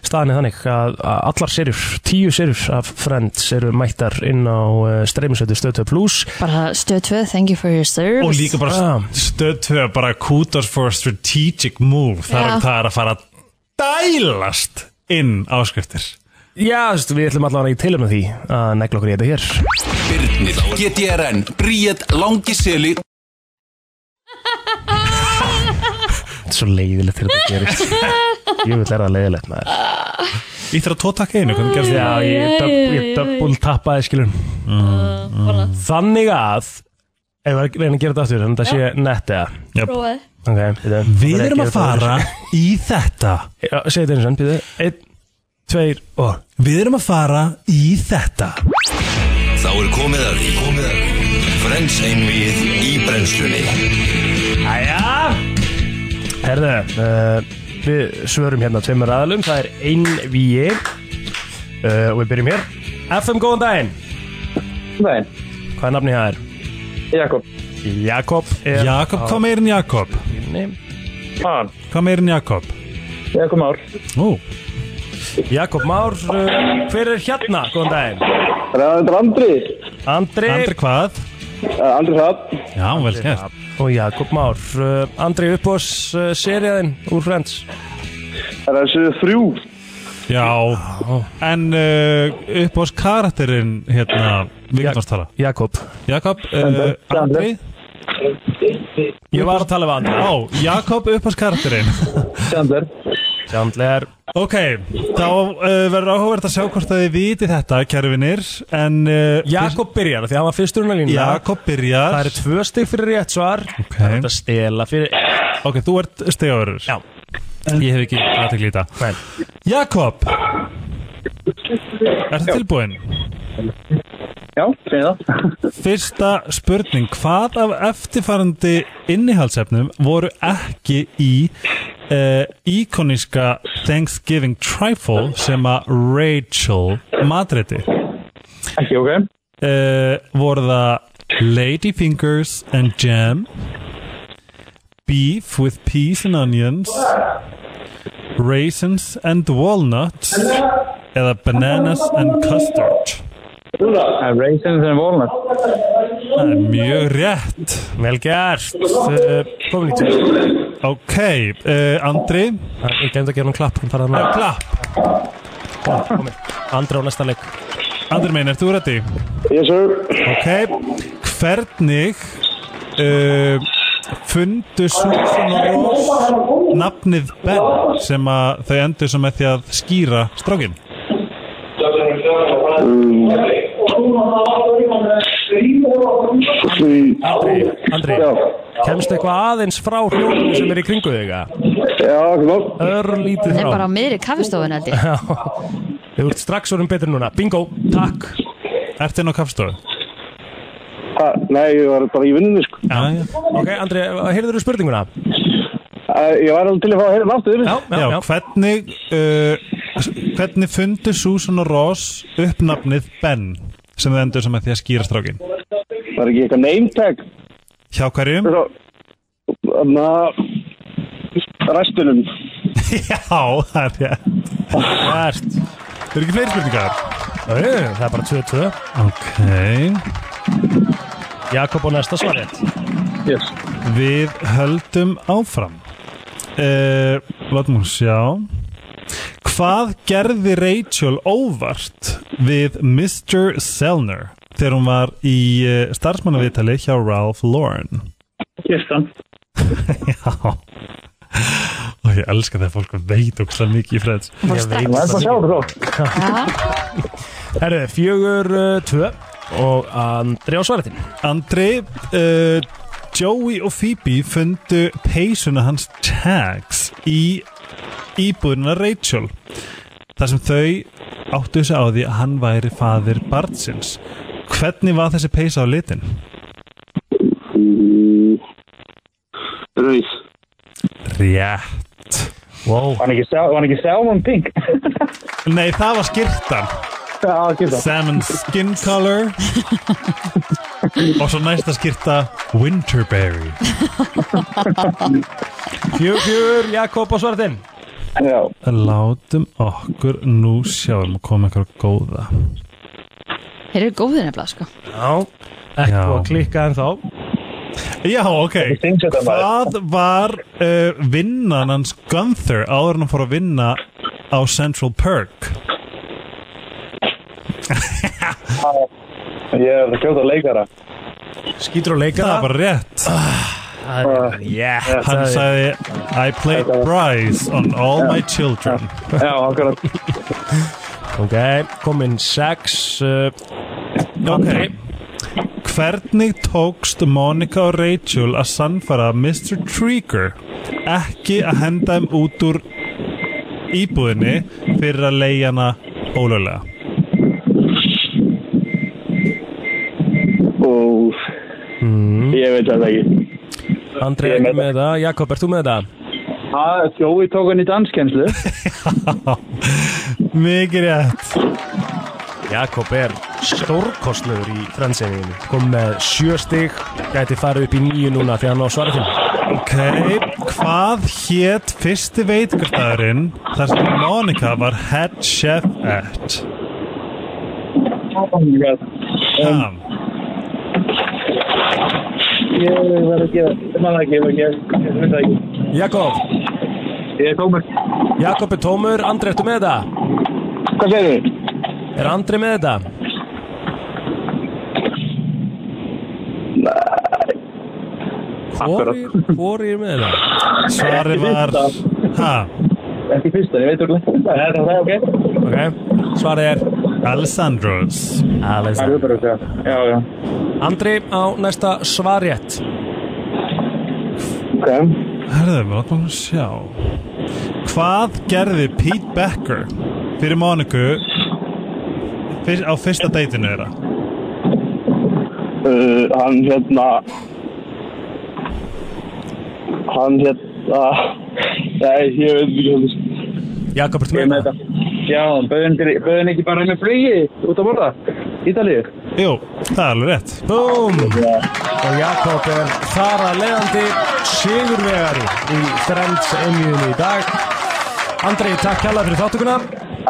staðan er þannig að, að allar serjur Tíu serjur af Friends eru mættar inn á uh, streymisötu Stötu Plus Bara stöð 2, thank you for your service Og líka bara stöð tvö Bara kudos for a strategic move Já. Það er, það er að fara að dælast inn áskriftir Já, þú veist, við ætlum allavega í tilum því að negla okkur í þetta hér Birnir, GTRN, Bríett, Langiseli Þetta er svo leiðilegt þegar þetta gerist Ég vil læra það leiðilegt maður Íttir að tótaka einu, hvernig gerst Já, það? ég, döb, ég döbbul tappaði skilum Ah, Þannig að Ef við reynum að gera þetta aftur Þannig að það sé nett eða Prófaði. okay, bíddu. Við Gera erum að þetta aftur. fara í þetta Já, segja þetta eins og enn, býðu Einn, tveir og Við erum að fara í þetta Þá er komið að því komið að því Frens einvið í brennslunni Æja Herðu, uh, við svörum hérna tveimur aðalum Það er einn víi uh, Og við byrjum hér FM, góðan daginn Nei, Hvað er nafnið það er? Jakob Jakob er Jakob, hvað meir en Jakob? Nei. Hann Hvað meir en Jakob? Jakob Már Ó, Jakob Már, uh, hver er hérna? Góðan daginn Þetta er Andri Andri Andri hvað? Eh, Andri Hrafn Já, vel gert Og Jakob Már uh, Andri uppbós uh, seriðin úr Friends Það er þessu þrjú Já, en uh, upp á karakterinn hérna, við getum að tala Jakob Jakob, uh, Andri Ég var að tala við Andri Á, Jakob upp á karakterinn Sjander Sjándlegar Ok, þá uh, verður áhugavert að sjá hvort að þið viti þetta, kæru vinnir En uh, Jakob byrjar af því að hann var fyrstur unna lína Jakob byrjar Það eru tvö stig fyrir rétt svar Ok. Það er hægt að stela fyrir Ok, þú ert stegavörður Já. Ég hef ekki aðtekli í þetta Nei. Jakob Ertu tilbúinn? Já, segir það Fyrsta spurning Hvað af eftirfarandi innihaldsefnum voru ekki í uh, íkoníska Thanksgiving trifle sem að Rachel matreiti? Ekki ok uh, voru það Ladyfingers and Jam Beef with Peas and Onions Raisins and Walnuts eða Bananas and Custard Eh, Raisins and Walnut Það er mjög rétt Vel gert Uh, Komin í tjóð Ok, uh, Andri Ég glemt að gera hann klapp Hann fara hann uh, að Klapp, Andri á næsta leik Andri minn, ert þú rætti? Yes sir Ok, hvernig uh, fundu Susan og Ross nafnið Ben sem að þau endur sem með því að skýra strákinn? Því Andri, Andri Já, Kemstu eitthvað aðeins frá hljóðinu sem er í kringu þig að? já, ekki mál Örlítið Hann er frá bara á miðri kaffistofun held ég Þú ert strax orðin betur núna Bingo, takk Ertu inn á kaffstofu? Ha, Nei, ég var bara í vinnunni sko Já, já. Ok, Andri, heyrður þú spurninguna? Eh, Ég var alveg til að fá að heyra náttúr Já, já, já Hvernig, uh, s- hvernig fundu Susan og Ross uppnafnið Ben sem þau endur sem að því að skýra strákin? Var ekki eitthvað name tag Hjá hverjum? Svo Þannig að Ræstunum já, það er rétt. Gert Þau eru ekki fleiri spurningar? Ö, Það er bara 2-2 Ok. Jakob á næsta svar Yes Við höldum áfram. Uh, Látum hún sjá. Hvað gerði Rachel óvart við Mr. Selner þegar hún var í uh, starfsmannavitali hjá Ralph Lauren? Yes, þann Já Og ég elska þegar fólk veit og hvað mikið í freds Ég veit Það er bara að sjá það þó Herðu, fjögur, uh, tvö Og Andri á svaretin Andri uh, Joey og Phoebe fundu peysuna hans tags í íbúðina Rachel þar sem þau áttu þessu á því að hann væri faðir barnsins Hvernig var þessi peysa á litin? Um, Rauð. Rétt. Wow. Var hann ekki, sel- var hann ekki Salmon Pink? Nei, það var skirtan. Salmon skin color. Og svo næsta skirta Winterberry. Fjögur, fjögur, Jakob og svartinn. Já. Látum okkur nú sjáum að koma eitthvað góða. Þeir eru góðið nefnilega sko Já. Ekki búið að klikka en þá. Já, ok. Hvað var uh, vinnan hans Gunther áður en hann fór að vinna á Central Perk? Ég er að kjóta leikara. Skýtur og leikara. Það var rétt. Ah, Yeah. Hann sagði I played prize on all my children. Já, akkurat. Ok, komin sex. Uh, Ok Hvernig tókst Monica og Rachel að sannfara Mr. Trigger ekki að henda þeim út úr íbúðinni fyrir að leiða hana ólöglega? Og ég veit þetta ekki. Andrei er með það. Jakob, ert þú með það? Ha, Jói tók hann í danskenslu. Mikið rétt. Jakob er stórkostlegur í frendsegninginu. Kom með sjö stig, gæti farið upp í nýju núna því hann á svarið þinn. Ok, hvað hétt fyrsti veitingardagurinn þar sem Monica var head chef at? oh my god. Um, Ég verði að gera, ég maður ekki, ég verði að gera, ég veit það ekki. Jakob. Ég er tómur. Jakob er tómur, Andrei, ertu með það? Hvað segir þið? Er Andrei með þetta? Hvor er með það? Svarið var... Ha? Ekki fyrsta, ég veit úrlega. Það er það, ok. Ok, svarið er Alessandros. Það er Alessandro. bara að segja. Já, já. Andri á næsta svarjett. Ok. Herðu, við látum að sjá Hvað gerði Pete Becker fyrir Móniku fyrst, á fyrsta deitinu þeirra? Uh, hann hérna... Hann hérna... Nei, ég veit ekki hvað það er. Jakob, ertu með það? Já, bauðin ekki bara með flugi út að borða? Ítalíu? Jú, það er alveg rétt Búm! Og Jakob er þar að leiðandi sigurvegari í Friends einmiðinu í dag. Andri, takk hella fyrir þáttökuna.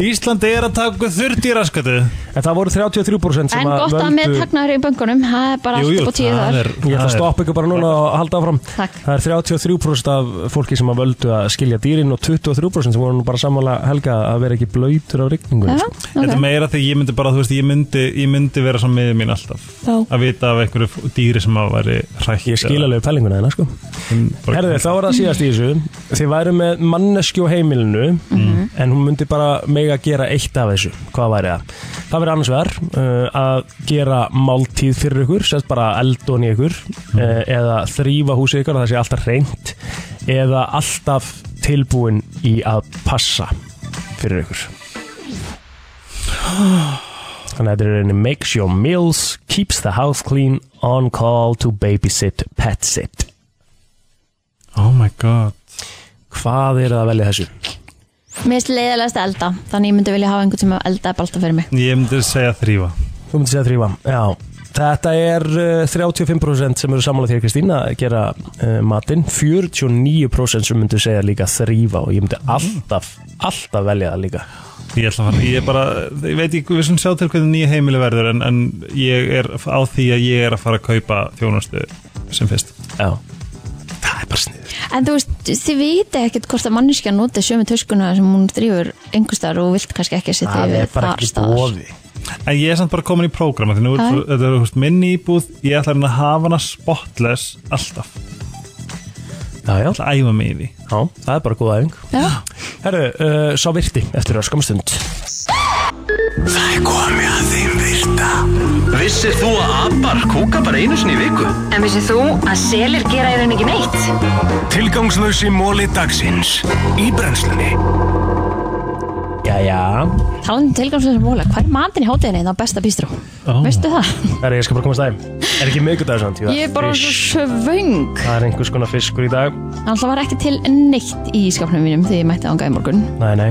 Ísland er að taka 30 raskati En það voru 33% En gott að með taknaður í böngunum, það er bara allt upp á tíu þar. Ég ætla að það er- stoppa ykkur bara núna og halda áfram Takk. Það er 33% af fólki sem að völdu að skilja dýrin og 23% sem voru nú bara sammála helga að vera ekki blöytur á rigningu sko. Já, Þetta er ok. meira þegar ég myndi bara, þú veist, ég myndi, ég myndi vera svona miðið mín alltaf Já. að vita af einhverju f- dýri sem að væri hrætt Ég skil alveg pælinguna þeirna, sko Herði, þá var það síðast í þessu Þið væru með mannesku á heimilinu En hún myndi bara mega gera eitt af þessu Hvað væri það? Það væri annars vegar uh, Að gera máltíð fyrir ykkur Sett bara eldón í ykkur uh, Eða þrýfa húsið ykkur að Það sé alltaf reynt Eða alltaf tilbúin í að passa Fyrir ykkur Þannig að þetta er í rauninni Makes your meals, keeps the house clean On call to babysit, pet sit Oh my god Hvað er það að velja þessu? Mér finnst leiðilegast að elda, þannig ég myndi vilja hafa einhvern sem elda upp alltaf fyrir mig. Ég myndi segja þrýfa Þú myndi segja þrýfa, já Þetta er uh, 35% sem eru samanlega þér Kristín að gera uh, matinn 49% sem myndu segja líka þrýfa og ég Mm. myndi alltaf alltaf velja það líka Ég ætla að fara, ég er bara, ég veit ekki, við svona sjá til hvernig nýja heimili verður en, en ég er á því að ég er að fara að kaupa þjónustu sem fyrst Já, það er bara snið En þú veist, þið viti ekkert hvort að manneskja noti sömu töskuna sem hún þrýfur einhverstaðar og vilt kannski ekki setja yfir þar staðar. En ég er samt bara komin í prógrama Því nú er Hæ? svo- þetta er þú veist, minni íbúð Ég ætla að reyna að hafa hana spotless alltaf Já, já Það æfa mig í því Já, það er bara góð æfing Já Herru, uh, sá virti eftir örskamstund Það er komið að þeim virta Vissir þú að abar kúka bara einu sinni í viku? En vissið þú að selir gera í rauninni ekki neitt? Tilgangslösi móli dagsins Í brennslunni Jæja Talandi um tilgangslega móla, hvað er matinn í hátíðinni þá besta bístró? Ó. Veistu það? Herru, ég skal bara komast aðeim Er ekki miðgudagur samt? Jú, Ég er bara fisk. svo svöng. Það er einhvers konar fiskur í dag Alltaf var ekki til neitt í skapnum mínum þegar ég mætti ánga í morgun. Nei, nei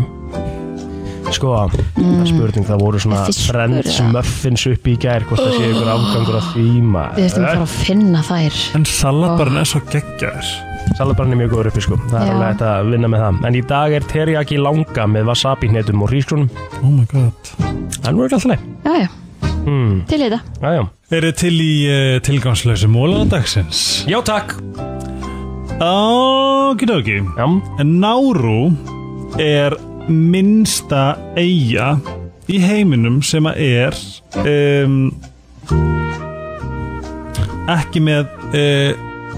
Sko, Mm. það er spurning, það voru svona Fiskur, Friends ja. muffins upp í gær Hvort það sé ykkur afgangur af því Við þurfum að fara maður að finna þær. En Ah. salabarinn er svo geggjar Salabarinn er mjög góður uppi sko Það er Já. alveg hægt að vinna með það En í dag er teriyaki langa með wasabi hnetum og rísgrunum Oh my god Það er nú ekki alltaf leið Já, já. Hmm. Til í þetta Aðjá. Eru til í uh, tilgangslösu mólan dagsins? Já, takk. Okidoki. Já. Náru er minnsta eiga í heiminum sem að er um, ekki með uh,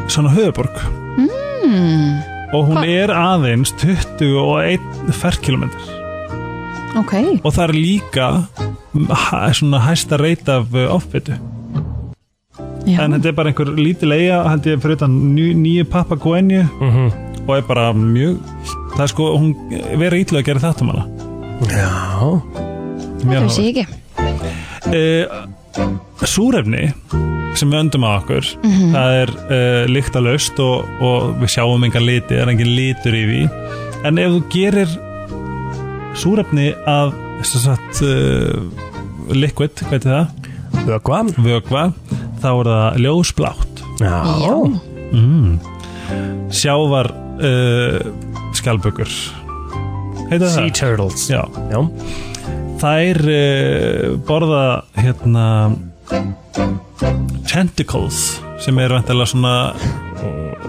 svona höfuborg mm, og hún er aðeins 21 ferkilometr Ok, og það er líka hæ, svona hæsta reyt af ofbyttu en þetta er bara einhver lítil eiga held ég fyrir utan ný, nýju pappagóinju og er bara mjög það er sko, hún verið ítlu að gera þetta um hana já það vissi ég ekki uh, Súrefni sem við öndum að okkur Mhm. það er uh, lyktalaust og, og við sjáum engan liti, það er engin litur í því en ef þú gerir súrefni að sem sagt, uh, liquid, hvað heitir það? Vökva. Vökva, þá er það ljósblátt Já. Já. Mm. Sjávar uh, skjálbökur Heita það? Sea turtles Já, Já. Þær uh, borða hérna tentacles sem eru vantilega svona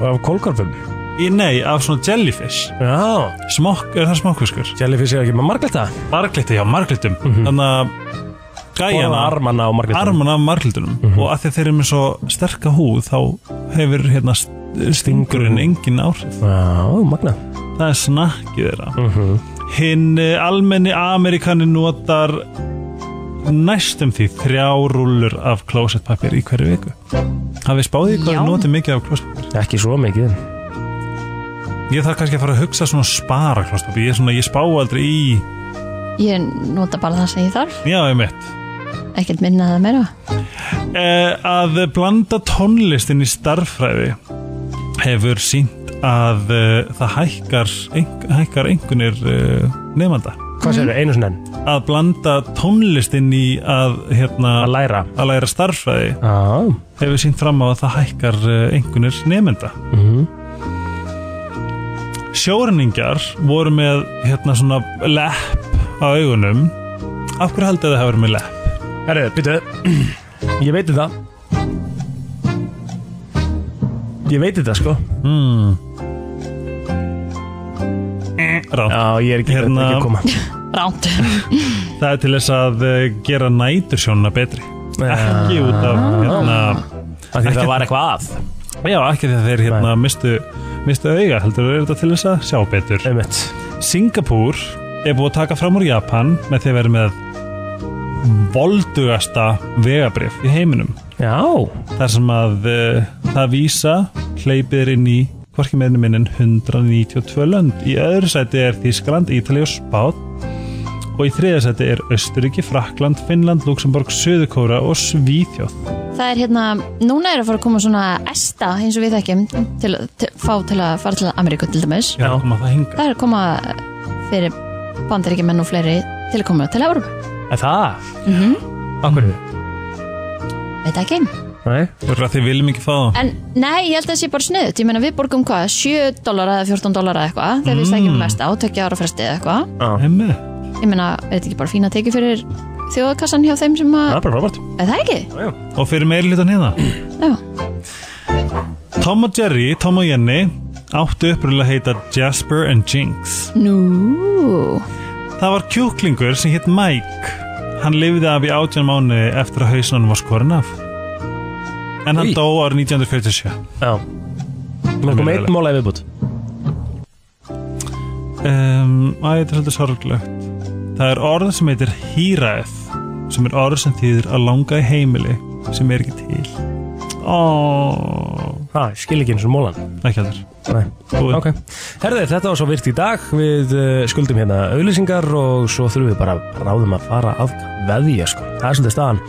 Af kólkarfum? Í, nei, af svona jellyfish Já Smokk, er það smokkfiskur? Jellyfish er ekki með marglita? Marglita, já, marglitum Þannig að gæjana Borða armana á marglitunum. Armana á marglitunum Og að því að þeir eru með svo sterka húð Þá hefur hérna st- stingurinn engin áhrif Já, magna Það er snakkið þeirra Hinn eh, almenni Amerikani notar næstum því þrjá rúllur af klósettpapir í hverju viku Hafið spáðið Já. hvað við notum mikið af klósettpapir? Ekki svo mikið Ég þarf kannski að fara að hugsa svona að spara klósettpapir Ég, er svona, ég spá aldrei í Ég nota bara það sem ég þarf Já, ég mitt Ekkert minna það meira Eh, að blanda tónlistin í starffræði hefur sínt að eh, það hækkar, ein- hækkar einhvernir uh, nefnda Mm. Hvað segirðu, einu sinni enn? Að blanda tónlistin í að, hérna, að læra að læra starffræði ah. hefur sínt fram á að það hækkar uh, einhvernir nefnda Mhm. Sjórningjar voru með hérna svona lepp á augunum Af hverju haldið þið að það hafa verið með lepp? Herru, býtu Ég veit þetta Ég veit þetta sko mm. Rátt Já, ég er ekki, Hérna- ekki að koma Ránt Það er til þess að eh, gera nætursjónuna betri Ekki út af hérna, Af því ekki- það var eitthvað að Já, ekki því að þeir hérna mistu, mistu auga heldur er þetta til þess að sjá betur Einmitt. Singapúr er búið að taka fram úr Japan með því að vera með voldugasta vegabrif í heiminum Já Þar sem að uh, það vísa hleypir inn í hvorki meðinu minnin 192 lönd Í öðru sæti er Þískland, Ítali og Spát og í þriða sæti er Östuríki, Frakland, Finnland, Luxemburg, Suðukóra og Svíþjóð Það er hérna, núna er að fara að koma svona esta eins og við þekkjum til að til- fá til að fara til Ameríku til dæmis Já, koma það hinga Það er að koma fyrir bandaríkjumenn og fleiri til að koma til Evrum Er það? mm Akkur Veit ekki Nei Þú veist að þið viljum ekki fá það En nei, ég held að það sé bara sniðut Ég meina við borgum hvað, 7 dólar eða 14 dólar eða eitthvað Þegar við sækjum Mm. mest á, tökja ára fresti eða eitthvað Hemmi Ég meina, er þetta ekki bara fína tekið fyrir þjóðakassan hjá þeim sem að bara frábært Er það ekki? Og fyrir meiri hlutan hérna Já. Tom og Jerry, Tom og Jenny áttu upprunalega að heita Jasper and Jinx Nú Það var kjúklingur sem hétt Mike Hann lifði af í 18 mánu eftir að hausunum var skorin af En hann dó árið 1947 Já Mér kom einn mála í viðbútt um, Æ, þetta er svolítið sorglegt Það er orð sem heitir hýræð sem er orð sem þýðir að langa í heimili sem er ekki til Ó Það, skil ekki eins og mólan Ekki heldur Nei, ok Herði, þetta var svo virt í dag Við uh, skuldum hérna auðlýsingar og svo þurfum við bara ráðum að fara að veðja sko. Það er svolítið staðan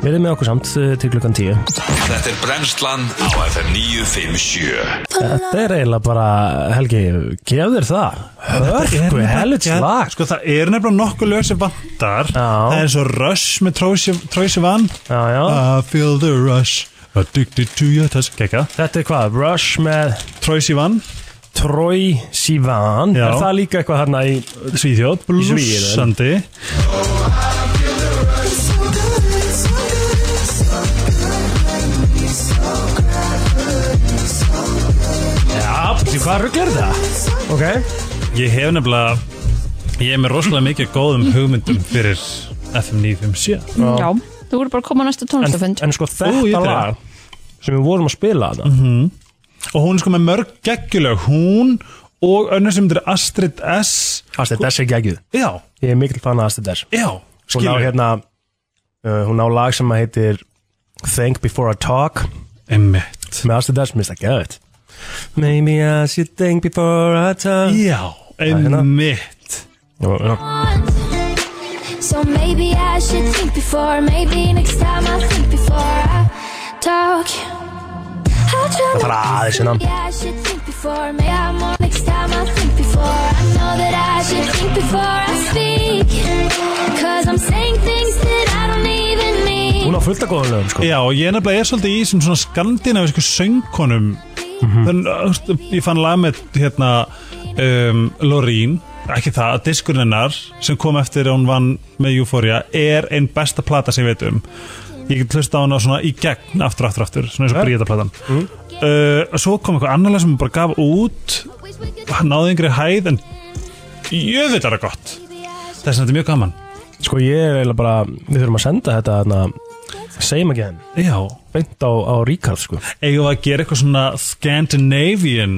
Verðið með okkur samt uh, til klukkan 10 Þetta er brennslan á FM 957 Þetta er eiginlega bara, Helgi, gef þér það Hörgu, helvits lag Sko það er nefnilega nokkuð lög sem vantar já. Það er svo rush með trósi vann já, já. I feel the rush Addicted to your touch Kekka Þetta er hvað, Rush með Troy Sivan Troy Sivan Já. Er það líka eitthvað hérna í Svíþjóð Í Svíþjóð. Blúsandi Hvað rugglar það? Ok Ég hef nefnilega Ég er með rosalega mikið góðum hugmyndum fyrir FM 957 Já, þú voru bara að koma á næsta tónlistafund En sko Ó, ég þetta dreg. lag sem við vorum að spila þetta Og hún er sko með mörg geggjulög Hún og önnur sem þetta er Astrid S Astrid S er geggjuð Já Ég er mikil fann að Astrid S Já, Hún á skilur. hérna uh, Hún á lag sem að heitir Think Before I Talk Einmitt Með Astrid S, minnst það geðvægt Maybe I should think before I talk Já, hérna. einmitt So maybe I should think before, maybe next time I'll think before I talk. I'll try Það þarf aðeins hérna. Maybe I should think before, maybe I more next time I'll think before I know that I should think before I speak. Cause I'm saying things that I don't even mean. Hún á fullt af góðum lögum sko Já, og ég nefnilega er svolítið í sem svona skandinavisku söngkonum Þann, þú veist, Ég fann lag með hérna um, Lorín ekki það, að diskurinn hennar sem kom eftir að hún vann með Euphoria er einn besta plata sem ég veit um Ég get hlusta á hana svona í gegn aftur, aftur, aftur, svona eins og bríða platan uh, Svo kom eitthvað annarlega sem hún bara gaf út hann náði yngri hæð en jöfnvitar er gott Þess að þetta er mjög gaman Sko ég er eiginlega bara, við þurfum að senda þetta hérna, Same again Já Beint á, á Ríkard sko Eigum við að gera eitthvað svona Scandinavian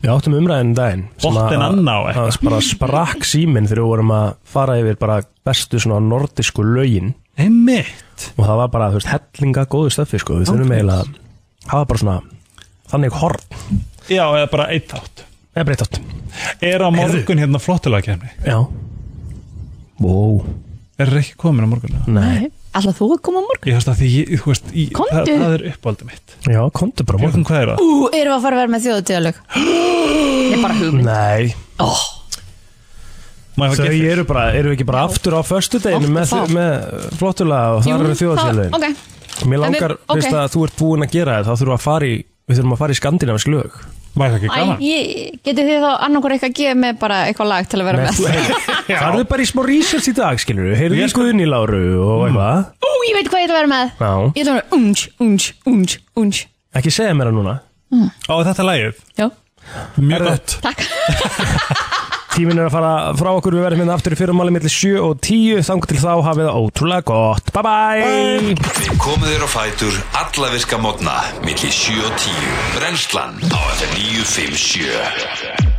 Við áttum umræðin daginn sem Botn en að- anná Það eitthvað bara sprakk síminn þegar við vorum að fara yfir bara bestu svona nordisku lögin Einmitt Og það var bara, þú veist, hellinga góðu stöfi sko Við þurfum Ángríns. eiginlega að hafa bara svona Þannig horn Já, eða bara eitt þátt Eða breytt átt Er á morgun hérna flottulega kemni? Já Wow Er það ekki komin á morgun? Nei Alltaf þú að koma á morgun Ég veist að því, ég, þú veist, ég, það, Komdu. það er uppáldið mitt Já, komdu bara á morgun Hvað er það? Ú, erum við að fara að vera með þjóðutíðalög Ég er bara hugmynd Nei oh. Má Þau ég fá giffir? eru bara, eru við ekki bara aftur á föstudeginu með, Aftur þá. með flottulega og Jú, þar eru þjóðsélögin það- Mér En við- langar, ok. veist að þú ert búin að gera það þá þurfum við að fara í, við þurfum að fara í skandinavisk lög Var það Æ, ég, getur þið þá annarkur eitthvað að gefa mig bara eitthvað lag til að vera með Farðu bara í smá research í dag, skilur við Heyrðu í Guðni Láru og eitthvað Ú, ég veit hvað ég ætla að vera með Mm. Já. Ég ætla að vera unj, unj, unj, unj Ekki segja mér það núna Á þetta lagið? Já Mjög gott Takk Tíminn er að fara frá okkur, við verðum hérna aftur í fyrirmáli millir 7 og 10, þangu til þá hafið það ótrúlega gott, bye bye, bye. Við komum þér á fætur alla virka mótna millir 7 og 10 Brennslan á FM 957